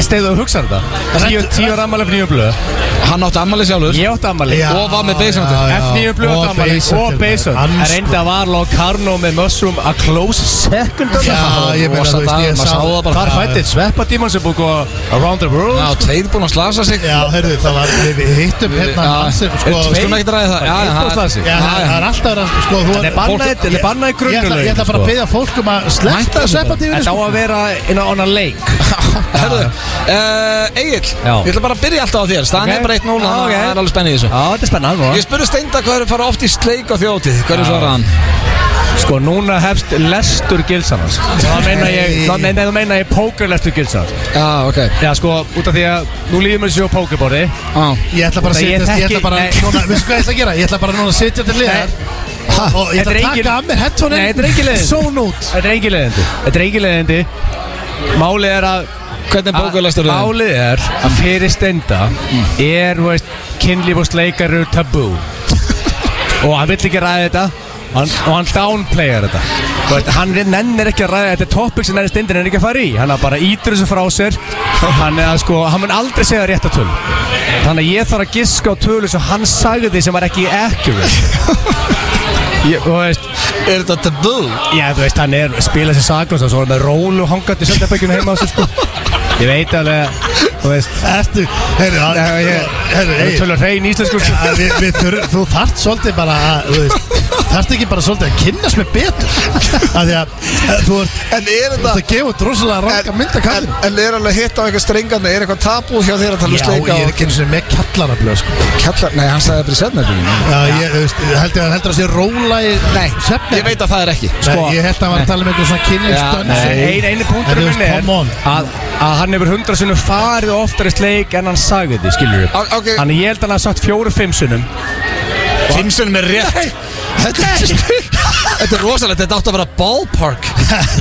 Speaker 3: stefðu að hugsa þetta Tíu, tíu ára ammali fyrir nýju blöð
Speaker 1: Hann átti ammali sjálfur
Speaker 3: Ég átti ammali
Speaker 2: Já,
Speaker 1: Og var með beysunum til.
Speaker 2: já, já.
Speaker 3: F9 blöð
Speaker 2: Og hérna.
Speaker 3: átti ammali
Speaker 2: beysun
Speaker 3: Og
Speaker 2: til.
Speaker 3: Beyson
Speaker 2: Andskot.
Speaker 3: En reynda var Ló Karno með Mushroom A close second on
Speaker 2: Já,
Speaker 3: það.
Speaker 2: ég meina,
Speaker 1: Rosa
Speaker 2: þú veist,
Speaker 1: dagur,
Speaker 2: ég
Speaker 1: maður
Speaker 2: sá
Speaker 1: sá það bara.
Speaker 3: Þar fættið sveppa díman sem búið að gå Around the world
Speaker 1: Já, tveir búin að slasa sig
Speaker 2: Já, heyrðu, það var, við við hittum hérna
Speaker 1: Já,
Speaker 2: hann sem, sko,
Speaker 1: er
Speaker 2: sko,
Speaker 1: tveir- skulum ekki ræða það. Já, já,
Speaker 3: Eitt og
Speaker 1: það-
Speaker 3: slasi
Speaker 2: já, það það er alltaf að, sko, þú
Speaker 3: Þetta er bannað-
Speaker 2: fólk-
Speaker 3: þetta er bannað í
Speaker 2: Ég- ég ætla- Ég ætla bara að
Speaker 3: sko.
Speaker 2: beða fólk um að
Speaker 1: Hætta
Speaker 2: sleppa
Speaker 1: þessu
Speaker 2: sveppa tífinu,
Speaker 3: Þetta á
Speaker 2: sko.
Speaker 3: að vera in a, on a lake
Speaker 1: Herðu, uh, Egil,
Speaker 3: Já.
Speaker 1: ég ætla bara að byrja alltaf á þér Staðan
Speaker 3: Ok.
Speaker 1: er bara 1-0,
Speaker 3: Já,
Speaker 1: þannig að
Speaker 3: ok.
Speaker 1: það er alveg spennið í þessu
Speaker 3: Já, þetta er spennað
Speaker 1: Ég spurði Steinda hvað eru fara oft í sleik á þjótið Hverju svarað hann?
Speaker 3: Sko núna hefst lestur gilsanans Það meina ég, það meina, það meina ég pókerlestur gilsanans
Speaker 1: Já, ok
Speaker 3: Já sko, út af því að nú líður mér sér á pókerborði
Speaker 1: Já.
Speaker 2: Ég ætla bara að
Speaker 3: Þetta ég
Speaker 2: setja, ég ætla
Speaker 3: þekki-
Speaker 2: bara,
Speaker 3: nei.
Speaker 2: núna, veistu hvað ég ætla að gera? Ég ætla bara núna að setja til liðar og- og ég
Speaker 3: Þetta
Speaker 2: ætla
Speaker 3: er
Speaker 2: að
Speaker 3: engin-
Speaker 2: taka af mér headphone-in.
Speaker 3: Nei, þetta er engin leiðin.
Speaker 2: Són út.
Speaker 3: Þetta er engin leðindi Þetta er engin leðindi Málið er að
Speaker 1: Hvernig
Speaker 3: Ah,
Speaker 1: bókuðlastur þau?
Speaker 3: Málið er að fyrir stenda Er, þú veist, kynlíf og sleikar eru tabú Og hann vill ekki ræða þetta hann, Og hann downplayar þetta Þú veist, Hann nennir ekki að ræða þetta topic sem nennir stendin er ekki að fara í Hann er bara ítur þessu frá sér Hann er að sko, hann mun aldrei segja rétt að töl Þannig að ég þarf að giska á tölu sem hann sagði því sem var ekki accurate Ég, þú veist,
Speaker 1: Er þetta tabú?
Speaker 3: Já, þú veist, hann er spilað sér saklans og svo er hann með rólu hangandi í söndabækjunu heima á sér, sko. Ég veit alveg, þú veist,
Speaker 2: Ertu, heyrðu, að-
Speaker 3: Nei, ég-
Speaker 2: heyrðu,
Speaker 3: það er
Speaker 2: Egill,
Speaker 3: tölur hrein íslensku, sko.
Speaker 2: að við- við þurfum- þú þart svolítið bara að, þú veist, þarft ekki bara svolítið að kynnast mér betur af því að eh, þú ert
Speaker 1: En er
Speaker 2: Þú ert að gefa út rosalega ranga mynd að
Speaker 1: en,
Speaker 2: kallinu
Speaker 1: en er alveg hitt á eitthvað strengandi Er eitthvað tabú hjá þér að tala um
Speaker 2: Já, ég
Speaker 1: sleika
Speaker 2: er ekki eins og með kallarablöð sko.
Speaker 1: Kallar, nei, hann sagði það bara í setnafíðinu
Speaker 2: Já, ég þú veist, heldur að heldur að sé róla í
Speaker 1: Nei,
Speaker 2: svefni
Speaker 1: ég veit að það er ekki sko.
Speaker 2: Nei, ég held að hann var að tala um eitthvað
Speaker 1: Já,
Speaker 2: svona
Speaker 3: Ein,
Speaker 2: kynlistönn
Speaker 3: einu
Speaker 2: En
Speaker 3: punktur
Speaker 2: þú
Speaker 3: um
Speaker 2: veist,
Speaker 3: minni er
Speaker 2: come on.
Speaker 3: að, að hann hefur hundra sunnum farið oftar í sleik en hann sagði því, skilur
Speaker 2: Ah,
Speaker 3: við.
Speaker 1: Á- ok.
Speaker 3: Þannig ég held að hann hafa sagt fjóru-fimm sunnum.
Speaker 1: Finnsun með rétt Þetta er, þetta er rosalegt, þetta átti að vera ballpark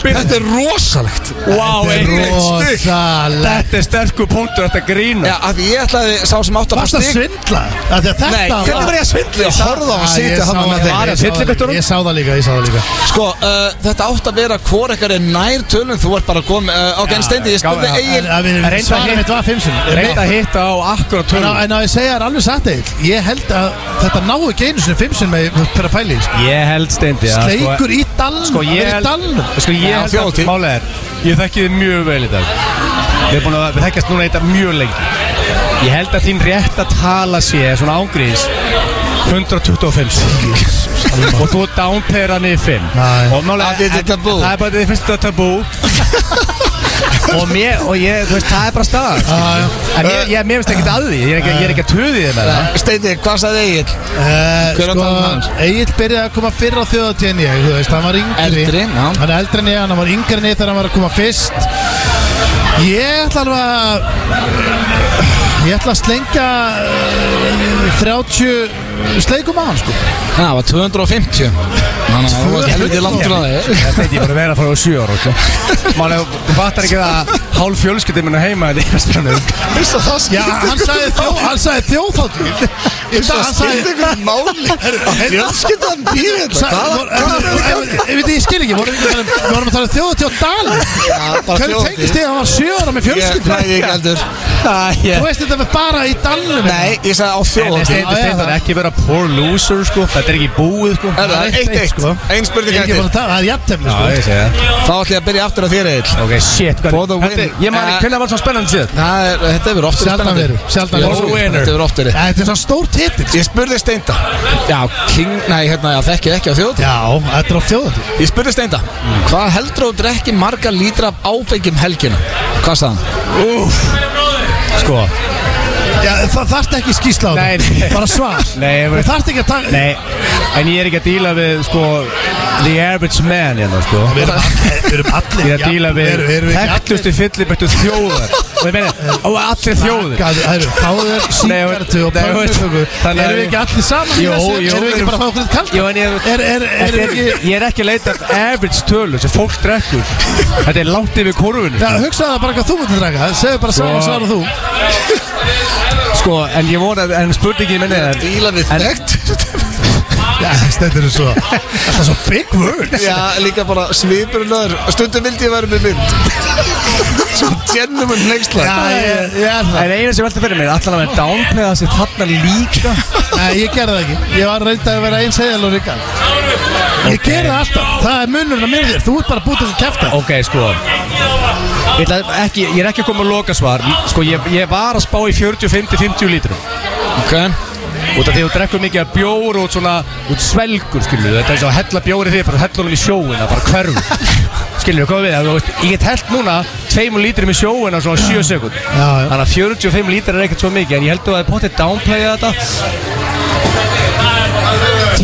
Speaker 1: Þetta er rosalegt
Speaker 3: Vá, einnig stygg.
Speaker 2: Rósalega
Speaker 3: Þetta er sterkur punktur, þetta grínu.
Speaker 1: Já, af því ég ætlaði, sá sem átti að fá
Speaker 2: Varst að
Speaker 1: stig
Speaker 2: svindla? Af því að Þetta
Speaker 1: Nei, hvernig var ég að svindla? Ég horfði á hann
Speaker 2: Að
Speaker 1: sitja
Speaker 2: ég
Speaker 1: þarna
Speaker 2: sá
Speaker 1: með
Speaker 2: það,
Speaker 1: þeim.
Speaker 2: ég
Speaker 3: Var að
Speaker 2: sá það
Speaker 3: fyllibyttunum?
Speaker 2: líka, Ég sá það líka, ég sá það líka
Speaker 1: Sko, uh, þetta átt að vera hvor ekkar er nær tölum Þú ert bara komið, uh, ok, en Steindi, ég spurði
Speaker 3: já,
Speaker 2: En
Speaker 1: Egil
Speaker 2: að við-
Speaker 3: Reyndu að
Speaker 2: Svarið
Speaker 3: hitta-
Speaker 2: mitt var fimmsun
Speaker 3: Reynd að hitta á akkurat
Speaker 2: En
Speaker 3: tölum.
Speaker 2: á- en á ég segja það er alveg satt eitt Ég held að þetta náu ekki einu sinni fimmsun með fyrir að pæli sko.
Speaker 3: Ég held steindi að sko-
Speaker 2: Sleikur í dalnum
Speaker 3: Sko
Speaker 2: hann
Speaker 3: ég
Speaker 2: er í
Speaker 3: held
Speaker 2: dalnum
Speaker 3: Sko ég
Speaker 1: Já,
Speaker 3: held að
Speaker 1: þjóðhátíð.
Speaker 3: Málið er Ég þekki þið mjög vel í dag Við erum búin að við þekkjast núna í dag mjög lengi Ég held að þín rétt að tala sé Svona ángriðis 125 Og þú downpayir hann í 5
Speaker 2: Já, já.
Speaker 3: Og málega
Speaker 1: Að þetta er tabú.
Speaker 3: Það er bara því fyrst þetta er tabú og, mér, og ég, þú veist, það er bara staðan
Speaker 2: Já, já.
Speaker 3: En ég, ég, mér finnst ekkert að því Ég er ekki, ég er ekki að tuði þið með það
Speaker 1: Steiti, Uh, hvað sagði Egil? Hver um
Speaker 2: Eh,
Speaker 1: var
Speaker 2: sko,
Speaker 1: talan hans?
Speaker 2: Egil byrjaði að koma fyrr á þjóðatíð en ég, þú veist, hann var yngri
Speaker 1: Eldri, já.
Speaker 2: Hann er eldri en ég, hann var yngri en ég þegar hann var að koma fyrst Ég ætla alveg að Ég ætla að slengja eh, 30 sleikum á hann, sko
Speaker 1: Na, það var 250 Þannig að það var helviti langt frá þig
Speaker 3: Ég veit, ég er bara að vera frá 7 ára okay? Málega, þú fattar ekki það að Hálf fjölskyldið minna heima Þetta er spennum
Speaker 1: Vist að það
Speaker 2: Já, hann sagði, þjó, hann sagði þjóðhátíð Ég veit að hann sagði
Speaker 1: einhvern máli Fjölskyldan býr hérna. þetta
Speaker 2: Sa-
Speaker 1: Hvað
Speaker 2: vor- Ég ég veit, ég skil ekki, vorum við ekki að- vorum við að tala þjóðatíð á
Speaker 1: Já,
Speaker 2: Dalin
Speaker 1: bara
Speaker 2: Hvernig
Speaker 1: þjóðhátíð.
Speaker 2: tengist þið að hann var 7 ára
Speaker 1: Ég
Speaker 2: með fjölskyldu?
Speaker 1: næði ekki heldur
Speaker 2: Þú veist, þetta var bara í Dalnum
Speaker 1: Nei, ég sagði á
Speaker 3: En
Speaker 1: þjóðatíð
Speaker 3: Steindar, Steindar, ekki vera poor loser sko Þetta er ekki búið sko
Speaker 1: Er það eitt eitt?
Speaker 2: sko.
Speaker 1: Einn spurning
Speaker 2: Ég er ekki búin
Speaker 1: eftir
Speaker 2: að tala, það er jafntefni
Speaker 3: Já, ég
Speaker 2: sko.
Speaker 3: segi það
Speaker 1: Þá ætlum ég að byrja aftur á þér Egil
Speaker 3: Ok, shit, hvað
Speaker 1: For the win.
Speaker 3: Þetta- Ég man
Speaker 1: Eh,
Speaker 3: ekki, hvernig var það spennandi síðan?
Speaker 1: Það er, þetta hefur oft verið
Speaker 2: Sjaldan
Speaker 1: spennandi
Speaker 2: verið, sjaldan
Speaker 1: Já,
Speaker 2: verið.
Speaker 1: sko,
Speaker 3: Winner.
Speaker 1: Þetta hefur oft verið
Speaker 2: Þetta er svona stór titill sko.
Speaker 1: Ég spurði Steinda Já, King, nei, hérna, já, þekki ekki á þjóðatíð
Speaker 2: Já, þetta er á þjóðatíð
Speaker 1: Ég spurði Steinda Hvað heldur þú drekki marga lítra af áfengjum helgina? Hvað sagði hann?
Speaker 3: Sko
Speaker 2: Já, það þarft ekki skýsla á
Speaker 3: Nei,
Speaker 2: það
Speaker 3: nei.
Speaker 2: Bara svar
Speaker 3: Nei, ég
Speaker 2: Þú
Speaker 3: veit-
Speaker 2: þarft ekki að taka
Speaker 3: Nei, en ég er ekki að díla við sko The average man hérna sko
Speaker 2: Við erum all- við erum allir
Speaker 3: Ég er að díla við
Speaker 2: Erum erum við ekki
Speaker 3: Þekktustu fyllibættu þjóðar Og ég meina, og allir þjóðir
Speaker 2: allir Gaðu, Fáðu þér
Speaker 3: Nei, ég veit-
Speaker 2: síkartu og
Speaker 3: Nei, ég veit-
Speaker 2: pönnuköku
Speaker 3: Þannig að-
Speaker 2: Erum við ekki allir saman? í
Speaker 3: Jó,
Speaker 2: þessu?
Speaker 3: jó,
Speaker 2: Erum við ekki
Speaker 3: erum-
Speaker 2: bara að fá okkur eitt kallt?
Speaker 3: Jó, en ég
Speaker 2: Er, er, er,
Speaker 3: Þetta
Speaker 2: er ekki
Speaker 3: Ég er ekki að leita að average tölu sem fólk drekkur Þetta er langt yfir korfinu
Speaker 2: Já, hugsaðu það bara hvað þú mútið draka Segðu bara saman
Speaker 3: Sko.
Speaker 2: svar og þú
Speaker 3: Sko, en ég vona, en spurningin minni er
Speaker 1: Díla við
Speaker 3: En-
Speaker 1: þekkt
Speaker 2: Já, þetta er svo Þetta er svo big words
Speaker 1: Já, líka bara svipurinn öður Stundum vildi ég vera með mynd Svo tjennum en neyksla
Speaker 2: Já, ég, ég er það
Speaker 3: En eina sem velta fyrir mér, allan að vera downplayða sig þarna líka
Speaker 2: Nei, ég gerði það ekki Ég var reynd að vera eins heðal og ríkal Ég gerði það alltaf Það er munurinn að mér og þér Þú ert bara að búta þessu kæfta
Speaker 3: Ok, sko Ég, ætla ekki, ég er ekki að koma að loka svar Sko, ég, ég var að spá í 40-50-50 lítrum
Speaker 1: Ok
Speaker 3: Út af því að þú drekkur mikið af bjór og svona Út svelgur, skilur Þetta er svo að hella bjóri þig bara hella honum í sjóina Bara hverf Skilur, hvað við, að þú veist Ég get hellt núna 2 lítrum í sjóina svona 7 sekund
Speaker 2: Já, já.
Speaker 3: Þannig að 45 lítrar er ekkert svo mikið En ég held að það er potið downplayða þetta 10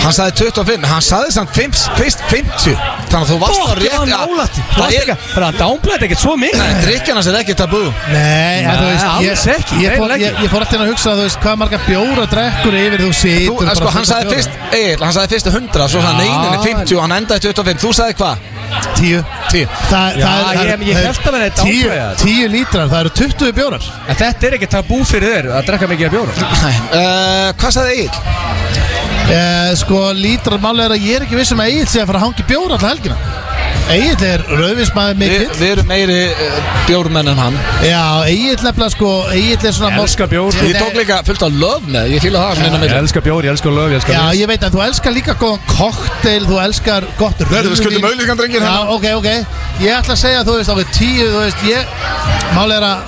Speaker 1: Hann sagði 25 Hann sagði samt 5, fyrst 50 Þannig að þú varst á
Speaker 3: Fokk, ég
Speaker 1: rétt
Speaker 3: var nálægt Það
Speaker 1: Það
Speaker 3: varst
Speaker 1: er
Speaker 3: ekki að- Það downplayða ekkert svo mikið
Speaker 1: Nei, drikkjarnas er ekki tabú
Speaker 2: Nei, en þú veist
Speaker 3: Nei,
Speaker 2: ég,
Speaker 3: alls ekki,
Speaker 2: ég, fór,
Speaker 3: greinilega
Speaker 2: ég,
Speaker 3: ekki.
Speaker 2: ég fór alltaf inn að hugsa Þú veist, hvað marga bjóra drekkur yfir þú situr
Speaker 1: Þú, en sko, hann sagði fyrst, Egil, hann sagði fyrst 100 Svo sagði hann
Speaker 3: Já,
Speaker 1: eininni 50 og hann endaði 25 Þú sagði hvað?
Speaker 2: Tíu
Speaker 1: 10
Speaker 2: Það,
Speaker 3: Já,
Speaker 2: það,
Speaker 3: ég-
Speaker 2: það,
Speaker 3: ég
Speaker 2: það-
Speaker 3: hélt að vera þetta
Speaker 2: tíu,
Speaker 3: ákveðið.
Speaker 2: tíu lítrar, það eru 20 bjórar
Speaker 3: En þetta er ekki tabú fyrir þér að drekka mikið af bjóra
Speaker 1: uh, Hvað sagði Egil?
Speaker 2: eh, Sko, lítrar máli er að ég er ekki viss um að Egil sé að fara að hangi bjóra alltaf helgina Egil er rauðvinsmaður
Speaker 1: Við
Speaker 2: mikill
Speaker 1: vi erum meiri uh, bjórmenn en hann
Speaker 2: Já, Egil nefnilega sko Egil er svona
Speaker 3: Ég elska bjór.
Speaker 1: Ég tók líka fullt af löf með Ég fýla það minna
Speaker 3: Ég
Speaker 1: meira
Speaker 3: elska bjór, ég elska löf, ég elska
Speaker 2: Já,
Speaker 3: mjólk.
Speaker 2: ég veit að þú elskar líka góðan kokteil, þú elskar gott rauðvín
Speaker 1: við skuldum auglýsingar, drengir,
Speaker 2: Já,
Speaker 1: hérna.
Speaker 2: ok, ok Ég ætla að segja, þú veist, okkur tíu, þú veist, ég Mál er að,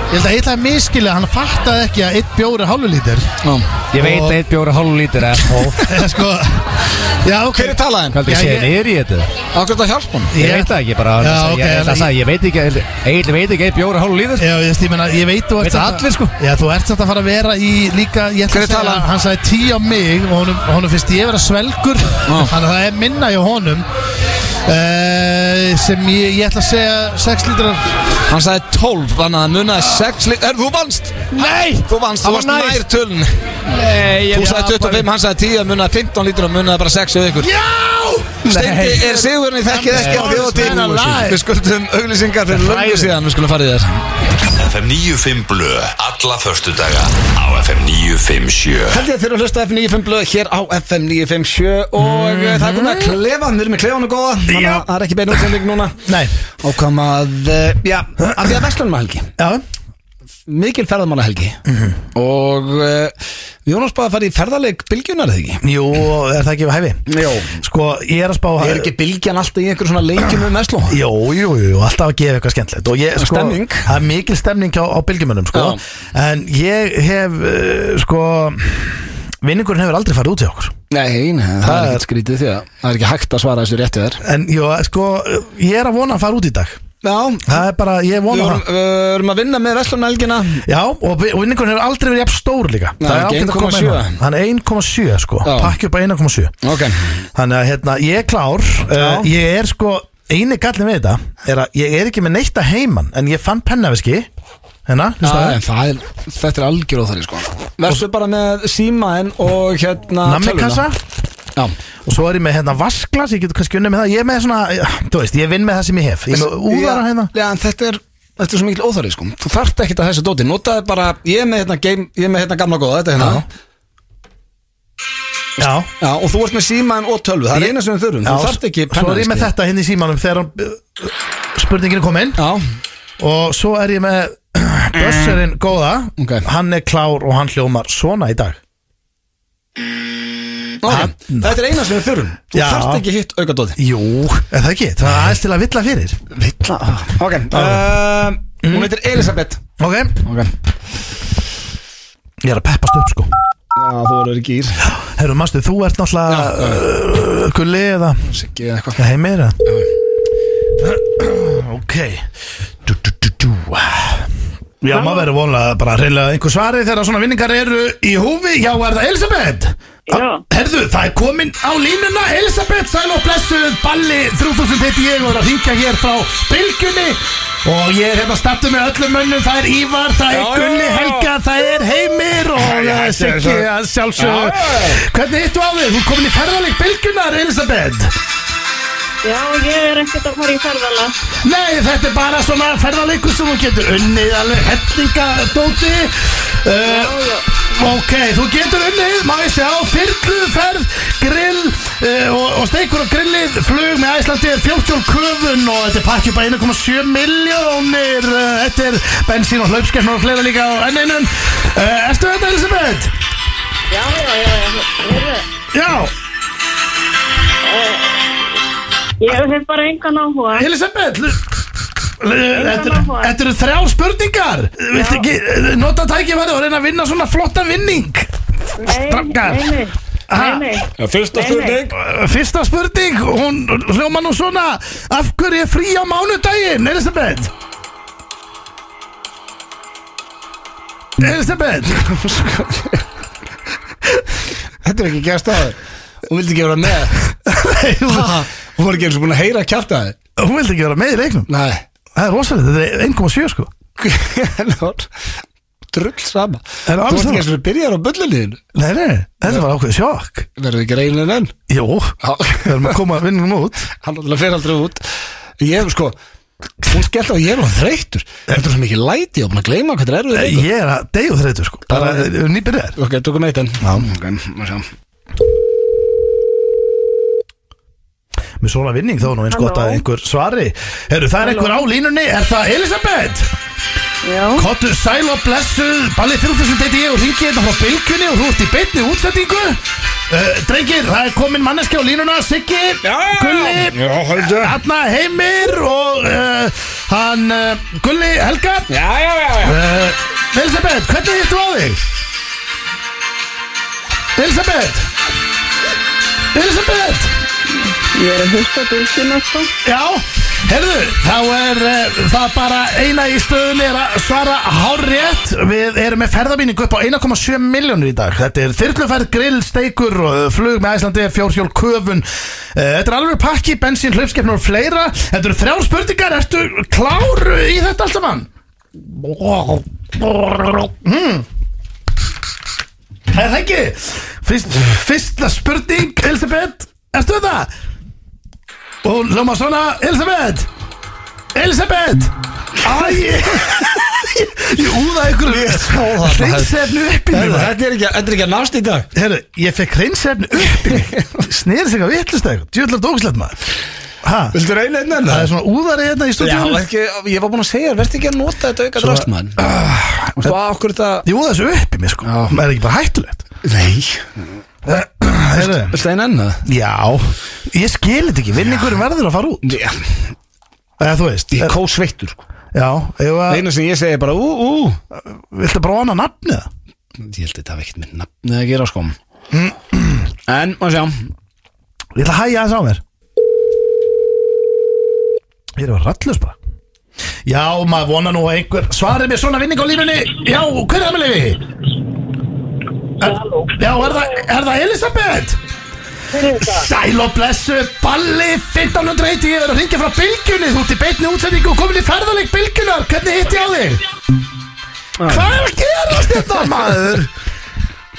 Speaker 2: ég held að eitthvað er miskilið, hann fattaði ekki að eitt bjóri hálfu lítir
Speaker 1: Nú.
Speaker 3: Ég veit að eitt bjór er hálf lítur eða hó
Speaker 2: Eða sko, já, ok
Speaker 1: Hver er talaðin?
Speaker 3: Hvað er það
Speaker 2: Já,
Speaker 3: að segja
Speaker 2: ég-
Speaker 3: þér í þetta?
Speaker 1: Akkur þetta hjálp hún?
Speaker 3: Ég veit það ekki bara
Speaker 2: Já,
Speaker 3: ég-
Speaker 2: ok,
Speaker 3: Ég ætla
Speaker 2: en
Speaker 3: að segja, ég veit ekki að- Egil veit ekki eitt bjór er hálf lítur
Speaker 2: Já, ég veist, ég meina, ég veit þú ert
Speaker 3: Veit
Speaker 2: samt að-
Speaker 3: allir, sko.
Speaker 2: Já, þú ert samt að fara að vera í líka Ég
Speaker 1: Hver
Speaker 2: ætla að
Speaker 1: er
Speaker 2: segja,
Speaker 1: talan?
Speaker 2: hann sagði tíu á mig og honum, honum finnst ég vera svelgur Þannig að það er minna hjá honum uh, Sem ég, ég ætla að segja 6 litrar
Speaker 1: Hann sagði 12, þannig að hann munaði 6 lit Er þú vannst?
Speaker 3: Nei!
Speaker 1: Þú vannst, þú
Speaker 3: Það var
Speaker 1: varst
Speaker 3: næst.
Speaker 1: nær tölun
Speaker 3: Nei, ég
Speaker 1: Þú sagði 25, hann sagði 10, munaði 15 lítur og munaði bara 6 við ykkur Steindi, er sigurinn í þekkið ekki á
Speaker 2: Man
Speaker 1: þjóðatíð
Speaker 2: alive.
Speaker 1: Við skuldum auglýsingar fyrir löngu síðan Við skulum fara í þér
Speaker 8: FM 95 Blö Alla förstudaga á FM 957
Speaker 1: Held ég að þeirra að hlusta á FM 95 blöð hér á FM 957 og mm -hmm. það er
Speaker 3: Mhm.
Speaker 1: komið að klefa, við erum í klefanu góða þannig að það er ekki bein útsending núna
Speaker 2: Nei
Speaker 1: og kom að, eh, já, að því að vestlunum að helgi
Speaker 2: Já,
Speaker 3: Mhm.
Speaker 1: mikil ferðamála helgi og uh, Við vorum spáð að fara í ferðarleik bylgjunar eða ekki
Speaker 2: Jú, er það ekki við hæfi?
Speaker 1: Jó
Speaker 2: Sko, ég er að spá
Speaker 1: Er ekki bylgjan alltaf í einhver svona leikjum um Vestló?
Speaker 2: Jú, jú, jú, alltaf að gefa eitthvað skemmtilegt Og ég,
Speaker 1: Það er
Speaker 2: sko,
Speaker 1: stemning.
Speaker 2: það er mikil stemning á, á bylgjumönnum, sko
Speaker 1: Já.
Speaker 2: En ég hef, uh, sko Vinningurinn hefur aldrei farið út í okkur
Speaker 4: Nei, nei, það,
Speaker 2: Það
Speaker 4: er
Speaker 2: er-
Speaker 4: ekkert skrítið því að það er ekki hægt að svara þessu réttu þér
Speaker 2: En, jú, sko, ég er að vona að fara út í dag
Speaker 1: Já
Speaker 2: Það er bara, ég
Speaker 1: Við
Speaker 2: vona
Speaker 1: vorum,
Speaker 2: það
Speaker 1: við vorum að vinna með Vestlóna helgina
Speaker 2: Já, og vi- og vinningurinn hefur aldrei verið jafn stór líka
Speaker 4: Nei,
Speaker 2: Það er
Speaker 4: ekki
Speaker 2: ágætt að koma
Speaker 4: 1,7.
Speaker 2: inn á. Hann er 1,7 sko,
Speaker 4: Já.
Speaker 2: pakki upp að 1,7
Speaker 4: Ok
Speaker 2: Þannig að hérna, ég er klár uh, Ég er sko, eini gallin við þetta Er að ég er ekki með neitt að heiman En ég fann pennaviski Hérna, hlustaðu.
Speaker 4: Það er, það er, þetta er algjör óþæri sko Verstu bara með símaðin og hérna
Speaker 2: nammikassa
Speaker 4: Já.
Speaker 2: Og svo er ég með hérna vasklas, ég getur kannski unnið með það Ég er með svona, ja, þú veist, ég vinn með það sem ég hef Ég er með úðara hérna
Speaker 4: Já, en þetta er Þetta er svo mikil óþæri sko Þú þarft ekkert að þessu dóti Notaði bara Ég er með hérna, game, ég er með hérna gamla góða Þetta er hérna
Speaker 2: Já,
Speaker 4: Já, og þú ert með símaðin og tölvu Það er eina sem við þurfum
Speaker 2: já
Speaker 4: Þú þarft ekki sko.
Speaker 2: Svo er ég með
Speaker 4: pennaviski.
Speaker 2: þetta hérna í símanum þegar hann, uh, spurningin er komin
Speaker 4: Já,
Speaker 2: Og svo er ég með Bösserinn góða
Speaker 4: Ok.
Speaker 2: Hann er klár og hann hljómar svona í dag
Speaker 4: okay.
Speaker 2: Hann-
Speaker 4: Þetta er eina sem við þurfum Þú
Speaker 2: Já.
Speaker 4: þarft ekki hitt aukadóti
Speaker 2: Jú, er það ekki? Það er aðeins til að villa fyrir
Speaker 4: Vittla Ok, uh, hún heitir Elisabeth
Speaker 2: Ok,
Speaker 4: Ok Já,
Speaker 2: ég er að peppast upp sko
Speaker 4: þú verður ekki ír
Speaker 2: Herru, mástu, þú ert náttúrulega uh, Gulli eða
Speaker 4: Siggi eða eitthvað
Speaker 2: heimir eða Ok du, du, du, du. Já, maður verður vonlega bara reyðlega einhver svari þegar svona vinningar eru í húfi Já, er það Elisabeth?
Speaker 7: Já.
Speaker 2: Herðu, það er komin á línuna Elisabeth, sæl og blessuð Balli 3000 heiti ég og er að ringja hér frá Bylgjunni Og ég er hérna að starta með öllum mönnum Það er Ívar, það er
Speaker 1: Já, já,
Speaker 2: Gulli
Speaker 1: já.
Speaker 2: Helga, það er Heimir Og það er Siggi að sjálfsögðu Hvernig hittu á þig? Þú er komin í ferðarleik Bylgjunnar, Elisabeth
Speaker 6: Já, ég er ekkert að fara í ferðala.
Speaker 2: Nei, þetta er bara svona ferðarleikur sem þú getur unnið alveg hellingadóti uh, Ok, þú getur unnið, má ég sjá, fyrluferð, grill uh, og, og steikur og grillið, flug með æslandir, 40 köfun og þetta er pakkið bara 1,7 miljónir uh, Þetta er bensín og hlaupskeppnur og fleira líka á enn einum uh, Ertu þetta Elisabeth?
Speaker 7: Já, já, já, já, heyrðu,
Speaker 2: Já,
Speaker 6: Eh, Ég hef bara engan áhuga.
Speaker 2: Elisabeth lu- lu- Þetta
Speaker 6: áhuga.
Speaker 2: þetta eru þrjá spurningar Viltu ekki eh, nota tækifæri og reyna að vinna svona flotta vinning
Speaker 6: Nei,
Speaker 2: Strákar.
Speaker 6: nei, nei.
Speaker 2: Ha?
Speaker 6: Nei, nei.
Speaker 1: Fyrsta
Speaker 6: Nei, nei. spurning.
Speaker 2: Eh, Fyrsta spurning, hún hljóma nú svona Af hverju er frí á mánudaginn, Elisabeth? Elisabeth
Speaker 4: Þetta er ekki gerst á þér Hún vildi ekki vera með Ha, Hún var ekki eins og búin að heyra að kjafta þér
Speaker 2: Hún vildi ekki vera með í leiknum
Speaker 4: Nei
Speaker 2: Það er rosalega, þetta er 1,7 sko
Speaker 4: Henni var Drull sama
Speaker 2: Það er
Speaker 4: Þú
Speaker 2: alveg
Speaker 4: ert
Speaker 2: sama.
Speaker 4: ekki eins og byrjar á böllunniðinu
Speaker 2: Nei, nei, þetta var ákveð sjokk
Speaker 4: Verður ekki reynir enn
Speaker 2: Jó,
Speaker 4: Já.
Speaker 2: við erum að koma vinningum út
Speaker 4: Hann náttúrulega fer aldrei út Ég hef sko Hún skellt á að ég er hún þreyttur Þetta er svo mikið læti Ég er búin að gleyma hvað þetta er
Speaker 2: Eh,
Speaker 4: erfið
Speaker 2: Ég er að deyja þreytu sko Bara, við erum nýbyrðar
Speaker 4: Ok, tökum eitt enn Já, ok, maður sjá
Speaker 2: Með svona vinning þá er nú eins gott að
Speaker 6: Halló.
Speaker 2: einhver svari Herru, það er einhver á línunni, er það Elisabeth?
Speaker 6: Já.
Speaker 2: Kottu sæl og blessuð, ballið 3000 heiti ég og ringi hérna frá bylkunni og þú ert í beinni útsendingu uh, Drengir, það er komin manneski á línuna, Siggi, Gulli,
Speaker 1: Já, höldu
Speaker 2: Anna Heimir og uh, hann uh, Gulli Helga
Speaker 1: Já, já, já, já
Speaker 2: uh, Elisabeth, hvernig hittu á þig? Elisabeth Elisabeth
Speaker 7: ég er að hlusta bylgjuna, sko.
Speaker 2: Já, herðu, þá er uh, það bara eina í stöðunni er að svara hárrétt Við erum með ferðabýningu upp á 1,7 miljónur í dag Þetta er þyrluferð, grill, steikur og eh, flug með Æslandi, fjórhjól, köfun uh, Þetta er alveg pakki, bensín, hlaupskeppnur og fleira Þetta eru þrjár spurningar, ertu klár í þetta allt saman? Mm. Er það ekki? Fyrst, fyrsta spurning, Elisabeth, ertu þetta? Og hljóma svona Elisabeth Elisabeth Æ, ég, ég úða einhverju hreinsefni upp í mig
Speaker 1: Þetta er ekki, þetta er ekki að nást í dag
Speaker 2: Herru, ég fekk hreinsefni upp í mig Snýðir sig að vitlust eitthvað Djúðlar dókslega maður ha,
Speaker 1: Viltu reyna einn enn
Speaker 2: Það er svona úðari hérna í
Speaker 1: Já,
Speaker 2: stúdíum
Speaker 1: ekki, ég var búin að segja, verður ekki að nota þetta auka Ah,
Speaker 2: Svo-
Speaker 1: drast mann Þú veist, hvað okkur þetta
Speaker 2: Ég úða þessu upp í mig sko
Speaker 1: Já.
Speaker 2: Það er ekki bara hættulegt
Speaker 4: Nei
Speaker 2: Heyrðu.
Speaker 4: Þetta er enn það
Speaker 2: Já, ég skil þetta ekki Vinningur verður að fara út
Speaker 4: Já,
Speaker 2: Eða þú veist
Speaker 4: Ég
Speaker 2: er,
Speaker 4: kó sveittur sko.
Speaker 2: Já, ef
Speaker 1: Ah.
Speaker 4: Það
Speaker 2: að
Speaker 4: eina sem ég segi er bara ú, ú
Speaker 2: Viltu að prófa hana nafnið?
Speaker 4: Ég held að þetta hafi ekkert með nafnið að gera sko En, má sjá
Speaker 2: Ég ætla að hæja aðeins á mér Ég er að vera rallus bara Já, maður vona nú að einhver Svarið mér svona vinning á lífinni Já, hver er það með lífi? Er, já, er það, er það Elisabeth? Sæl og blessu, balli 1501, ég er að ringja frá bylgjunni Þú ert í beinni útsendingu og komin í ferðarleik bylgjunar Hvernig hitt ég á þig?
Speaker 4: Ah.
Speaker 2: Hvað er að gerast þetta maður?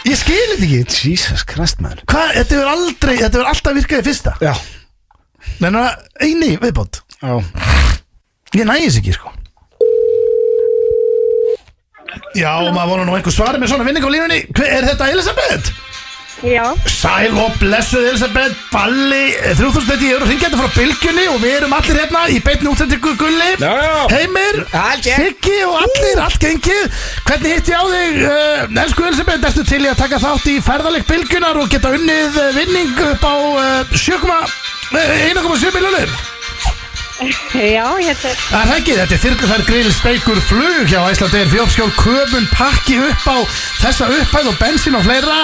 Speaker 2: Ég skil þetta ekki
Speaker 4: Jesus Christ maður
Speaker 2: Hvað, þetta hefur aldrei, þetta hefur alltaf virkað í fyrsta
Speaker 4: Já,
Speaker 2: Neina, eini viðbót
Speaker 4: já
Speaker 2: Ég næði þess ekki, sko Já, maður voru nú einhver svari með svona vinning á línunni Hver, Er þetta Elisabeth?
Speaker 6: Já,
Speaker 2: Sæl og blessuð Elisabeth Balli, eh, 3000 ég eru hringjandi frá bylgjunni og við erum allir hérna í beinni útsendingu Gulli,
Speaker 4: Já, já.
Speaker 2: Heimir, Siggi og allir, allt gengið Hvernig hitt ég á þig, uh, elsku Elisabeth, ertu til í að taka þátt í ferðaleg bylgjunar og geta unnið eh, vinning upp á uh, 1,7 miljonir?
Speaker 6: já, ég tek
Speaker 2: Það er ekki, þetta er þyrlufær, grill, steikur, flug hjá Æslandeir, fjórskjól, köpun, pakki upp á þessa upphæð og bensín og fleira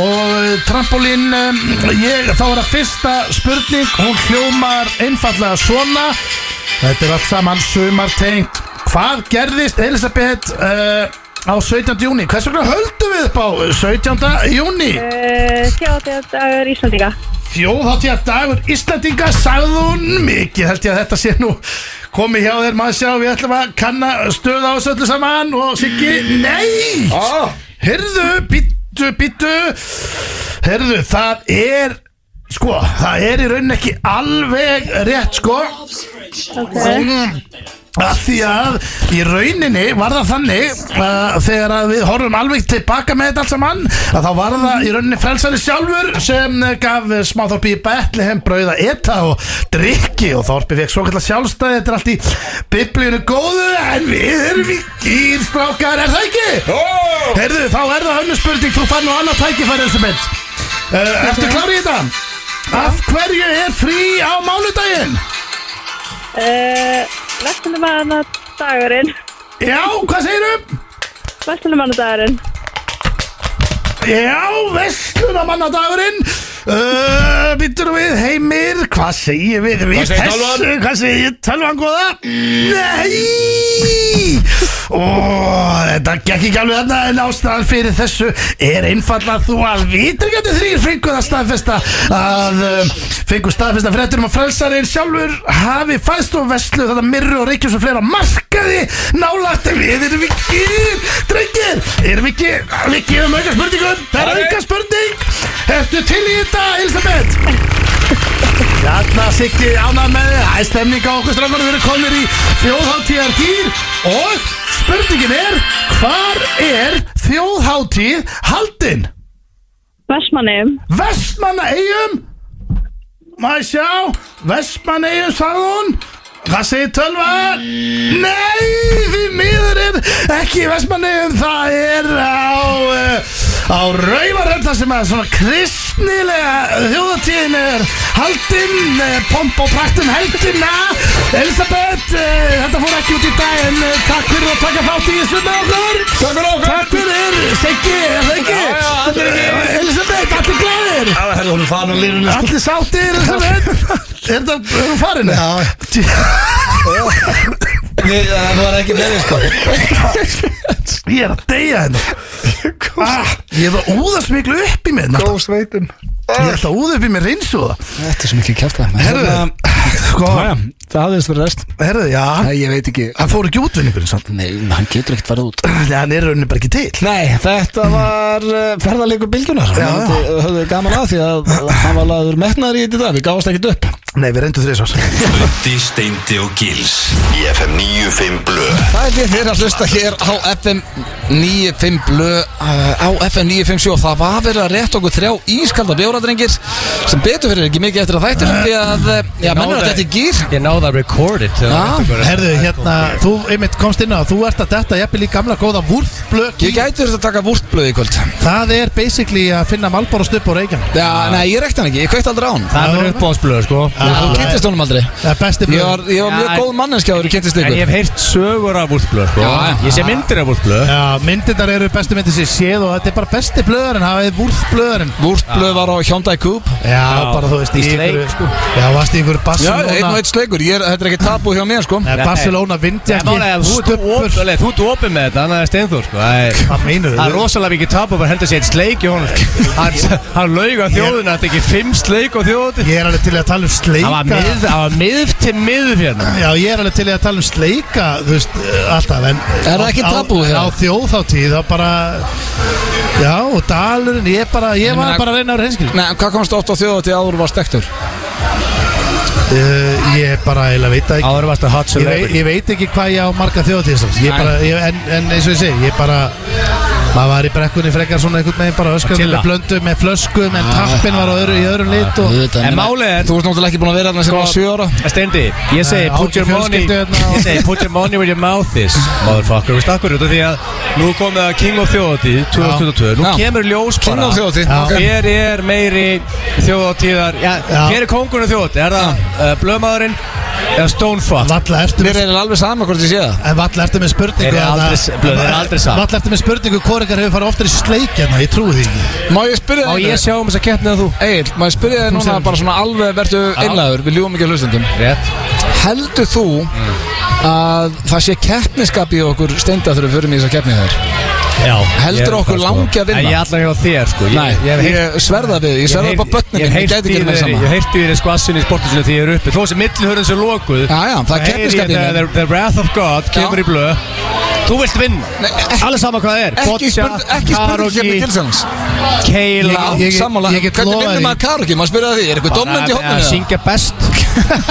Speaker 2: og eh, trampolín, um, ég, þá er það fyrsta spurning, hún hljómar einfallega svona, þetta er allt saman sumartengt, hvað gerðist Elisabeth uh, á 17. júni, hvers vegna höldum við upp á 17. júni?
Speaker 6: uh, þjóðdagur Íslandinga.
Speaker 2: Þjóðháttja dagur Íslandinga sagði hún mikið held ég að þetta sé nú komið hjá þér maður sjá við ætlum að kanna stöð á þessu öllu saman og Siggi, nei
Speaker 4: Ó.
Speaker 2: heyrðu, býttu, býttu heyrðu, það er sko, það er í raunin ekki alveg rétt sko að því að í rauninni var það þannig uh, þegar að við horfum alveg tilbaka með þetta allt saman að þá var það í rauninni frelsari sjálfur sem eh, gaf eh, smáþorpi í Betlehem brauða eta og drikki og þorpi fekk svo kallar sjálfstæði þetta er allt í biblíunu góðu en við erum í gýrstrákar er það ekki? Oh! Herðu þá er það önnur spurning þú fann nú annað tækifæri Elisabeth uh, Ertu klár í þetta? Af hverju er frí á mánudaginn?
Speaker 6: Uh, Vestlumannadagurinn,
Speaker 2: Já, hvað segirum?
Speaker 6: Vestlumannadagurinn.
Speaker 2: Já, vestlunamannadagurinn uh, Býttur við heimir Hvað segir við við þessu? Hvað segir tölvan góða? Nei Ó, Þetta gekk ekki alveg þarna En ástæðan fyrir þessu er einfalla þú að vitrigandi þrýr fengu það staðfesta að um, fengu staðfesta fréttur um að frelsarinn sjálfur hafi fæðst og veslu þetta mirru og reykjum sem fleira á markaði nálagt en við erum ekki drengir, erum ekki við gefum auka spurningum, það er auka spurning Ertu til í þetta, Elisabeth? Þarna Siggi ánað með þig, það er stemning á okkur strafnarnir, við erum komnir í þjóðháttíðar gýr og spurningin er, hvar er þjóðháttíð haldin?
Speaker 6: Vestmannum,
Speaker 2: Vestmannaeyjum, maður sjá, Vestmannaeyjum sagði hún, hvað segir tölva? Nei, því miður er ekki í Vestmannaeyjum, það er á, uh, á Rauvarhöfn, það sem að svona kristnilega þjóðatíðin er haldin, uh, pomp og prakt um helgina, Elisabeth, uh, þetta fór ekki út í dag, en uh, takk fyrir að taka þátt í þessu með okkur. Takk fyrir okkur. Takk fyrir, Siggi, er það ekki? Já, já, allir ekki. Elisabeth, allir glæðir.
Speaker 4: Það er hún farin að lýrinu
Speaker 2: Allir sáttir sem er Er það um farinu? Já
Speaker 1: Það var ekki verið sko
Speaker 2: Ég er að deyja hérna ah, Ég er að úðast miklu upp í mér Ég
Speaker 4: Góð sveitum
Speaker 2: er að úða upp í mér reynsúða
Speaker 4: Þetta er svo mikið kæft að
Speaker 2: Herðu, sko
Speaker 4: Það er svo rest
Speaker 2: Herðu, já
Speaker 4: Nei, ég veit ekki
Speaker 2: Hann fór ekki út vinningur samt
Speaker 4: Nei, hann getur ekkert farið út
Speaker 2: Þannig að hann er rauninni bara ekki til
Speaker 1: Nei, þetta var uh, ferðarleikur bylgjunar
Speaker 2: Já.
Speaker 1: Við höfðum- höfðum gaman að því að hann var laður metnaður í þetta í dag, Við gáðast ekkert upp
Speaker 2: Nei, við reyndum þrjus
Speaker 8: Röndi, Steindi og Gils Í FM 95 Blö
Speaker 1: Það er því þeir að hlusta hér á FM 95 blö uh, á FM 957 og það var verið að rétt okkur þrjá ískalda bjóradrengir sem betur fyrir ekki mikið eftir að þættir því að, uh, já, menn er bara
Speaker 3: náði-
Speaker 1: þetta í gýr
Speaker 3: Ég náði að recorded
Speaker 2: Herðu, hérna, þú einmitt komst inn á Þú ert að detta jafnvel í gamla góða vúrflöki
Speaker 1: Ég gæti þurft að taka vúrtblöð í kvöld
Speaker 2: Það er basically að finna Malboro stupp á reykjan
Speaker 1: Já, nei, ég rekti hann ekki, ég kveikt aldrei á hann
Speaker 3: Það er uppbóðsblöð, sko
Speaker 1: Já, Þú kynntist honum aldrei
Speaker 2: Það er besti
Speaker 1: Ég var, ég var mjög
Speaker 3: Já,
Speaker 1: góð manneskja þegar ég kynntist
Speaker 3: En ég
Speaker 1: ykkur
Speaker 3: hef heyrt sögur af úrblöð, sko
Speaker 1: Já, já.
Speaker 3: Ég sé myndir af úrblöð
Speaker 2: Já, myndindar eru bestu myndir sem ég séð og þetta er bara besti blöðurinn, hafið vúrfblöðurinn
Speaker 1: Vúrtblöð var á Hyundai Coupe
Speaker 2: Já, bara þú veist, í,
Speaker 3: í sleik,
Speaker 2: einhverju-
Speaker 3: sko.
Speaker 2: Já, varst í einhverju
Speaker 1: Já, einn og
Speaker 2: Barcelona
Speaker 1: einn sleikur, ég, er- þetta er ekki tabu hjá mér sko
Speaker 2: Nei, Barcelona vindjaki, stuppur
Speaker 3: Þú ert opið með þetta, annað er steinþór, sko Það er-
Speaker 2: Hvað meinur
Speaker 3: Það er
Speaker 2: þú?
Speaker 3: rosalega mikið tap að bara henda sér eitt sleik í honum sko. Hann, hann laug á þjóðuna, þetta er ekki fimm sleik á þjóðuna
Speaker 2: Ég er alveg til í að tala um
Speaker 3: Það var
Speaker 2: sleika
Speaker 3: mið, það var mið til miður hérna
Speaker 2: Já, ég er alveg til í að tala um sleika, þú veist, eh, alltaf En
Speaker 1: Er það ekki
Speaker 2: á-
Speaker 1: tabú
Speaker 2: á-
Speaker 1: hérna?
Speaker 2: Á þjóðháttíð, þá bara Já, og dalurinn, ég bara, ég
Speaker 1: Ég
Speaker 2: var
Speaker 1: meina-
Speaker 2: bara að reyna að reynskil
Speaker 1: Nei, en hvað komst oft á þjóða til áður var stektur?
Speaker 2: uh, Ég bara, ég veit það ekki
Speaker 3: Áður varst að hot
Speaker 2: Ég, vei, ég veit ekki hvað ég á marga þjóðatíðisans ég bara, ég, en, en eins og ég segi Ég bara Maður var í brekkunni frekar svona einhvern veginn bara öskum
Speaker 3: chilla.
Speaker 2: Með blöndu, með flöskum
Speaker 3: Ah.
Speaker 2: En tappin var á öðru, í öðrum lit og,
Speaker 3: En málið er-
Speaker 1: Þú ert náttúrulega ekki búin að vera hérna sem var sjö ára
Speaker 3: Stendi, ég segi
Speaker 2: Nei,
Speaker 3: put
Speaker 2: ágæti
Speaker 3: your money
Speaker 2: fjölskyldu hérna og-
Speaker 3: Ég segi put your money where your mouth is Motherfucker, veist akkur út af því að Nú komið að King of Þjóðatíð 2022 Nú
Speaker 1: Já.
Speaker 3: kemur ljós bara
Speaker 1: King of þjóða
Speaker 2: Já.
Speaker 1: til
Speaker 3: Hér er meiri þjóðatíðar Já,
Speaker 2: Já.
Speaker 3: hér er kóngurinn þjóðatíð Er það uh, blömaðurinn eða Stonefuck
Speaker 2: Valla ertu
Speaker 1: Mér
Speaker 2: með
Speaker 1: er alveg sama hvort ég sé það
Speaker 2: En valla ertu með
Speaker 3: Þeir
Speaker 2: spurningu
Speaker 3: eru
Speaker 2: að-
Speaker 3: aldrei- blöð, þeir eru aldrei saman.
Speaker 2: Valla ertu með spurningu Hvor ykkar hefur farið oftar í sleik hérna Ég trúi því ekki
Speaker 1: Má ég spyrja
Speaker 3: Má
Speaker 1: þig
Speaker 3: ég sjá um þess að keppnið að þú?
Speaker 1: Egil, má ég spyrja þig núna
Speaker 2: segir-
Speaker 1: bara svona alveg verðu einlægur Við ljúum ekki að hlustendum
Speaker 3: Rétt
Speaker 1: Heldur þú að það sé keppniskap í okkur steinda þegar við förum í þess að keppni þær?
Speaker 3: Já
Speaker 1: Heldur
Speaker 3: ég er
Speaker 1: okkur
Speaker 3: það,
Speaker 1: langi að vinna?
Speaker 3: En ég er allavega hjá þér sko
Speaker 1: Nei,
Speaker 3: ég,
Speaker 1: ég,
Speaker 3: hef heyrt-
Speaker 1: sverða við, ég sverða upp á börnum
Speaker 3: Ég
Speaker 1: mín, ég gæti
Speaker 3: heyrti
Speaker 1: ekki
Speaker 3: í
Speaker 1: með
Speaker 3: þeirri-
Speaker 1: sama
Speaker 3: ég heyrti í þeirri skvassinu í sportusinu því ég er uppi Þó sem millihörðin sem lokuð
Speaker 1: Já, já, það er
Speaker 3: heyri ég
Speaker 1: keppniskap í
Speaker 3: þegar
Speaker 1: mér
Speaker 3: The, the Wrath of God kemur í blöð Þú vilt vinna
Speaker 1: Nei, ekki-
Speaker 3: Allir sama hvað það er
Speaker 1: Ekki
Speaker 3: Boccia,
Speaker 1: spurning, ekki spurning
Speaker 3: karaoke,
Speaker 1: keppni Gilsons
Speaker 3: Keila
Speaker 2: Ég- ég-
Speaker 1: Sammála,
Speaker 2: get
Speaker 1: hvernig
Speaker 2: lofað
Speaker 1: vinnum
Speaker 2: því.
Speaker 1: maður karaoke? Má spyrja því, er eitthvað domnend í
Speaker 3: Bara að
Speaker 1: hóknum?
Speaker 3: syngja best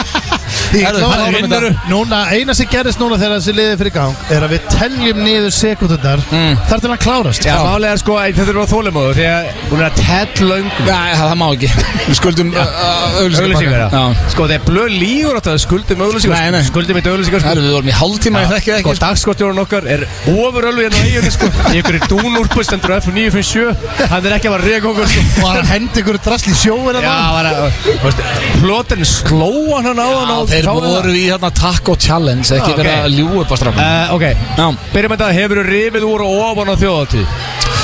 Speaker 2: Ég
Speaker 1: Herðu,
Speaker 2: lofa
Speaker 1: hvað
Speaker 2: þér.
Speaker 1: vinnaru?
Speaker 2: Núna, eina sem gerist núna þegar þessi liði fyrir gang Er að við teljum niður sekundurnar Þar til hann klárast
Speaker 3: Mm. Já, málega sko, ei, þetta er bara þólimóðu Því að hún er að tett löngum
Speaker 1: Nei, það það má ekki Við uh, skuldum
Speaker 3: Auglýsingar,
Speaker 1: auðlýsingar
Speaker 3: já Sko, það er blöð lígur á það Skuldum auglýsingar
Speaker 1: Nei, nei.
Speaker 3: Skuldum eitt auglýsingar sko.
Speaker 1: Herru, við vorum í hálftíma, ég þekki það
Speaker 3: Sko,
Speaker 1: ekki
Speaker 3: dagskortjórun okkar er ofurölvi hérna á eiginni, sko Í einhverju dúnúrpu stendur F957 Hann er ekki að vera reyka okkur, sko
Speaker 2: Og hann hendi ykkur drasli sjóin
Speaker 3: Já,
Speaker 2: Já,
Speaker 3: var að, þú veist, plotin sló hann hérna hann á hann á
Speaker 1: Þeir
Speaker 3: þá er það.
Speaker 1: voru í hérna Taco Challenge, ekki
Speaker 3: Já,
Speaker 1: verið
Speaker 3: ok.
Speaker 1: að ljúa upp á strafnum
Speaker 3: Eh, Ok,
Speaker 1: Já.
Speaker 3: byrjum þetta, hefur þú rifið úr og ofan á þjóðatíð?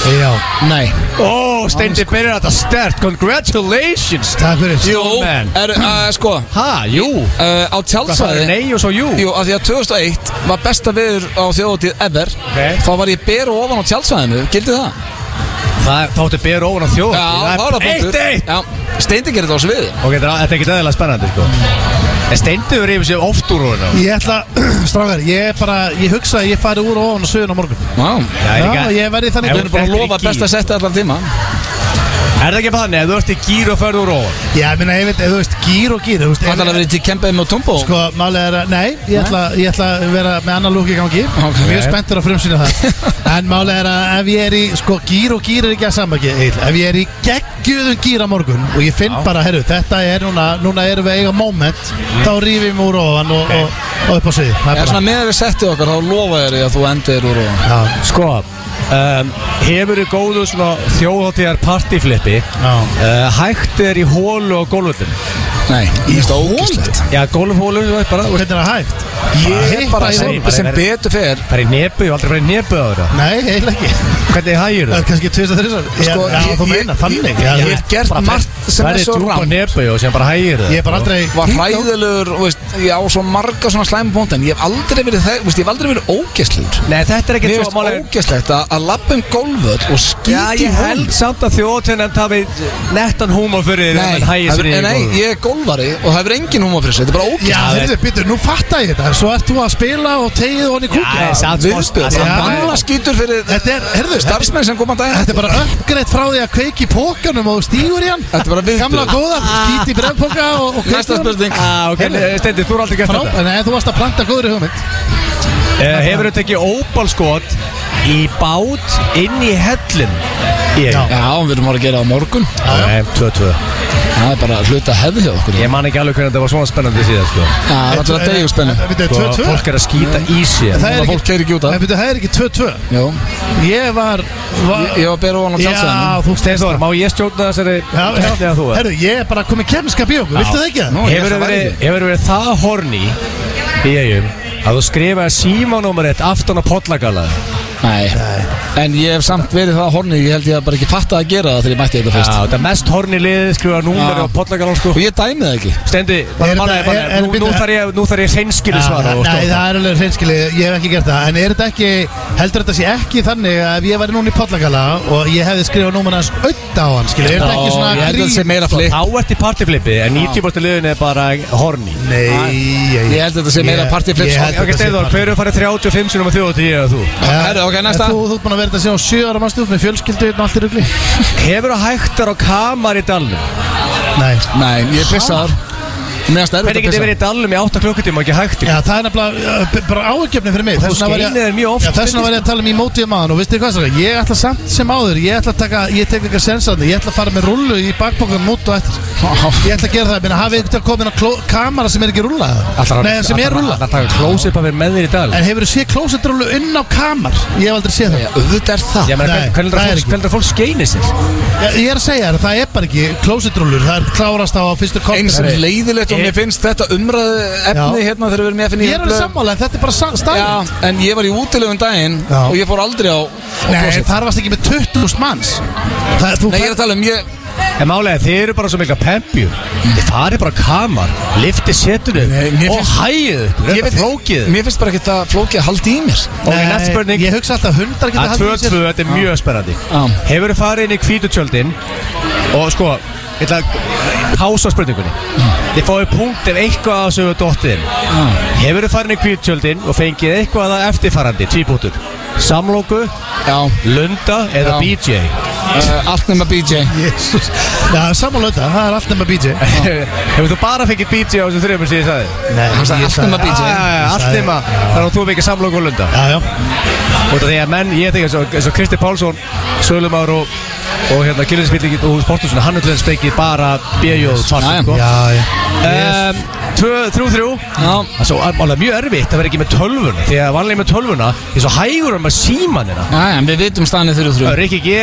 Speaker 2: já
Speaker 1: Nei
Speaker 3: Ó, Steindi byrjar þetta stert, congratulations
Speaker 2: Takk fyrir
Speaker 1: Jú,
Speaker 3: man.
Speaker 1: er, uh, sko,
Speaker 3: Ha, jú,
Speaker 1: uh, á
Speaker 3: hvað það er
Speaker 1: tjálsvæði
Speaker 3: nei og svo jú
Speaker 1: Jú, af því að 2001 var besta viður á þjóðutíð ever
Speaker 3: Ok.
Speaker 1: Þá var ég beru ofan á tjálsvæðinu, gildi það?
Speaker 3: Það þáttu byrja ofan á þjóðatíð
Speaker 1: þá
Speaker 3: það
Speaker 1: var
Speaker 3: er eitt eitt
Speaker 1: Já, Steindi gerir þetta á sviði
Speaker 3: Ok, þetta er- þetta er ekki aðeinslega spennandi, sko En Steindi hefur rifið sér oft úr hún á
Speaker 2: Ég ætla, strákar, ég bara, ég hugsa að ég fari úr og ofan og söguna morgun
Speaker 1: Já,
Speaker 3: Það er ekki
Speaker 2: Já,
Speaker 3: að-
Speaker 2: ég verði þannig
Speaker 3: Ef
Speaker 1: við erum búin að
Speaker 3: Þetta er
Speaker 1: lofa
Speaker 3: ekki-
Speaker 1: besta setti allan tíma
Speaker 3: Er það ekki bara þannig að þú ert í gýr og ferður ofan?
Speaker 2: Já, ég meina, ég veit, ef þú veist, gýr og gýr þú veist,
Speaker 1: Það ætlaði að vera í til kempið með Tumbo
Speaker 2: Sko, málið er að, nei, ég ætla, ég ætla að vera með annar lúk í gangi
Speaker 1: Ok.
Speaker 2: Mjög spenntur að frumsýna það En málið er að ef ég er í, sko, gýr og gýr er ekki að samaki Eil, ef ég er í geggjöðum gýr á morgun Og ég finn bara, herru, þetta er núna, núna erum við að eiga moment Þá rýfum við úr ofan og, og, og upp á svið Það
Speaker 1: Ég er
Speaker 2: er
Speaker 1: Mhm. svona
Speaker 2: bara,
Speaker 1: með að við settið okkar, þá lofa ég þér að þú endir úr og
Speaker 2: já,
Speaker 3: Sko, um, hefur þið góðu svona þjóðháttíðar partíflippi
Speaker 2: já
Speaker 3: uh, Hægt er í hólu og gólfutin
Speaker 1: Nei, ég finnst það ógæslegt
Speaker 3: Já, gólfhólu, þú veist bara
Speaker 2: Og hvernig er það hægt?
Speaker 1: Ég er bara
Speaker 2: Bara
Speaker 1: sem,
Speaker 3: í hólu.
Speaker 1: sem betur fer
Speaker 3: Það er í nebu, ég hef aldrei farið í nebu á þeirra
Speaker 2: Nei, heil ekki
Speaker 3: Hvernig hægir
Speaker 2: Það er
Speaker 3: það?
Speaker 2: kannski tvist að þrjusar
Speaker 1: Sko,
Speaker 2: Já,
Speaker 1: ég-
Speaker 2: þú
Speaker 1: ég-
Speaker 2: meina, þannig já,
Speaker 1: Ég
Speaker 2: þú
Speaker 1: hef
Speaker 2: veist,
Speaker 1: gert
Speaker 2: bara
Speaker 1: margt sem er
Speaker 3: Verðið
Speaker 1: svo
Speaker 3: djúpa
Speaker 1: rann
Speaker 3: nebu og sem bara hægir það
Speaker 2: Ég er bara aldrei
Speaker 1: var hræðilegur, og veist, ég á svo marga svona slæmi bónd en ég hef aldrei verið, þe- veist, ég hef aldrei verið ógæslegur
Speaker 3: Nei, þetta er
Speaker 1: Mér
Speaker 3: ekkert
Speaker 1: finnst
Speaker 3: svo málega
Speaker 1: ógæslegt að, að lappa um gólföll og skýti
Speaker 3: Já, ég held samt að þjóðháttíðan en það við nettan húma fyrir
Speaker 1: Nei,
Speaker 3: en hægir
Speaker 1: það
Speaker 3: sér
Speaker 1: hefur-
Speaker 3: í
Speaker 1: nei,
Speaker 3: gólfinu
Speaker 1: ég er gólvari og það hefur engin húma fyrir þessu, þetta er bara
Speaker 2: Já,
Speaker 1: ógæslegt
Speaker 2: þetta er byttur, nú fattar ég þetta Svo ert þú að spila og tegið honni
Speaker 3: Já,
Speaker 2: kúkina
Speaker 3: samt sko-
Speaker 1: Viðbjörn,
Speaker 3: samt-
Speaker 1: það
Speaker 2: Já.
Speaker 1: manna skýtur fyrir
Speaker 2: Þetta er, herðu, þetta er-
Speaker 1: starfsmenn sem koma að
Speaker 2: þetta
Speaker 1: daginn
Speaker 2: er bara uppgreitt frá því að kveiki í pókanum og þú stígur í hann
Speaker 1: Þetta er bara viðbjöð.
Speaker 2: Gamla góða, skýt í brefpóka og, og
Speaker 1: Ah. Næsta spurning
Speaker 3: Ah, ok,
Speaker 2: Heyrðu.
Speaker 3: Steindi, þú er aldrei gert
Speaker 2: Frá,
Speaker 3: þetta
Speaker 2: nei, þú varst að planta góður í hugmynd
Speaker 3: Eh, Hefur þau tekið óbalskot í bát inn í hellin Ég,
Speaker 2: Já.
Speaker 1: Já, við erum að gera það á morgun
Speaker 3: Nei, 2-2
Speaker 1: Það er bara hluta hefði hjá okkur
Speaker 3: Ég man ekki alveg hvernig þetta var svona spennandi síðan sko.
Speaker 1: Það er alltaf að degja spennu
Speaker 2: Við
Speaker 3: Sko,
Speaker 2: þetta er 2-2
Speaker 3: Fólk er að skýta í sér
Speaker 2: Það er
Speaker 1: Núna
Speaker 2: ekki-
Speaker 1: fólk keyrir ekki út af.
Speaker 2: Nei, byrju, Það er ekki 2-2
Speaker 1: Jó,
Speaker 2: Ég var, var
Speaker 1: ég var að bera ofan á
Speaker 2: Já,
Speaker 1: tjálsæðan
Speaker 2: þú
Speaker 3: Steinþór, má ég stjórna þessari
Speaker 2: Já, já.
Speaker 3: keppni að þú er?
Speaker 2: Herru, ég er bara komið kemskap í okkur, viltu það ekki?
Speaker 1: Nú, ég ætla
Speaker 3: Hefur
Speaker 1: að
Speaker 3: verið,
Speaker 1: væri.
Speaker 3: hefur verið það horni í eigum að þú skrifaði símanúmer eitt aftan á podlagala
Speaker 1: Nei En ég hef samt verið það horni Ég held ég að bara ekki fatta að gera það þegar ég mætti þetta fyrst
Speaker 3: Það er mest horni liðið skrifaði númer
Speaker 1: Já.
Speaker 3: á podlagala sko.
Speaker 1: Og ég dæmi það ekki
Speaker 3: Stendi, bara
Speaker 2: Er
Speaker 3: manna
Speaker 2: þetta-
Speaker 3: ég bara
Speaker 2: er- er-
Speaker 3: nú- Nú
Speaker 2: bíddu,
Speaker 3: þarf ég, nú þarf ég hreinskilu
Speaker 2: Já,
Speaker 3: svara og
Speaker 2: Nei,
Speaker 3: stóta
Speaker 2: það er alveg hreinskili, ég hef ekki gert það En er þetta ekki, heldur þetta sé ekki þannig að ef ég væri núna í Pollakala og ég hefði skrifað núman hans auð á hann, skilur, er þetta ekki
Speaker 1: Ó, Ég
Speaker 2: svona
Speaker 1: held að það sé meira flipp
Speaker 3: Sko, Þá ert í partyflipi en 90% liðin er bara horni
Speaker 2: Nei,
Speaker 1: Ég held að þetta sé meira
Speaker 2: ég-
Speaker 1: partyflips.
Speaker 2: ég held
Speaker 3: Ok,
Speaker 2: þetta sé
Speaker 3: Steindor,
Speaker 2: partyflips.
Speaker 3: hver er farið 35 sinum að þjóða til ég að þú?
Speaker 2: Já.
Speaker 1: Herru, ok, næsta.
Speaker 2: En Þú, þú ert búin að vera þetta síðan á sjö ára mannstu með fjölskyldu hérna og allt í rugli
Speaker 3: Hefur það hægtar á kamar í dalnum?
Speaker 2: Nei
Speaker 1: Nei, ég pissaður Mér finnst erfitt
Speaker 3: Hvernig
Speaker 1: að
Speaker 3: getur
Speaker 1: pissa
Speaker 3: verið í dalnum í 8 klukkutíma og ekki hægt?
Speaker 2: Já, það er nefnilega uh, b- bara áhugjefni fyrir mig Þess vegna var
Speaker 3: skeinir þér mjög
Speaker 2: ég-
Speaker 3: oft.
Speaker 2: Já, þess vegna var ég að tala um í mótið um aðan og veistu hvað það Ég ætla samt sem áður, ég ætla að taka, ég tek eitthvað sensandi Ég ætla að fara með rullu í bakbókan út og eftir Ég ætla að gera það, minna hafið eitthvað komin á kló- kamera sem er ekki rullað Nei, sem er rullað
Speaker 3: Það taka close-up að vera með þér í dag
Speaker 2: En hefur þú séð klósetrullu inn á kamar? Ég hef aldrei séð það
Speaker 1: Auðvitað er það
Speaker 3: Ég meina,
Speaker 2: Nei,
Speaker 3: hvern- hvernig
Speaker 2: það er
Speaker 3: heldur að
Speaker 2: ekki.
Speaker 3: fólk- hvernig heldur að fólk skeini sér?
Speaker 2: Ég, ég er að segja þér, það er bara ekki klósetrullur Það er klárast á fyrstu
Speaker 1: Eins
Speaker 2: kokteil.
Speaker 1: leiðilegt og mér finnst þetta umræðu efni
Speaker 2: Já.
Speaker 1: hérna þegar við erum í FNI
Speaker 2: Ég er alveg sammála, en þetta er bara sa-
Speaker 1: Já,
Speaker 2: staðan
Speaker 1: en ég var í útilegum daginn
Speaker 2: Já.
Speaker 1: og ég fór aldrei á, á
Speaker 2: Nei,
Speaker 1: klósett.
Speaker 2: þar varst ekki með 20.000 manns Það, þú
Speaker 1: Nei, ég
Speaker 2: fær-
Speaker 1: er að tala um ég,
Speaker 3: En málega, þið eru bara svo mikla pempjur Þið farið bara á kamar, lifti setur
Speaker 1: Nei, mér
Speaker 3: upp og
Speaker 1: finnst-
Speaker 3: hægið ykkur,
Speaker 1: ég
Speaker 3: þetta er flókið
Speaker 1: Mér finnst bara ekki það flókið að halda í mér
Speaker 3: Ok, næsta spurning
Speaker 2: Ég hugsa alltaf að hundar geta
Speaker 3: Að
Speaker 2: haldið í
Speaker 3: 2-2,
Speaker 2: sér
Speaker 3: þetta er mjög spennandi
Speaker 1: Já.
Speaker 3: Hefur þið farið inn í kvítutjöldin og sko, ég ætla að pása á spurningunni Þið fáið punkt ef eitthvað að sögu dóttiðin Hefur þið farið inn í kvítutjöldin og fengið eitthvað að eftirfarandi, tvíbútur Samlóku,
Speaker 1: Já,
Speaker 3: lunda eða
Speaker 1: Já.
Speaker 3: BJ
Speaker 1: uh, allt nema BJ
Speaker 2: Jésús Já, sammála þetta, það er allt nema BJ
Speaker 3: Hefur þú bara fengið BJ á þessum þrejum sem ég sagði?
Speaker 2: Nei,
Speaker 1: Hann sagði allt nema BJ
Speaker 3: Já, já, já, allt nema Þannig að þú veikir samlokk og lunda
Speaker 2: Já, já
Speaker 3: Og það er menn, ég þekki eins og- eins og Kristi Pálsson Sölumár og, og hérna Gillinsbyllingin og Sportursson Hann er til þess fengið bara B.J.
Speaker 1: Já, já.
Speaker 2: Já, já
Speaker 3: Um, sko. tvö, þrjú, þrjú
Speaker 1: Já.
Speaker 3: Það er svo alveg mjög erfitt að vera ekki með tölvuna Því að vanlega með tölvuna Því svo hægur um að síman hérna
Speaker 1: Já, já, en við vitum staðinni þurru þrjú
Speaker 3: Rikki G,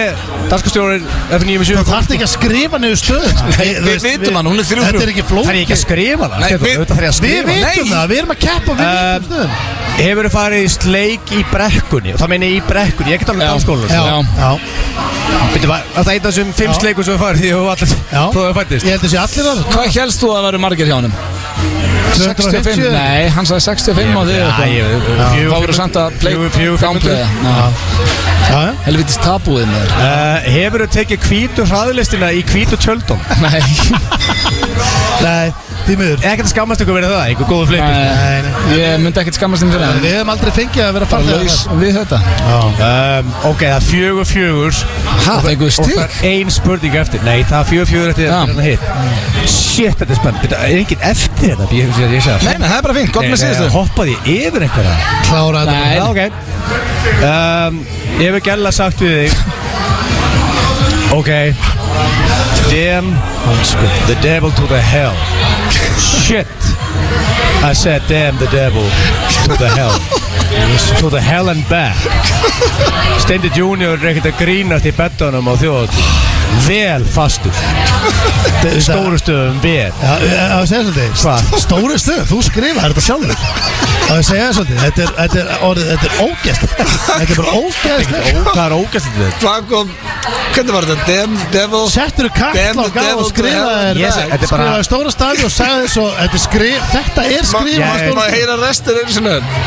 Speaker 3: danskastjórin
Speaker 2: Þú
Speaker 3: F9.7
Speaker 2: þarft ekki að skrifa niður stöðuna Nei, þú
Speaker 1: Við
Speaker 2: veist,
Speaker 1: vitum hann, hún er þrjú
Speaker 2: Þetta er
Speaker 1: þrjú
Speaker 2: ekki flókið
Speaker 3: Það er ekki að skrifa það
Speaker 1: Nei,
Speaker 3: Stefán,
Speaker 1: við-
Speaker 3: auðvitað þarf ég að
Speaker 2: Við
Speaker 3: skrifa það.
Speaker 2: vitum
Speaker 1: Nei.
Speaker 2: það, við erum að keppa Við vitum
Speaker 3: Um,
Speaker 2: stöðuna
Speaker 3: Hefur þið farið í sleik í brekkunni Og það meina í brekkunni, ég get alveg
Speaker 1: Já.
Speaker 3: danskólan
Speaker 1: Já.
Speaker 2: já,
Speaker 3: Býttu, var var það einn af þessum fimm
Speaker 2: Já.
Speaker 3: sleikum sem við farið því að þú allir
Speaker 2: já
Speaker 3: þú hefur fættist?
Speaker 2: Ég held þessi allir að
Speaker 1: Hvað helst þú að vera margir hjá honum? 65? Nei, hann sagði 65 á þig eitthvað.
Speaker 3: Þá
Speaker 1: Þá voru samt að play- downplaya Já.
Speaker 2: Já, já
Speaker 1: Helvitis tabúið með þér
Speaker 3: Hefur þið Eh, tekið hvítu hraðlistina í hvítu tjöldum?
Speaker 1: Nei,
Speaker 2: Nei, því miður
Speaker 3: Ekkert að skammast ykkur verið það, einhver góðu flipi
Speaker 1: Nei,
Speaker 2: Nei, nei
Speaker 1: ég myndi ekkert skammast þeim fyrir það
Speaker 2: Við hefum aldrei fengið að vera
Speaker 1: Bara
Speaker 2: farlega
Speaker 1: laus við þetta
Speaker 2: Já
Speaker 3: um, Ok, það er fjögur fjögur
Speaker 1: Ha, fengum við
Speaker 3: Og
Speaker 1: stig?
Speaker 3: það er ein spurning eftir Nei, það er fjögur fjögur eftir
Speaker 1: Já.
Speaker 3: þetta hitt Shit, þetta er spennt Þetta er enginn eftir þetta Ég ég- ég sé það
Speaker 1: Nei, nei, það er bara fínt, gott
Speaker 3: Nei,
Speaker 1: með
Speaker 3: nei,
Speaker 1: síðustu
Speaker 3: Hoppaði ég yfir einhverja
Speaker 2: Klára þetta
Speaker 1: Nei,
Speaker 3: Já, ok um, Ég hef ekki alveg sagt við þig Ok Damn Sko, The devil to the hell Shit I said damn the devil To the hell To the hell and back Steindi Junior er ekkert að grínast í bettunum á þjóð Vel fastur Í Stóru stöðum vel
Speaker 2: Já, það að segja svolítið
Speaker 3: Hvað?
Speaker 2: Stóri stuð, þú skrifaði þetta sjálfur Það að segja svolítið Þetta er, þetta er, orðið, þetta er ógæst Þetta er bara ógæst
Speaker 3: Hvað er ógæstlið þetta?
Speaker 1: Hvað kom, hvernig var þetta? Damn Devil
Speaker 2: Settur þú
Speaker 1: Damn
Speaker 2: kall
Speaker 1: the
Speaker 2: og gaf
Speaker 1: devil
Speaker 2: og
Speaker 1: to
Speaker 2: skrifaði
Speaker 1: hell.
Speaker 3: Yes,
Speaker 2: þér
Speaker 3: þetta er bara-
Speaker 2: Skrifaði stóra stafi og sagði svo Þetta er skrif, þetta er skrif
Speaker 3: Má-
Speaker 2: stóra
Speaker 3: má-
Speaker 1: heyra restur eins og nöfn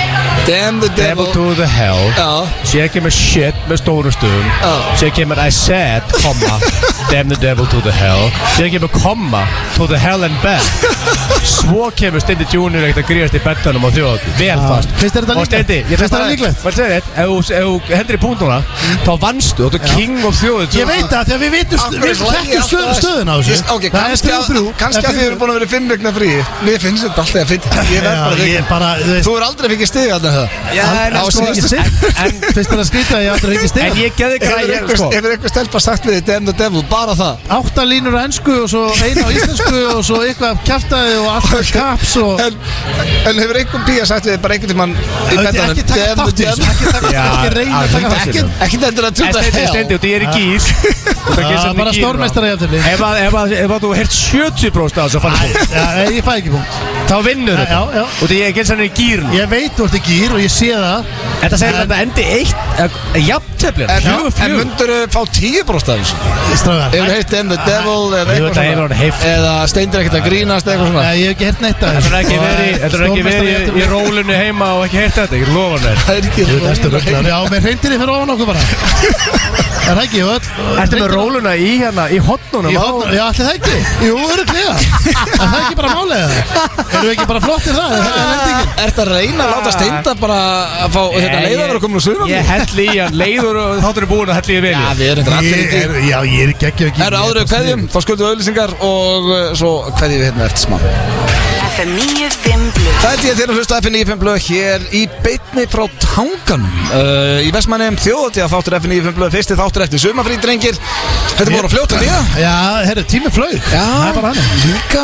Speaker 1: Damn the
Speaker 3: Devil to the hell
Speaker 1: Já,
Speaker 3: Sér kemur shit með stórum stöðum
Speaker 1: Já.
Speaker 3: Sér kemur I said, komma Damn the devil to the hell Sér kemur komma to the hell and back Svo kemur Steindi Junior ekkert að gríðast í bettanum á þjóð Vel fast
Speaker 2: Finnst þér þetta
Speaker 3: Og Steindi,
Speaker 2: líklegt?
Speaker 3: ég
Speaker 2: Finnst þér þetta líklegt?
Speaker 3: Maður segir þetta, ef þú- ef þú hendur í punktuna Þá vannstu, þú ert king of þjóð
Speaker 2: Ég veit það, því að við vitum Við þekkjum stöð, stöðuna á þessu
Speaker 1: Ok,
Speaker 2: Það er
Speaker 1: kannski
Speaker 2: þrjú,
Speaker 1: að
Speaker 2: þrjú
Speaker 1: kannski að þið eru búin að vera í fimm vegna frí Mér finnst þetta alltaf að finn Ég verð bara
Speaker 2: Já,
Speaker 1: að
Speaker 2: ég
Speaker 1: viðurkenna.
Speaker 2: bara, þú veist
Speaker 1: Þú er aldrei að fikið stiga þarna
Speaker 2: með það
Speaker 3: Já,
Speaker 2: Hann-
Speaker 3: en
Speaker 2: á
Speaker 3: sko-
Speaker 2: sér ekki sig
Speaker 3: en-
Speaker 2: Fyrst er að skrýta að ég aldrei ekki
Speaker 3: En
Speaker 2: stig
Speaker 3: ég sko. geði
Speaker 1: Hefur
Speaker 3: græði
Speaker 1: einhver- hefur einhver stelpa sagt við þig Damn the devil, bara það
Speaker 2: Átta línur á ennsku og svo eina á íslensku og svo eitthvað kjartaði og alltaf kaps og
Speaker 1: En, en hefur einhver bíja sagt við þig bara einhvern tímann í
Speaker 2: Þetta er
Speaker 1: beddanum
Speaker 2: Ekki taka
Speaker 1: Damn
Speaker 2: þátt
Speaker 1: the
Speaker 2: í
Speaker 1: devil
Speaker 2: þessu Ekki taka
Speaker 3: Já,
Speaker 2: þátt Ekki reyna að taka þátt í
Speaker 3: alveg ekki.
Speaker 1: Ekkert-
Speaker 2: þessu
Speaker 1: Ekkert endur að
Speaker 3: En
Speaker 1: tjóta
Speaker 3: stendi,
Speaker 1: hell
Speaker 3: stendi, út, ég er í gýr Þú þarf að
Speaker 2: Já,
Speaker 3: gera svolítið
Speaker 2: bara
Speaker 3: í gír,
Speaker 2: stórmeistari
Speaker 3: bro.
Speaker 2: jafntefli.
Speaker 3: Ef að- ef að ef að þú heirt 70% af þessu að fara
Speaker 2: Já, nei, ég fæ ekki punkt
Speaker 3: Þá vinnur
Speaker 2: Já,
Speaker 3: þetta
Speaker 2: já
Speaker 3: Þú veit, ég er gilsanir í gýr
Speaker 2: Ég veit þú ert í gýr og ég sé það
Speaker 3: Þetta segir
Speaker 2: En-
Speaker 3: þetta endi eitt Jafnteflin
Speaker 1: En,
Speaker 3: Fjögur,
Speaker 1: en
Speaker 3: fjögur.
Speaker 1: myndur fá tíu bróst af þessu?
Speaker 2: Strágar
Speaker 1: Hefur heitt Damn the devil eða
Speaker 3: Jú, þetta hefur
Speaker 1: eitthvað
Speaker 3: orðið heift.
Speaker 1: svona Eða steindir ekkert að grínast eða eitthvað svona
Speaker 2: Nei, ég hef ekki hert neitt að
Speaker 3: Þetta er ekki verið Þetta er ekki verið í- í
Speaker 2: Stórmeistari-
Speaker 3: rólunni heima og ekki heyrt þetta Ég lofa hann
Speaker 1: Það er ekki
Speaker 2: Ég veit eftir röglar
Speaker 3: eh?
Speaker 2: Já, með reyndir ég fyrir ofan okkur bara Það er ekki, jú öll
Speaker 3: Ertu með róluna í hérna, í hotnunum
Speaker 2: Í horn- Já, allir það ekki Jú, öruglega Er það ekki bara málið það? Erum við ekki bara flottir það? Er það er lendingin
Speaker 1: Er þetta að reyna að láta steinda bara að fá þetta leiða hérna að vera komin úr suðan?
Speaker 3: Ég hell í hann, leiður og þáttur er búin að hell í
Speaker 1: Já,
Speaker 3: vilja
Speaker 1: við erum þetta allir
Speaker 2: Ég
Speaker 1: ekki
Speaker 2: er- Já, ég er ekki ekki ekki
Speaker 1: Það eru áður við kveðjum, þá skuldum við auðlýsingar og uh, svo kveðjum við hérna eftir smá
Speaker 9: FM 95 Blu
Speaker 1: Það er því að þér að hlusta FN95 blöð hér í beitni frá tanganum uh, Í Vestmannum þjóðatíða þáttur FN95 blöð, fyrsti þáttur eftir sumafrí drengir Þetta voru að fljóta nýja
Speaker 2: Já, herru, tími flög Það er bara hann
Speaker 1: líka,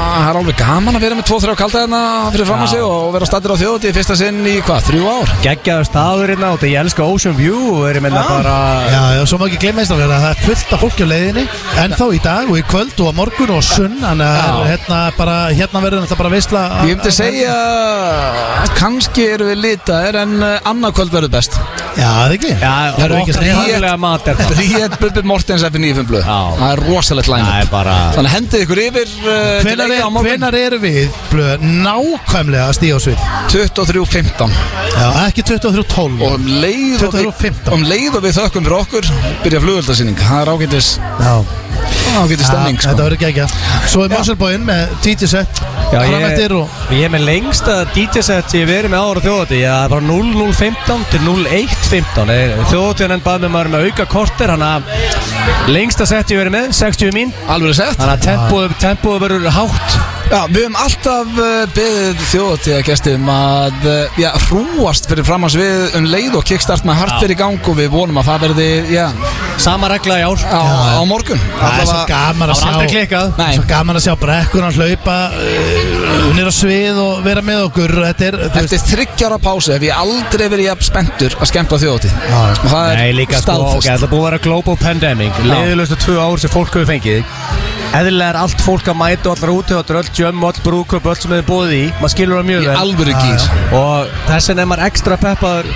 Speaker 1: það er alveg gaman að vera með 2-3 kaldaðina hérna fyrir fram að sig og vera stættir á þjóðatíð fyrsta sinn í hvað, þrjú ár?
Speaker 3: Geggjaður staður hérna og þetta ég elska Ocean View og erum hérna bara
Speaker 2: Já, já, svo má ekki gleyma eins og það er fullt af fólki á leiðinni En þá í dag og í kvöld og á morgun og á sunn Þannig að það er hérna bara, hérna verður þetta bara veistla
Speaker 1: Ég myndi segja að kannski eru við litaðir en annarkvöld verður best
Speaker 2: Já, það er ekki
Speaker 3: Já,
Speaker 2: það er ekki að segja
Speaker 1: Ég-
Speaker 3: Haglega mat er það
Speaker 1: Bríett Bubbi Mortens FN95 blöð
Speaker 3: Já.
Speaker 1: Það er rosalegt line
Speaker 3: Það er bara
Speaker 1: Þannig hendið ykkur yfir uh, til
Speaker 2: Hvenar,
Speaker 1: eiga
Speaker 2: er,
Speaker 1: á morgun
Speaker 2: hvenar eru við blöð, nákvæmlega að stíða á svið
Speaker 1: 23.15
Speaker 2: Já, ekki 23.12
Speaker 1: Og um leið og, við,
Speaker 2: 23.15.
Speaker 1: um leið og við þökkum fyrir okkur Byrja flugöldasýning Það er ágætis,
Speaker 2: Já
Speaker 1: ágætis stemning
Speaker 2: Já, Þetta
Speaker 1: sko.
Speaker 2: verður ekki ekki Svo er Mosselbóinn með DJ set
Speaker 3: Já,
Speaker 2: Fram
Speaker 3: ég,
Speaker 2: eftir og
Speaker 3: ég er með lengsta DJ-set ég hef verið með ára þjóðati Ég er bara 0015 til 0115 Þjóðatíðan Eh, enn bað með maður með auka korter Þannig að lengsta set ég hef verið með 60 mín
Speaker 1: Alveg sett
Speaker 3: Þannig að tempóið tempóið verður hátt
Speaker 1: Já, við höfum alltaf uh, beðið þjóðatíðagestum að uh, já, hrúast fyrir framans við um leið og kickstart með hart fyrir gang og við vonum að það verði já,
Speaker 3: Sama regla í ár
Speaker 1: á, á morgun
Speaker 2: Það er svo gaman
Speaker 3: Það
Speaker 2: að
Speaker 3: var aldrei
Speaker 2: sjá
Speaker 3: klikkað
Speaker 1: Nei.
Speaker 2: Svo gaman að sjá brekkunan hlaupa uh, Hún er á svið og vera með okkur Þetta er, þú veist
Speaker 1: Eftir þryggjára pásu hef ég aldrei verið jafn spenntur að skemmta þjóðatíð og það
Speaker 3: Nei,
Speaker 1: er
Speaker 3: líka sko, ok,
Speaker 1: staðfest
Speaker 3: þetta er búið að vera global pandemic Leðilegustu tvö ár sem fólk hefur fengið Eðlilega er allt fólk að mæta og allar útöðatur, öll jömm, öll brúköp, öll sem þið búið í Maður skilur það mjög
Speaker 1: í
Speaker 3: vel
Speaker 1: alvöru gýr
Speaker 3: Og þess vegna er maður ekstra peppaður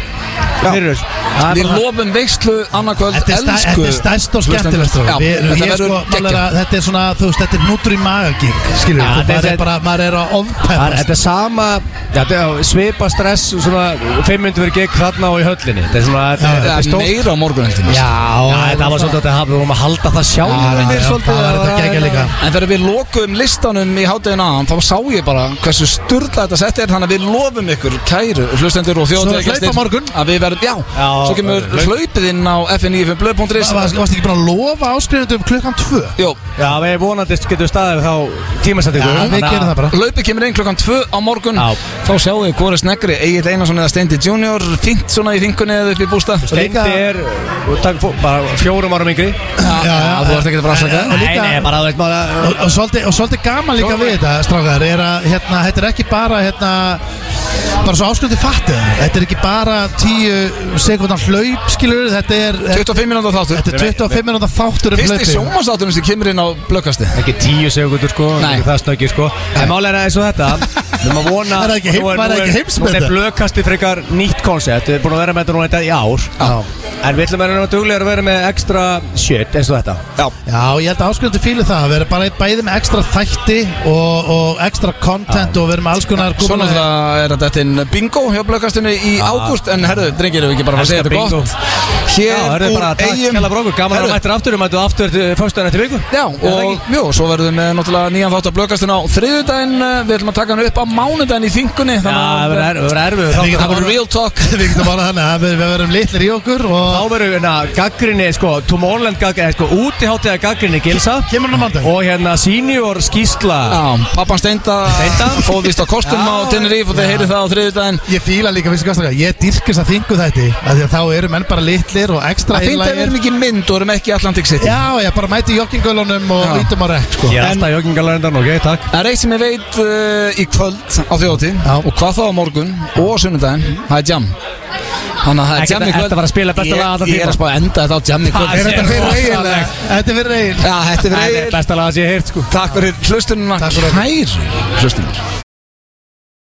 Speaker 3: fyrir þessu. Það er
Speaker 1: Við
Speaker 3: bara-
Speaker 1: lofum veistlu annarkvöld
Speaker 2: Þetta er, stær, þetta er stærst og skemmtilegt
Speaker 1: Já, þetta verður
Speaker 2: sko,
Speaker 1: geggjað.
Speaker 2: geggjum Þetta er svona, þú veist, þetta er nútur í magagík Skilur,
Speaker 3: Já,
Speaker 2: ja,
Speaker 3: þetta
Speaker 2: maður
Speaker 3: er-
Speaker 2: er bara, maður er að sko.
Speaker 3: Það er-
Speaker 2: ofpeppast
Speaker 3: Þetta er sama, já, þetta er svipa stress, svona 500 verið gegn þarna og í höllinni Þetta er svona, þetta er- þetta
Speaker 1: Það
Speaker 3: er
Speaker 1: er
Speaker 3: stórt
Speaker 1: meira á morgun heldur
Speaker 3: Já, þetta var svolítið að þetta hafa, við vorum að halda það sjálf
Speaker 2: já, það var þetta geggjað líka.
Speaker 1: En þegar við lokuðum listanum í hátæðin aðan þá sá ég bara hversu sturla þetta sett er þannig að við lofum ykkur kæru hlustendur og
Speaker 2: Svo er hlaup á
Speaker 1: þjóðatíðagestir
Speaker 2: morgun.
Speaker 1: að við verðum, já,
Speaker 3: Já,
Speaker 1: svo kemur
Speaker 3: hlaup.
Speaker 1: hlaupið inn á fn95blöð.is
Speaker 2: Varst varstu ekki búin að lofa áskrifundum klukkan 2
Speaker 1: Jó,
Speaker 3: Já, við vonandi getum staðið þá tímasettingu
Speaker 2: Já, við gerum það bara
Speaker 1: Laupið kemur inn klokkan 2 á morgun
Speaker 3: Já.
Speaker 1: Þá sjáum við hvora sneggri Egil Einarsson eða Steindi Junior Fint svona í fingunni eða upp í bústa Já,
Speaker 3: Steindi
Speaker 2: Líka-
Speaker 3: er uh, takk, fó- bara fjórum árum yngri
Speaker 2: já,
Speaker 1: Þú ert ekki að fara að afsaka
Speaker 2: En- en-
Speaker 1: það
Speaker 2: líka-
Speaker 3: bara þú veist maður
Speaker 2: og, og, svolítið, og svolítið gaman líka við þetta strákar er að hérna, þetta er ekki bara hérna, bara svo ásköldi fattið það. þetta er ekki bara 10 sekundar hlaup skilur þetta er,
Speaker 1: 25 minútur þáttur
Speaker 2: þetta er 25 minúta þáttur um
Speaker 1: Fyrsti
Speaker 2: hlaupið
Speaker 1: sjómasátturinn sem kemur inn á blökkasti
Speaker 3: Ekki tíu segundur sko,
Speaker 1: Nei.
Speaker 3: ekki það snöggir sko En málega er eins og þetta Við erum að vona
Speaker 2: Það er ekki heim-
Speaker 3: nú
Speaker 2: maður er
Speaker 3: nú
Speaker 2: ekki heimsmet
Speaker 3: Nú er
Speaker 2: þetta.
Speaker 3: blöðkasti frekar nýtt koncept Við erum búin að vera með þetta núna þetta í ár Já. En við ætlum að vera duglegar að vera með ekstra shit eins og þetta
Speaker 2: já, ég held að ásköldi fílu það að vera bara í- bæði með ekstra þætti og, og ekstra content og vera með alls konar
Speaker 1: Svona það er þetta inn bingo hjá blökkastinu í ágúst En herðu, drengir, erum við ekki bara að fara að segja
Speaker 3: Elskar
Speaker 1: þetta
Speaker 3: bingo.
Speaker 1: gott
Speaker 3: Já,
Speaker 1: Hér
Speaker 3: það er
Speaker 1: úr
Speaker 3: bara að takk
Speaker 1: eigum
Speaker 3: kjalla brókur Gaman að
Speaker 1: Herðu,
Speaker 3: þú mættir aftur, þú mættir aftur Föstuðan eftir viku
Speaker 1: Já,
Speaker 3: það
Speaker 1: og jú, svo verðum við með náttúrulega nýjan þátt af blökkastinu á þriðudaginn eh, Við ætlum að taka hann upp á mánudaginn í þingunni
Speaker 3: Já, það
Speaker 1: Þannig að
Speaker 3: verður erfið
Speaker 1: það var real talk
Speaker 2: við getum bara þannig að við, við verum litlir í okkur og
Speaker 3: þá verður hérna gaggrinni, sko, Tomorrowland gaggrinni, sko, útiháttiða gaggrinni gilsa
Speaker 2: Kemur hann á mandag?
Speaker 3: Og hérna senior skýsla
Speaker 1: Já, pappan steinda
Speaker 3: Steinda?
Speaker 1: Fóð vist á kostum á
Speaker 3: Já.
Speaker 1: Tenerife og þið heyrið það á þriðjudaginn
Speaker 2: Ég fíla líka, veistu hvað strákar, ég dýrkist að þingu þetta Því að þá eru menn bara litlir og ekstra
Speaker 1: Það finnst að við erum ekki í mynd og erum ekki í Atlantic City
Speaker 2: Já, já, bara mæti joggingölunum og
Speaker 1: Já.
Speaker 2: vítum á rekk, sko
Speaker 3: Ég er alltaf joggingalærendan, ok, takk
Speaker 1: Það er eitt sem ég veit uh, í kvöld á þjóti
Speaker 2: Já.
Speaker 1: og hvað þá á morgun og á sunnudaginn, það er jam Þannig að það er
Speaker 3: Ekki
Speaker 1: jam í
Speaker 3: þetta-
Speaker 1: kvöld
Speaker 3: þetta var að spila besta lag allra
Speaker 1: Ég, ég er
Speaker 3: tíma.
Speaker 1: að spá að enda þetta á jam í kvöld
Speaker 3: Það
Speaker 2: Er þetta
Speaker 3: Ég er
Speaker 2: fyrir
Speaker 3: rosaleg.
Speaker 2: eigin? Þetta er fyrir eigin
Speaker 1: Já, þetta er
Speaker 3: Það
Speaker 1: verið
Speaker 3: er besta lag að sé heyrt, sko
Speaker 1: Takk fyrir hlustununa
Speaker 2: Takk fyrir
Speaker 1: Kæru hlustununa